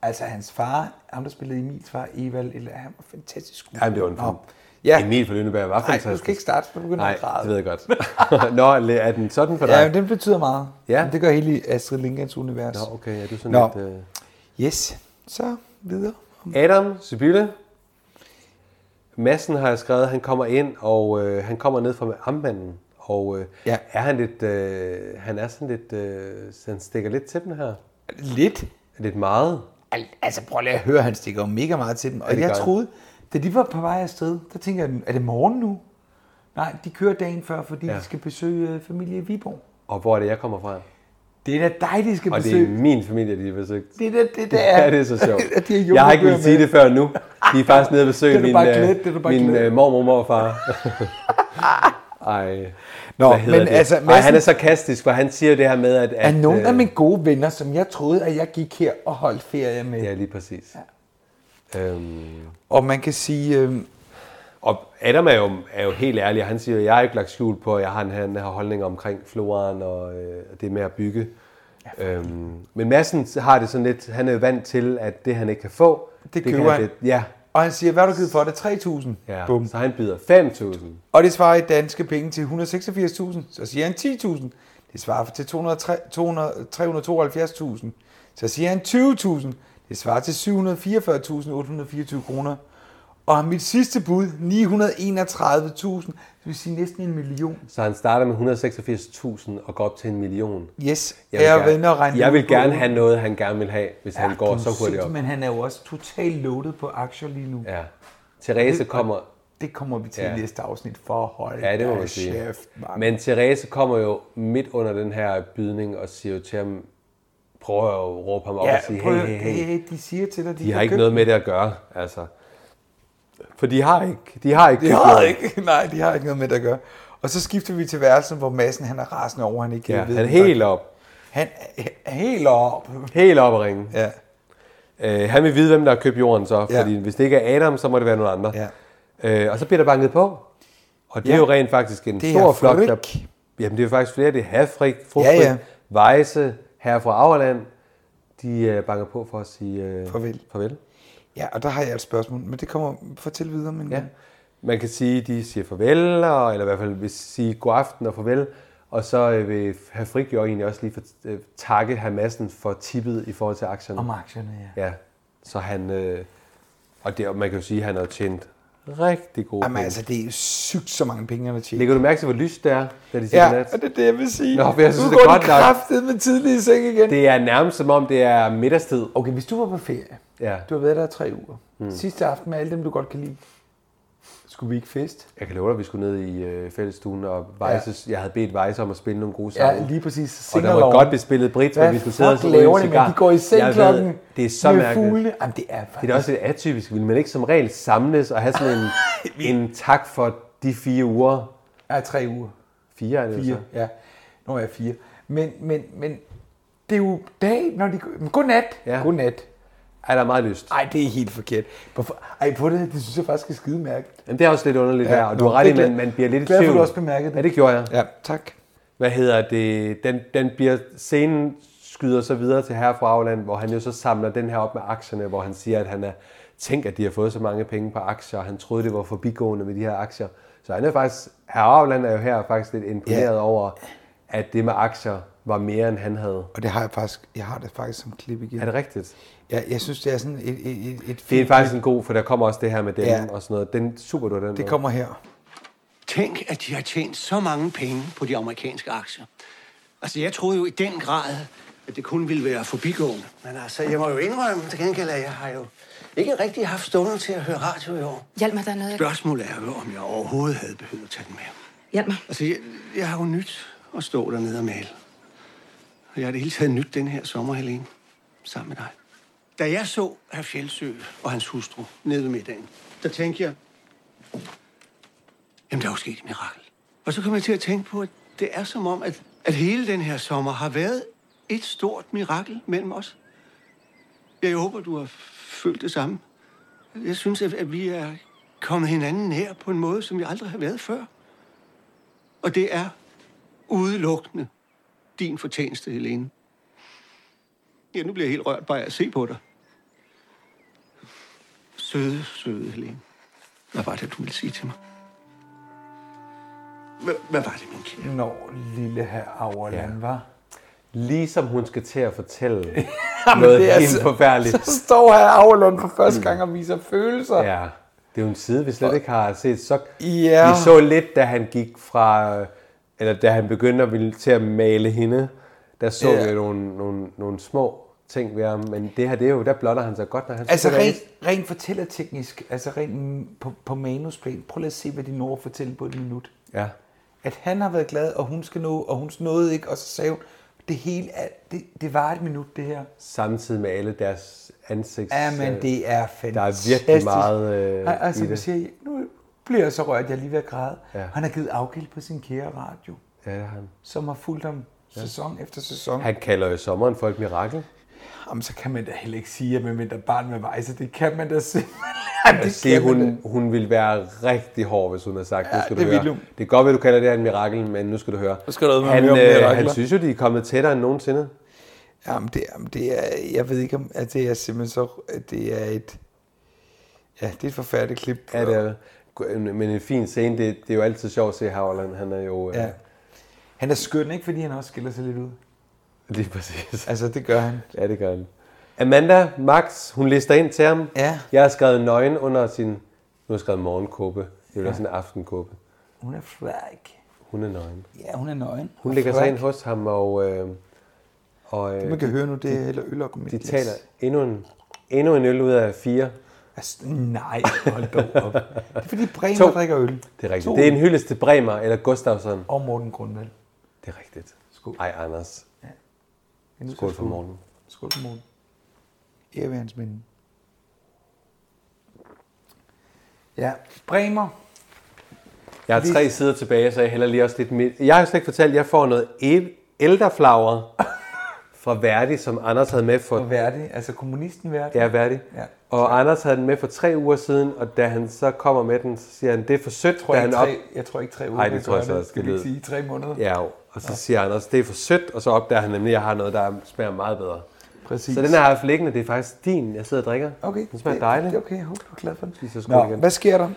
Altså hans far, ham der spillede Emils far, Evald, eller han var fantastisk skuespiller.
Jamen, det var en
Nå.
form.
Ja.
Emil fra Lønneberg var
Nej,
fantastisk.
du skal ikke starte, for du begynder
Nej,
at græde.
det ved jeg godt. Nå, er den sådan for dig?
Ja, men den betyder meget.
Ja.
Men Det gør hele Astrid Lindgrens univers.
Nå, okay, ja, du er sådan
Nå.
lidt... Øh...
Yes, så videre.
Adam Sibylle. Massen har jeg skrevet, han kommer ind, og øh, han kommer ned fra ammanden. Og øh,
Ja.
ja. er han lidt... Øh, han er sådan lidt... Øh, så han stikker lidt til den her.
Lidt.
Lidt meget.
Al- Altså prøv lige at høre, han stikker jo mega meget til dem. Og
det
jeg
gør han.
troede, da de var på vej afsted, der tænker jeg, er det morgen nu? Nej, de kører dagen før, fordi ja.
Ja.
de skal besøge øh, familie i Viborg.
Og hvor er det, jeg kommer fra?
Det er da dig, de skal
Og det
besøge.
er min familie, de har besøgt.
Det er da det, der
Ja, det er så sjovt.
at de
jeg har ikke
jordbær
ville sige
med.
det før nu. De er faktisk nede og besøge
Det er du
min,
bare
øh,
glædet, det er du bare
min
glædet.
øh, mormor og morfar. Ej,
Nå,
hvad hedder
men
det?
altså,
Ej,
Madsen-
han er sarkastisk, for han siger jo det her med, at...
Er
at
nogle af
øh,
mine gode venner, som jeg troede, at jeg gik her og holdt ferie med.
Ja, lige præcis. Ja. Øhm,
Og man kan sige, øh,
og Adam er jo, er jo helt ærlig, og han siger, at jeg har ikke lagt skjul på, at jeg har, en- han har holdninger omkring floraen og øh, det med at bygge. Øhm, men Madsen har det sådan lidt, han er jo vant til, at det han ikke kan få,
Det køber han.
lidt- Ja,
og han siger, hvad har du givet for det? 3.000?
ja.
Bum.
så han byder 5.000.
Og det svarer i danske penge til 186.000. Så siger han 10.000. Det svarer til 203 200 372.000. Så siger han 20.000. Det svarer til 744.824 kroner. Og mit sidste bud, 931.000. Det vil sige næsten en million.
Så han starter med 186.000 og går op til en million.
Yes, jeg vil, gerne, regne
jeg
ud
vil
på
gerne
ugen.
have noget, han gerne vil have, hvis ja, han går
Du
så hurtigt
ses,
op.
Men han er jo også totalt loaded på aktier lige nu.
Ja. Therese kommer,
Det kommer vi til
Ja.
i næste afsnit for at holde.
Ja, det må
da
man sige.
Kæft, mand.
Men Therese kommer jo midt under den her bydning og siger jo til ham, prøver at råbe ham op
ja,
og sige,
prøv,
hey,
at-
hey, hey,
hey, de siger til dig,
de
de,
har
kan
ikke
købe
noget med det at gøre, altså. For de har ikke, de har ikke
De
købt
har
noget.
ikke, nej, de har ikke noget med det at gøre. Og så skifter vi til værelsen, hvor Madsen han er rasende over, han ikke
Ja,
ved.
han er helt op,
han er helt op.
helt op at ringe.
Ja,
Øh, han vil vide, hvem der har købt jorden så,
Ja.
fordi hvis det ikke er Adam, så må det være nogen andre.
ja.
Øh, og så bliver der banket på. Og det ja.
Ja.
er jo rent faktisk en
Det er
stor flok, der...
Frik.
Jamen, det er jo faktisk flere. Det er Hafrik, Frufrik,
Ja, ja.
Weisse, herre fra Auerland. De øh, banker på for at sige... Øh,
Farvel.
Farvel.
Ja, og der har jeg et spørgsmål, men det kommer fortæl videre. Men
Ja. Man kan sige, de siger farvel, og, eller i hvert fald vil sige god aften og farvel. Og så øh, vil herre Frik jo egentlig også lige for, øh, takke herr Madsen for tippet i forhold til aktierne.
Om aktierne, ja.
Ja. Så han... Øh, og det, og man kan jo sige, at han har tjent rigtig gode
Jamen
penge.
altså, det er sygt så mange penge, han har tjent.
Lægger du mærke til, hvor lyst det er, da de siger
Ja,
godnat?
og det er det, jeg vil sige.
Nå, for jeg synes,
nu
det er
går
godt
de
nok.
kraftet med tidlig i seng igen.
Det er nærmest som om, det er middagstid.
Okay, hvis du var på ferie,
Ja.
du har været der i tre uger, mm. sidste aften med alle dem, du godt kan lide, skulle vi ikke fest?
Jeg kan love dig, at vi skulle ned i øh, fællestuen, og Weises, ja. jeg havde bedt Weiss om at spille nogle gode sange.
Ja, lige præcis.
og der
Singaloven.
var godt bespillet Brit,
Hvad
men vi skulle sidde og
fuck
ryge en
laver de,
cigar.
men de går i seng
Jeg ved,
klokken
Det er så
med
mærkeligt.
fuglene. Jamen, det er faktisk...
Det er da også lidt atypisk. Vil man ikke som regel samles og have sådan en, en tak for de fire uger?
Ja, tre uger.
Fire er det jo
Fire,
så.
ja. Nu er jeg fire. Men, men, men det er jo dag, når de... Men godnat.
Ja.
Godnat.
Ej, der er meget lyst.
Ej, det er helt forkert. Hvorfor? Ej, på det, det synes jeg faktisk er skide mærkeligt.
Men det er også lidt underligt ja, her, og du
nå,
har ret i,
det er
man,
glad-
man bliver lidt i
glad for,
tvivl.
du også bemærkede det.
Ja, det gjorde jeg.
Ja, tak.
hvad hedder det, den, den bliver, scenen skyder så videre til herre fra Auland, hvor han jo så samler den her op med aktierne, hvor han siger, at han er, tænk, at de har fået så mange penge på aktier, og han troede, det var forbigående med de her aktier. Så han er faktisk, herre Auland er jo her faktisk lidt imponeret
Ja.
over, at det med aktier var mere, end han havde.
Og det har jeg faktisk... Jeg har det faktisk som klip igen.
Er det rigtigt?
Jeg, jeg synes, det er sådan et, et, et, et
Det er
fint-
faktisk en god, for der kommer også det her med dem
Ja.
ja. og sådan noget. Den super du den. med.
Det kommer her.
Tænk, at de har tjent så mange penge på de amerikanske aktier. Altså, jeg troede jo i den grad, at det kun ville være forbigående. Men altså, jeg må jo indrømme til gengæld, at jeg har jo ikke rigtig haft stunder til at høre radio i år.
Hjælp mig, der er noget, jeg...
Spørgsmålet er jo, om jeg overhovedet havde behøvet at tage den med.
Hjælp mig.
Altså, jeg, jeg har jo nyt at stå dernede og male. Og jeg har det hele taget nyt den her sommer, Helene, sammen med dig. Da jeg så herr Fjeldsø og hans hustru nede ved middagen, der tænkte jeg, jamen der er jo sket et mirakel. Og så kom jeg til at tænke på, at det er som om, at, at hele den her sommer har været et stort mirakel mellem os. Jeg håber, du har følt det samme. Jeg synes, at, at vi er kommet hinanden nær på en måde, som jeg aldrig har været før. Og det er udelukkende din fortjeneste, Helene. Ja, nu bliver jeg helt rørt bare af at se på dig. Søde, søde Helene. Hvad var det, du ville sige til mig? Hvad, hvad var det, min kære?
Når lille her Auerland, ja. var.
Ligesom hun skal til at fortælle noget
det er
helt
så-
forfærdeligt.
Så står her Auerland for første gang og viser følelser. Ja.
Ja, det er jo en side, vi slet ikke har set. Så,
Ja.
Vi så lidt, da han gik fra, øh, eller da han begyndte at ville til at male hende, der så
Ja.
vi jo nogle, nogle, nogle små ting ved ham, men det her, det er jo, der blotter han sig godt, når han
Altså
spiller
rent,
ind.
rent fortællerteknisk, altså rent mm, på, på manusplan, prøv lige at se, hvad de når at fortælle på et minut.
Ja.
At han har været glad, og hun skal nå, og hun nåede ikke, og så sagde hun, det hele er, det, det var et minut, det her.
Samtidig med alle deres ansigts...
Ja, men
øh,
det er
der
fantastisk.
er virkelig meget øh,
Ej, altså,
i
man
det.
siger, nu, blev jeg så rørt, jeg er lige ved at græde.
Ja.
Ja. Han har givet afgild på sin kære radio,
Ja, det har han.
som har fulgt ham sæson efter sæson.
Han kalder jo sommeren for et mirakel.
Jamen, så kan man da heller ikke sige, at man venter barn med vejse. Det kan man da simpelthen.
Jeg siger, hun, hun ville være rigtig hård, hvis hun havde sagt, ja, nu skal
det
du
ville
høre.
hun.
Det er godt, at du kalder det her en mirakel, men nu skal du høre.
Nu skal du ud med
han,
mere om
øh, han
mirakler.
synes jo, de er kommet tættere end nogensinde.
Jamen, det, jamen, det er, jeg ved ikke om, at det er simpelthen så, at det er et, ja, det er et forfærdeligt klip.
Ja, det er, det. men en fin scene, det, det er jo altid sjovt at se Havland. Han er jo... øh,
Ja. Han er skøn, ikke? Fordi han også skiller sig lidt ud.
Lige præcis.
Altså, det gør han.
Ja, det gør han. Amanda, Max, hun lister ind til ham.
Ja.
Jeg har skrevet nøgen under sin... Nu har jeg skrevet morgenkåbe. Det er jo ja. sådan en aftenkåbe.
Hun er fræk.
Hun er nøgen.
Ja, hun er nøgen.
Hun
Og
ligger sig
fræk.
ind hos ham, og, øh, og øh,
Man kan høre nu, det er heller øl og
de taler endnu en, endnu en øl ud af fire.
Altså, nej, hold dog op. Det er fordi Bremer
To.
drikker øl.
Det er rigtigt.
To
Det er en hyldest til Bremer eller Gustafsson.
Og Morten Grundvald.
Det er rigtigt.
Skål.
Ej, Anders.
Jeg er nødt til
Skål
at
for morgenen.
Skål for morgen. Ære ved hans minde. Ja, Bremer.
Jeg har tre sider tilbage, så jeg hælder lige også lidt midt. Jeg har jo slet ikke fortalt, at jeg får noget el- elderflager fra Verdi, som Anders havde med for...
Og Verdi, altså kommunisten Verdi.
Ja, Verdi.
Ja.
Og Anders havde den med for tre uger siden, og da han så kommer med den, så siger han, det er for sødt,
tror
da
jeg,
han
ikke,
op...
tre, jeg tror ikke tre uger.
Ej, det
kan
tror jeg
gøre
så
det.
også,
Skal
det
vi ikke
lyder-
sige tre måneder?
Ja, jo. og så siger Anders, det er for sødt, og så opdager han nemlig, at jeg har noget, der smager meget bedre.
præcis.
Så den her har jeg haft liggende, det er faktisk din, jeg sidder og drikker.
Okay,
Den smager
det-
dejligt.
det er Okay, jeg håber, du er glad for den.
Spiser skål
Nå,
igen.
hvad sker der?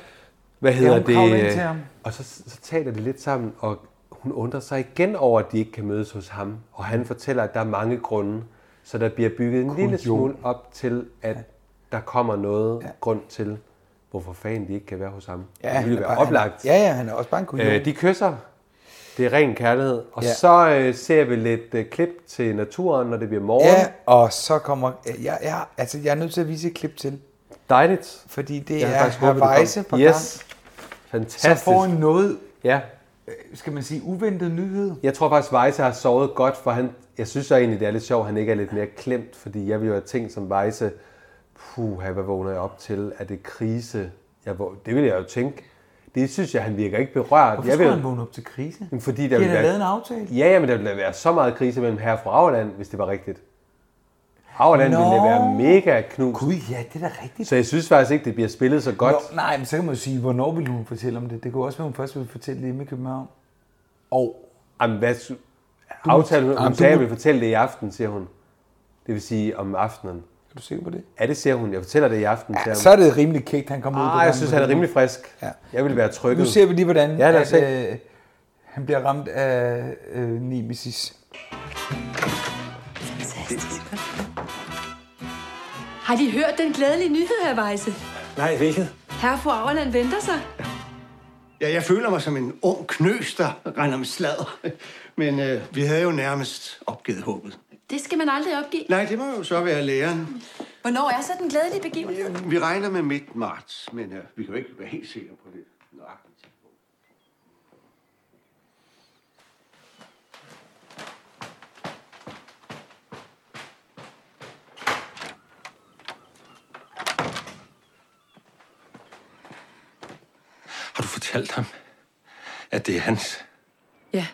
Hvad
Ja,
hedder
hun kravler ind til
det?
ham.
øh, Og så, så taler de lidt sammen, og hun undrer sig igen over, at de ikke kan mødes hos ham. Og han fortæller, at der er mange grunde, så der bliver bygget en lille smule op til, at der kommer noget grund til, hvorfor fanden de ikke kan være hos ham. det
han
ville
er
være
bare-
oplagt.
Han, ja, ja, han er også bare en kujon.
Øh, de kysser. Det er ren kærlighed. Og
Ja.
så øh, ser vi lidt øh, klip til naturen, når det bliver morgen.
Ja, og så kommer... Jeg, jeg, altså, jeg er nødt til at vise et klip til,
Dejligt.
fordi det
Jeg havde
er
faktisk håbet, du kom.
Havajse på gang.
Yes.
Så
Fantastisk.
får en noget,
Ja.
skal man sige, uventet nyhed.
Jeg tror faktisk, Weisse har sovet godt, for han, jeg synes så egentlig, det er lidt sjovt, at han ikke er lidt mere klemt, fordi jeg ville jo have tænkt som Weisse, puh, hvad vågner jeg op til? Er det krise? Jeg, vå- det ville jeg jo tænke. Det synes jeg, han virker ikke berørt.
Hvorfor
jeg
skulle
vil,
han vågne op til krise?
Jamen, fordi
De
der
har
ville
da lavet en
være,
aftale.
ja, ja, men der ville da være så meget krise mellem herre og fru Auerland, hvis det var rigtigt. Auerland
Nå.
ville da være mega knust.
Gud, ja, det er da rigtigt.
Så jeg synes faktisk ikke, det bliver spillet så godt.
Nå, nej, men så kan man jo sige, hvornår ville hun fortælle om det? Det kunne også være, hun først ville fortælle det hjemme i København.
Og jamen, hvad sy- aftalen, hun,
Jamen,
hun
du
sagde, jeg
må-
vil fortælle det i aften, siger hun. Det vil sige om aftenen.
Er du sikker på det?
Ja, det siger hun. Jeg fortæller det i aften til
Ja,
ham.
så er det rimelig kægt, han kommer ud på
Ah, jeg
gangen
synes,
med
han er
det.
rimelig frisk.
Ja.
Jeg vil være trykket.
Nu ser vi lige, hvordan
Ja, lad os
at, øh, han bliver ramt af øh, Nemesis.
Har de hørt den glædelige nyhed her, Vejse?
Nej, hvilket?
Herre fru Auerland venter sig.
Ja, jeg føler mig som en ung knøs, der render med sladder. Men øh, vi havde jo nærmest opgivet håbet.
Det skal man aldrig opgive.
Nej, det må jo så være læreren.
Hvornår er så den glædelige begivenhed?
Vi regner med midt marts, men øh, vi kan jo ikke være helt sikre på det. nøjagtige tidspunkt.
Har du fortalt ham, at det er hans?
Ja,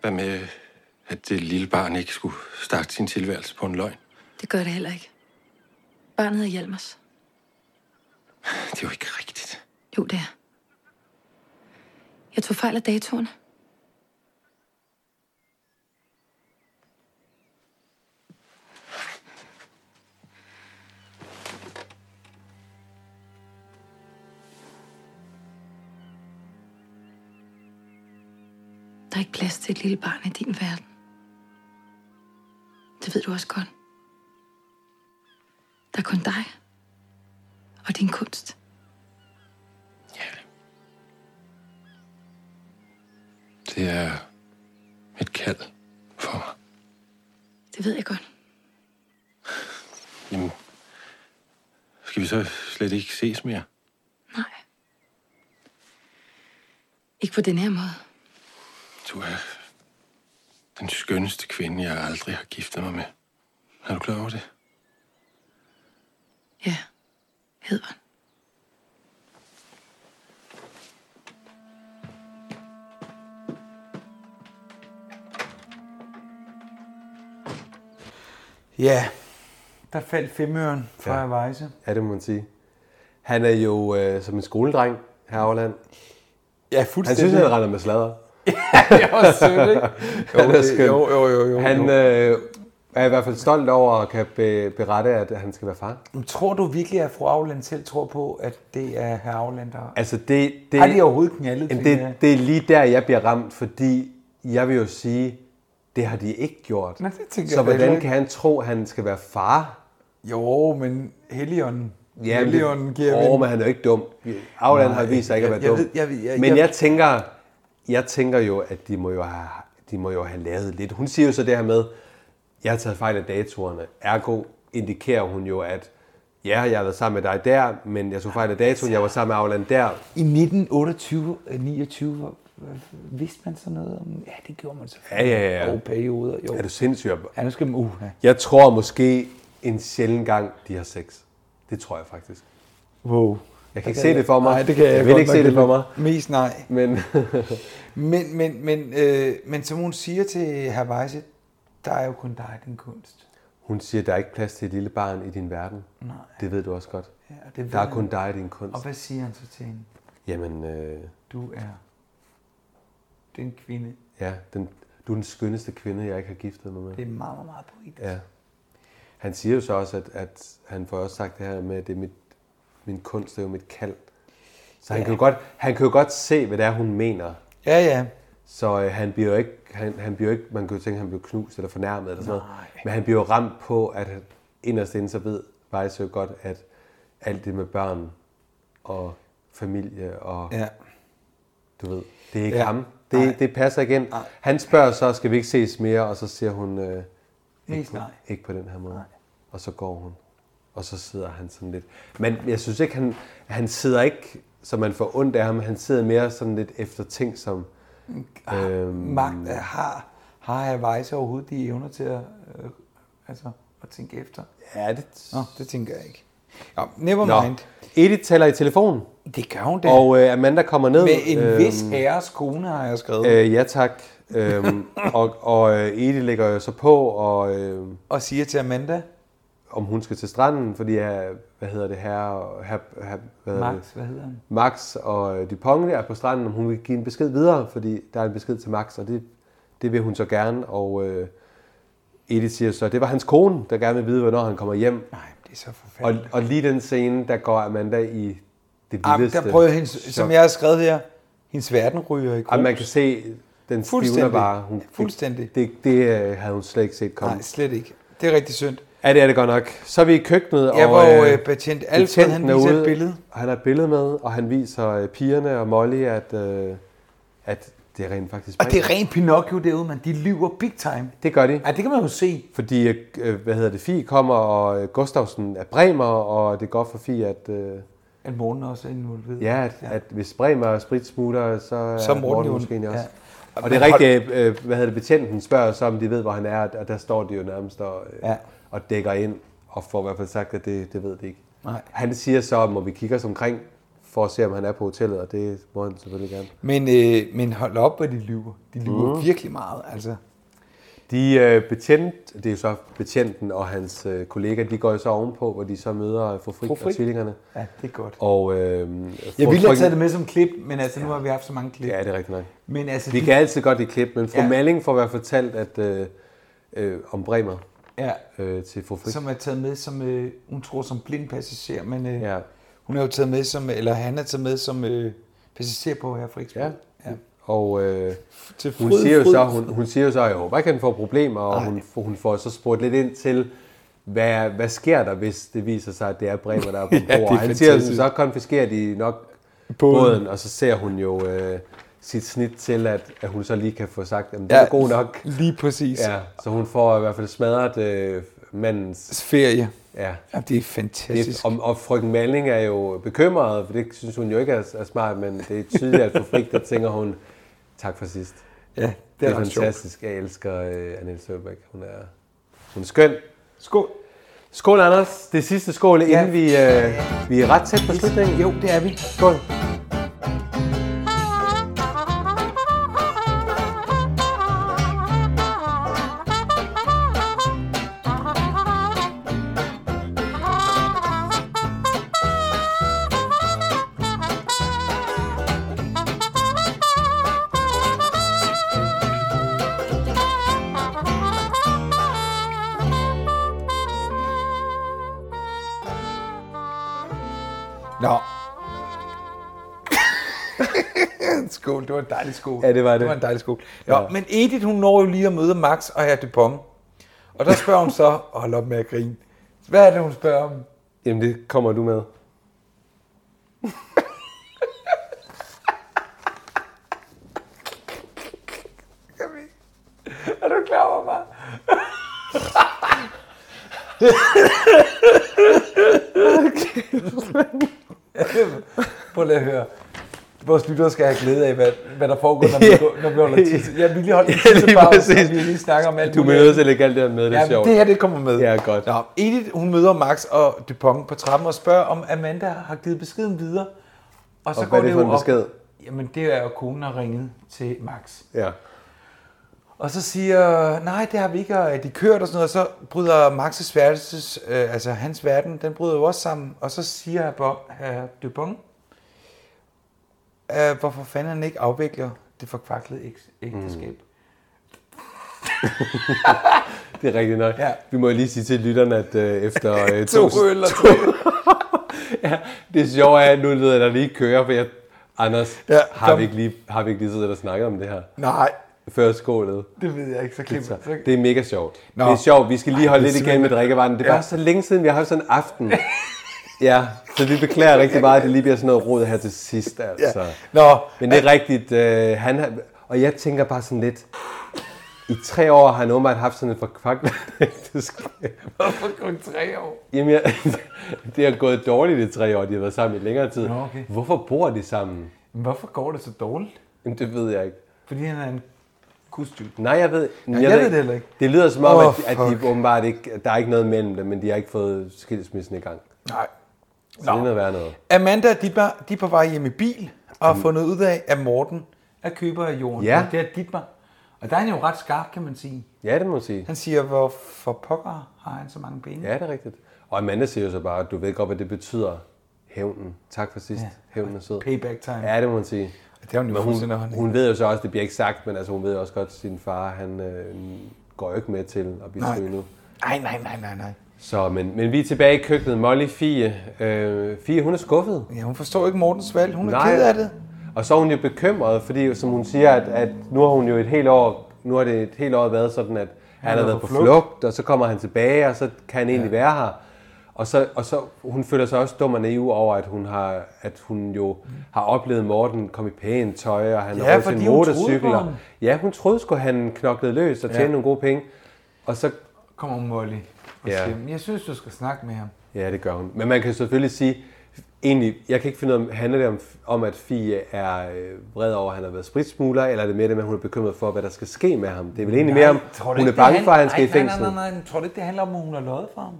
Hvad med, at det lille barn ikke skulle starte sin tilværelse på en løgn?
det gør det heller ikke. Barnet er Hjalmars.
Det er jo ikke rigtigt.
Jo, det er. Jeg tog fejl af datoen. Der er ikke plads til et lille barn i din verden. Det ved du også godt. Der er kun dig og din kunst.
Det er et kald for mig.
Det ved jeg godt.
Jamen, skal vi så slet ikke ses mere?
Nej. Ikke på den her måde.
Du er den skønneste kvinde, jeg aldrig har giftet mig med. Er du klar over det?
Ja, hedder
Ja, der faldt femøren fra ja. Vejse.
Ja, det må man sige. Han er jo øh, som en skoledreng, her Auland.
Ja,
Han
fuldstændig.
synes, han render med sladder.
det er også sødt, ikke? Jo,
han er
det-
skøn.
jo, jo, jo, jo,
han
jo.
Øh, er i hvert fald stolt over at kan be, berette, at han skal være far.
Men Tror du virkelig, at fru Auland selv tror på, at det er herr Auland, der...
Altså det, det,
Har de overhovedet knaldet,
Jamen,
tænker jeg?
det, det er lige der, jeg bliver ramt, fordi jeg vil jo sige, det har de ikke gjort.
Nå, det tænker
Så
jeg da heller
hvordan
ikke.
kan han tro, han skal være far?
Jo, men Helligånden...
Ja, men,
Helligånden giver
åh, men han er jo ikke dum. Auland
Nej,
har vist sig ikke at
jeg-
være
jeg
dum.
ved- jeg- jeg-
men
jeg-
jeg tænker, jeg tænker jo, at de må jo, have, de må jo have lavet lidt. Hun siger jo så det her med, jeg har taget fejl af datorerne. Ergo indikerer hun jo, at ja, jeg har været sammen med dig der, men jeg tog fejl af datoen, jeg var sammen med Auland der.
I 1928 øh, 29 hvor- hvor- vidste man sådan noget om... Ja, det gjorde man så.
Ja, ja, ja.
Og perioder, jo.
Er du sindssyg?
Ja, nu skal man... Uh,
Jeg tror måske en sjælden gang, de har sex. Det tror jeg faktisk.
Wow.
Jeg kan ikke se det for mig.
Nej, det kan jeg,
jeg vil
godt
ikke
nok
se det for mig.
Mest nej.
Men,
men, men, men, øh, men som hun siger til herr Weisse, der er jo kun dig, din kunst.
Hun siger, der er ikke plads til et lille barn i din verden.
Nej.
Det ved du også godt.
Ja, det ved
der er
han.
kun dig i din kunst.
Og hvad siger han så til hende?
Jamen, øh,
Du er den kvinde.
ja, den, du er den skønneste kvinde, jeg ikke har giftet mig med.
Det er meget, meget, meget poetisk.
Ja. Han siger jo så også, at, at han får også sagt det her med, at det er mit, min kunst, det er jo mit kald. Så han,
Ja.
kan jo godt, han kan jo godt se, hvad det er, hun mener.
Ja, ja.
Så øh, han bliver jo ikke, han, han bliver jo ikke, man kan jo tænke, at han bliver knust eller fornærmet eller sådan noget. Men han bliver jo ramt på, at han inderst inde så ved Vejse jo godt, at alt det med børn og familie og...
Ja.
Du ved, det er ikke
Ja.
ja. ham. Det, det passer igen. Nej. Han spørger så, skal vi ikke ses mere? Og så siger hun, øh,
Mest
ikke, på,
nej.
ikke på den her måde. Nej. Og så går hun. Og så sidder han sådan lidt. Men jeg synes ikke, han, han sidder ikke, så man får ondt af ham. Han sidder mere sådan lidt efter ting, som... Øhm,
Magt er, har, har herr Weisse overhovedet de evner til at, øh, altså, at tænke efter?
Ja, det...
Nå, det tænker jeg ikke. Ja, never mind.
Edith taler i telefonen.
Det gør hun da.
Og øh, Amanda kommer ned.
Med en øhm, vis herres kone, har jeg skrevet.
Øh, ja, tak. Øhm, og og øh, Edith lægger jo så på, og, øh,
og siger til Amanda,
om hun skal til stranden, fordi, ja, hvad hedder det her, og her, her hvad hedder
Max,
det?
hvad hedder han?
Max og øh, Dupont er på stranden, om hun vil give en besked videre, fordi der er en besked til Max, og det, det vil hun så gerne. Og øh, Edith siger så, at det var hans kone, der gerne vil vide, hvornår han kommer hjem.
Nej, det er så
Og,
forfærdeligt.
og lige den scene, der går Amanda i det
Ah,
vildeste.
der prøver hendes,
chok.
som jeg har skrevet her, hendes verden ryger i grus.
Og man kan se, den stivner
Fuldstændig.
bare. Hun,
Fuldstændig.
Det, det, det øh, havde hun slet ikke set komme.
Nej, slet ikke. Det er rigtig synd.
Ja, det er det godt nok. Så er vi i køkkenet,
Ja,
og
hvor, øh, betjent Alfred, han
betjenten er
viser et
ude,
billede.
og Han har et billede med, og han viser øh, pigerne og Molly, at, øh, at det er rent faktisk
Og det er
rigtigt.
ren Pinocchio derude, man. De lyver big time.
Det gør de.
Ej, det kan man jo se.
Fordi, øh, hvad hedder det, Fie kommer, og øh, Gustavsen er bremer, og det går for Fie, at, øh,
At Morten også er involveret.
ja, at, at hvis bremer og spritsmutter, så,
Så er
er
Morten
Morten
jo-
måske også.
ja.
Ja. Og det er
Men hold-
rigtigt, øh, hvad hedder det, betjenten spørger så, om de ved, hvor han er, og der står de jo nærmest og, øh,
Ja.
og dækker ind, og får i hvert fald sagt, at det, det ved de ikke.
Nej.
Han siger så, må vi kigge os omkring, for at se, om han er på hotellet, og det må han selvfølgelig gerne.
Men, øh, men hold op, hvor de lyver. De lyver
Mhm.
virkelig meget, altså.
De øh, betjent, det er jo så betjenten og hans øh, kollega, de går jo så ovenpå, hvor de så møder øh, fru Frik, fru
Fru Frick.
og tvillingerne.
Ja, det er godt.
Og, øh,
Jeg ville have taget det med som klip, men altså, nu har vi haft så mange klip.
Ja, det er rigtigt nok.
Men altså,
vi
de-
kan altid godt lide klip, men fru
Ja.
ja. Malling får i hvert fald fortalt at, øh, øh, om Bremer
Ja.
øh, til fru Frik.
som er taget med som, øh, hun tror som blind passager, men øh,
Ja.
hun er jo taget med som, eller han er taget med som øh, passager på her Friksbo. Ja. ja.
Og øh,
Til
hun,
fryd,
siger jo
fryd,
så,
fryd.
hun, hun siger jo så, at jeg håber ikke, han får problemer, og hun, hun får så spurgt lidt ind til, hvad, hvad sker der, hvis det viser sig, at det er Bremer, der er på
Ja, det er
ja, Han siger,
fantastisk.
så konfiskerer de nok
Båden.
båden, og så ser hun jo øh, sit snit til, at, at hun så lige kan få sagt, at det
Ja,
er god nok.
lige præcis.
Ja, så hun får i hvert fald smadret øh, mandens...
Ferie.
Ja.
ja. det er fantastisk.
Det, og, og frøken Malling er jo bekymret, for det synes hun jo ikke er, er smart, men det er tydeligt, at for frik, der tænker hun, tak for sidst.
Ja, det er
det er
ret sjovt.
fantastisk. Jeg elsker øh, Annette Søberg. Hun er, hun er skøn.
Skål.
Skål, Anders. Det sidste skål, inden ja. vi, øh, vi er ret tæt på slutningen.
Jo, det er vi.
Skål.
Thank you.
Nå. skål, det var en dejlig skål.
Ja, det var det.
Det var en dejlig skål. Nå, ja. men Edith, hun når jo lige at møde Max og herr Dupont. Og der spørger hun så, og hold op med at grine. Hvad er det, hun spørger om?
Jamen, det kommer du med.
Er du klar over mig? Prøv lige at høre. Vores lyttere skal have glæde af, hvad, hvad der foregår, når vi, går- når vi holder tisse. Jeg vil lige holde en
Ja, lige
tissepause,
præcis.
og vi lige snakker om alt
Du bliver
muligt.
nødt til at lægge alt det her med, det er
Ja,
sjovt.
det her, det kommer med.
Ja, godt.
Nå, Edith, hun møder Max og Dupont på trappen og spørger, om Amanda har givet beskeden videre. Og så
Og
går
hvad er det
det
for
jo
en
op.
besked?
Jamen, det er jo konen har ringet til Max.
Ja.
Og så siger, nej, det har vi ikke, og de kørt og sådan noget, og så bryder Max's værelses, øh, altså hans verden, den bryder jo også sammen. Og så siger Bo- herr Dupont, øh, hvorfor fanden han ikke afvikler det forkvaklede æg- ægteskab. Mm.
Det er rigtigt nok. Ja. Vi må lige sige til lytterne, at øh, efter øh,
To øl og tre.
ja, det sjove er, at nu lyder der lige kører, for jeg, Anders,
Ja,
ja, har,
kom.
vi ikke lige, har vi ikke lige siddet og snakket om det her?
Nej.
Før skålet.
Det ved jeg ikke, så klipper så...
Det er mega sjovt.
Nå.
Nå. Det er sjovt, vi skal lige
Ej,
holde
det er
lidt igen
simpelthen-
med drikkevandet. Det er
Ja.
bare så længe siden, vi har haft sådan en aften. ja, så vi beklager rigtig meget, at det lige bliver sådan noget rod her til sidst. Altså.
Ja. Nå.
Men det er rigtigt. Øh, han har, og jeg tænker bare sådan lidt, i tre år har han åbenbart haft sådan et forkvaklet ægteskab.
Hvorfor kun tre år?
Jamen, jeg, det har gået dårligt i tre år, de har været sammen i længere tid.
Nå, okay.
Hvorfor bor de sammen?
Men hvorfor går det så dårligt?
Jamen, det ved jeg ikke.
Fordi han er en kustyv.
Nej, jeg ved,
jeg ved det heller ikke.
Det lyder som om,
Åh,
oh, at, at
fuck.
de åbenbart ikke, at der er ikke noget mellem dem, men de har ikke fået skilsmissen i gang.
Nej.
Så det er noget værre noget.
Amanda, de, var, de er på vej hjem i bil og har fundet ud af, at Morten er køber af jorden.
Ja.
Og Det er Dietmar. Og der er han jo ret skarp, kan man sige.
Ja, det må man sige.
Han siger, hvorfor pokker har han så mange penge?
Ja, det er rigtigt. Og Amanda siger jo så bare, at du ved godt, hvad det betyder. Hævnen. Tak for sidst. Ja. Hævnen er sød.
Payback time.
Ja, det må man sige.
Det har hun jo
Men
fuldstændig
hun,
hånd i.
hun ved jo så også, det bliver ikke sagt, men altså, hun ved jo også godt, at sin far han, øh, går jo ikke med til at blive
Nej.
syg nu.
Nej, nej, nej, nej, nej.
Så, men, men vi er tilbage i køkkenet. Molly Fie. Øh, Fie, hun er skuffet.
Ja, hun forstår ikke Mortens valg. Hun er
Nej.
ked af det.
Og så er hun jo bekymret, fordi som hun siger, at, at nu har hun jo et helt år, nu har det et helt år været sådan, at han, han har været på flugt. flugt, og så kommer han tilbage, og så kan han egentlig ja. være her. Og så, og så hun føler sig også dum og naiv over, at hun, har, at hun jo har oplevet Morten komme i pænt tøj, og han
Ja,
har råd
fordi
til
hun troede på
motorcykel. og-
ham.
Ja, hun troede sgu, han knoklede løs og tjente
Ja.
ja. nogle gode penge. Og så
Kommer Molly og
Ja.
siger, jeg synes, du skal snakke med ham.
Ja, det gør hun. Men man kan selvfølgelig sige, egentlig, jeg kan ikke finde ud af, om- handler det om, om at Fie er øh, vred over, at han har været spritsmugler, eller er det mere det med, at hun er bekymret for, hvad der skal ske med ham? Det er vel egentlig mere om,
tror du
hun
ikke,
er
det
bange
han-
for, at han skal
nej,
i fængsel.
Nej, nej, nej, tror du ikke, det handler om, at hun har løjet for ham?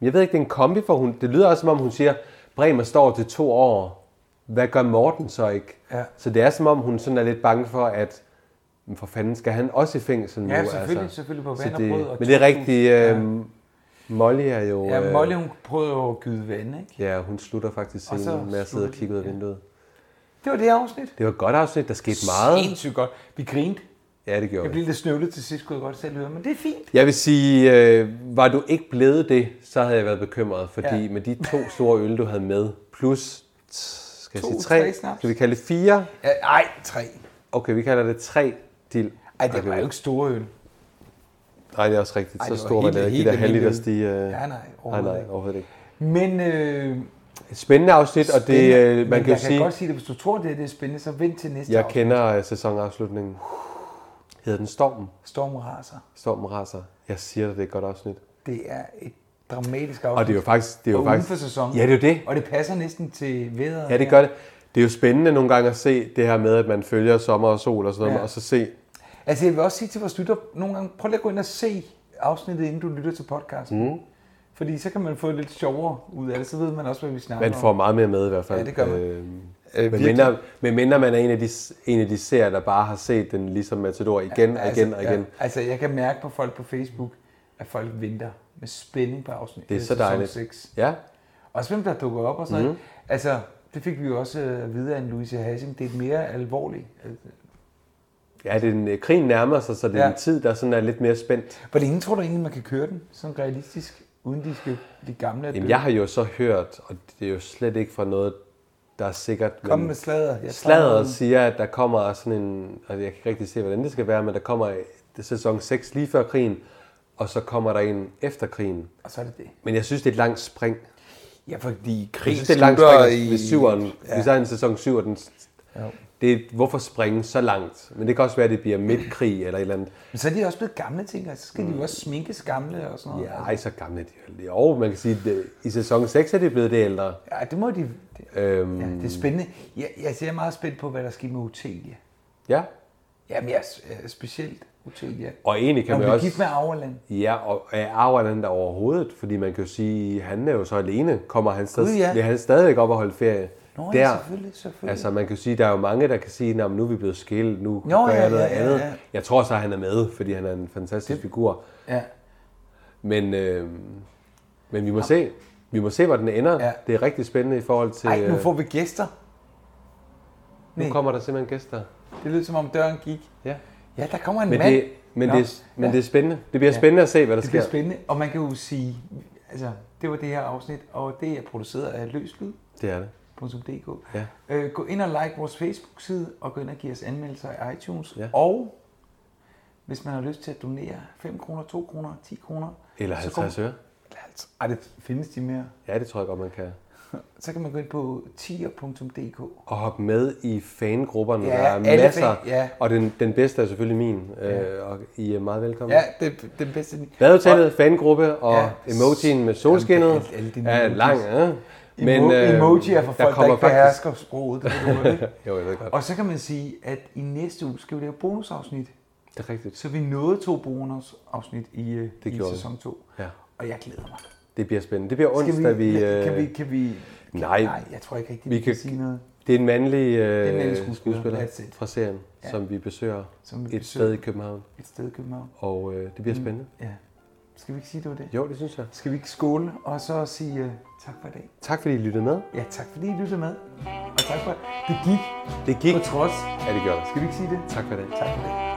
Men Jeg ved ikke, det er en kombi for hun. Det lyder også, som om hun siger, Bremer står til to år. Hvad gør Morten så ikke?
Ja.
Så det er, som om hun sådan er lidt bange for, at "Men for fanden skal han også i fængsel nu? Altså,
Ja, selvfølgelig, selvfølgelig på
Så
vand og
det-
brød og
Men det er
2.000,
rigtigt.
ja.
Øh, Molly er jo...
Ja,
øh,
Molly, hun prøvede jo at gyde vand, ikke?
Ja, hun slutter faktisk
Og så
scenen med at sidde
slutter
og kigge ud af vinduet.
Det var det afsnit.
Det var et godt afsnit, der skete meget.
Sindssygt godt. Vi grinte.
Ja, det gjorde
Jeg
vi.
blev lidt snøvlet til sidst, kunne jeg godt selv høre, men det er fint.
Jeg vil sige, øh, var du ikke blevet det, så havde jeg været bekymret, fordi
Ja.
ja. med de to store øl, du havde med, plus, t- skal jeg
To,
sige
tre
tre,
snaps.
skal vi kalde det fire?
Ja, Ej, tre.
Okay, vi kalder det tre dild.
Ej, det var
Okay.
jo ikke store øl.
Nej, det er også rigtigt.
Ej,
så
det var
store var
helt-
det ikke. De
helt
der
almindelige
halvliters, de... Øh...
Ja, nej,
nej,
overhovedet
nej,
ikke.
overhovedet ikke.
Men, øh,
Et Spændende afsnit, og det,
spændende.
øh, man
men
kan jo
jeg kan
sige,
godt sige det, hvis du tror, det er, det er spændende, så vent til næste
jeg
afsnit.
kender øh, sæsonafslutningen. Hedder den Stormen?
Stormen raser.
Stormen raser. Jeg siger dig, det er et godt afsnit.
Det er et dramatisk afsnit.
Og det er jo faktisk... Det er jo
og
faktisk...
uden for sæsonen.
Ja, det er jo det.
Og det passer næsten til vejret.
Ja, det gør det. Det er jo spændende nogle gange at se det her med, at man følger sommer og sol og sådan noget,
Ja.
ja. og så se,
Altså, jeg vil også sige til vores lytter, nogle gange, prøv lige at gå ind og se afsnittet, inden du lytter til podcasten. Mm. Fordi så kan man få lidt sjovere ud af det, så ved man også, hvad vi snakker
man får meget mere med i hvert fald.
Ja, det gør man.
Øh, men,
Øh, virkelig.
mindre, men mindre man er en af, de, en af de serier, der bare har set den ligesom Matador igen og igen og igen.
Ja, altså, jeg kan mærke på folk på Facebook, at folk venter med spænding på afsnit.
Det er så
sæson
dejligt. Mhm.
6.
Ja,
Også hvem der dukker op og sådan mm. Altså, det fik vi jo også øh, at vide af en Louise Hassing. Det er et mere alvorligt. Altså,
ja det er den, øh, krigen nærmer sig, så det er
Ja.
en tid, der sådan er lidt mere spændt.
Hvor længe tror du egentlig, man kan køre den? Sådan realistisk. uden de skal blive gamle og
Jamen,
døde?
jeg har jo så hørt, og det er jo slet ikke fra noget, der er sikkert...
Kom med sladder. Jeg tager
Sladder
den.
siger, at der kommer sådan en... Og jeg kan ikke rigtig se, hvordan det skal være, men der kommer det er sæson 6 lige før krigen, og så kommer der en efter krigen.
Og så er det det.
Men jeg synes, det er et langt spring.
Ja, fordi
Jeg
krigen
synes, det er et langt
slutter
spring, i... hvis, syveren, ja.
Ja.
hvis der er en sæson 7, og den...
Jo.
Det er, hvorfor springe så langt? Men det kan også være, at det bliver midtkrig eller et eller andet.
Men så er de også blevet gamle, tænker jeg. Så skal mm. de jo også sminkes gamle og sådan noget.
Ja, ej, så gamle er de jo. Jo, man kan sige, at i sæson 6 er de blevet det ældre.
Ja, det må de...
Øhm,
Det er spændende. Jeg, jeg ser meget spændt på, hvad der sker med Otelia.
Ja.
Jamen, jeg er s- øh, specielt Otelia.
Og egentlig kan
Når
man
hun
også...
bliver gift med Auerland.
Ja, og er Auerland der overhovedet? Fordi man kan jo sige, han er jo så alene. Kommer han stadig,
Gud, ja.
vil han stadigvæk op og holde ferie?
Nå,
der,
ja, selvfølgelig, selvfølgelig.
Altså, man kan jo sige, der er jo mange, der kan sige, "Nå, men nu er vi blevet skilt, nu
Nå,
gør
ja,
jeg noget
ja, ja,
andet.
ja.
Jeg tror så, han er med, fordi han er en fantastisk det... figur.
Ja.
Men, øh, men vi må se. Vi må se, hvor den ender. Ja. Det er rigtig spændende i forhold til...
Ej, nu
øh,
får vi gæster.
nu kommer der simpelthen gæster.
Det lyder som om døren gik.
Ja.
Ja, der kommer en
Men
mand.
det- men det er- men det er spændende. Det bliver
Ja.
spændende at se, hvad der
det bliver
sker.
spændende, og man kan jo sige, altså, det var det her afsnit, og det er produceret af løslyd.
Det er det.
.dk.
Ja.
Øh, gå ind og like vores Facebook-side, og gå ind og giv os anmeldelser i iTunes. Ja. Og hvis man har lyst til at donere 5 kroner, 2 kroner, 10 kroner.
Eller
så
50
går-
øre.
Eller 50. Ej, det findes de mere.
Ja, det tror jeg godt, man kan.
Så kan man gå ind på tier.dk.
Og hoppe med i fangrupperne.
Ja,
der er
alle
masser.
fan- ja.
Og den, den bedste er selvfølgelig min. Øh, og I er meget velkommen.
Ja, det, det bedste.
Badehotellet, fangruppe og
Ja.
ja. emojien med solskinnet
Jamen, alle dine
er
emojis.
lang. Ja.
Men,
øh,
emoji
der
er for folk, der,
kommer
ikke behersker sproget. Det ved du godt,
Jo, jeg ved godt.
Og så kan man sige, at i næste uge skal vi lave bonusafsnit.
Det er rigtigt.
Så vi nåede to bonusafsnit i, øh,
Det
i
gjorde vi.
sæson 2.
Ja.
Og jeg glæder mig.
Det bliver spændende. Det bliver
Skal
onsdag, vi... øh,
kan vi, kan vi
Nej.
nej, jeg tror ikke rigtig, vi, vi kan sige noget.
Det er en mandlig
er en
øh,
mandlig skuespiller,
skuespiller
that's it.
fra serien,
Ja.
ja. som vi besøger
Som vi
et
besøger.
sted i København.
Et sted i København.
Og øh, det bliver
Mm.
spændende.
Ja. Skal vi ikke sige, det var det?
Jo, det synes jeg.
Skal vi ikke skåle og så sige øh, tak for i dag?
Tak fordi I lyttede med.
Ja, tak fordi I lyttede med. Og tak for, det gik
Det gik.
på trods.
Ja, det gjorde det.
Skal vi ikke sige det?
Tak for i dag.
Tak for i dag.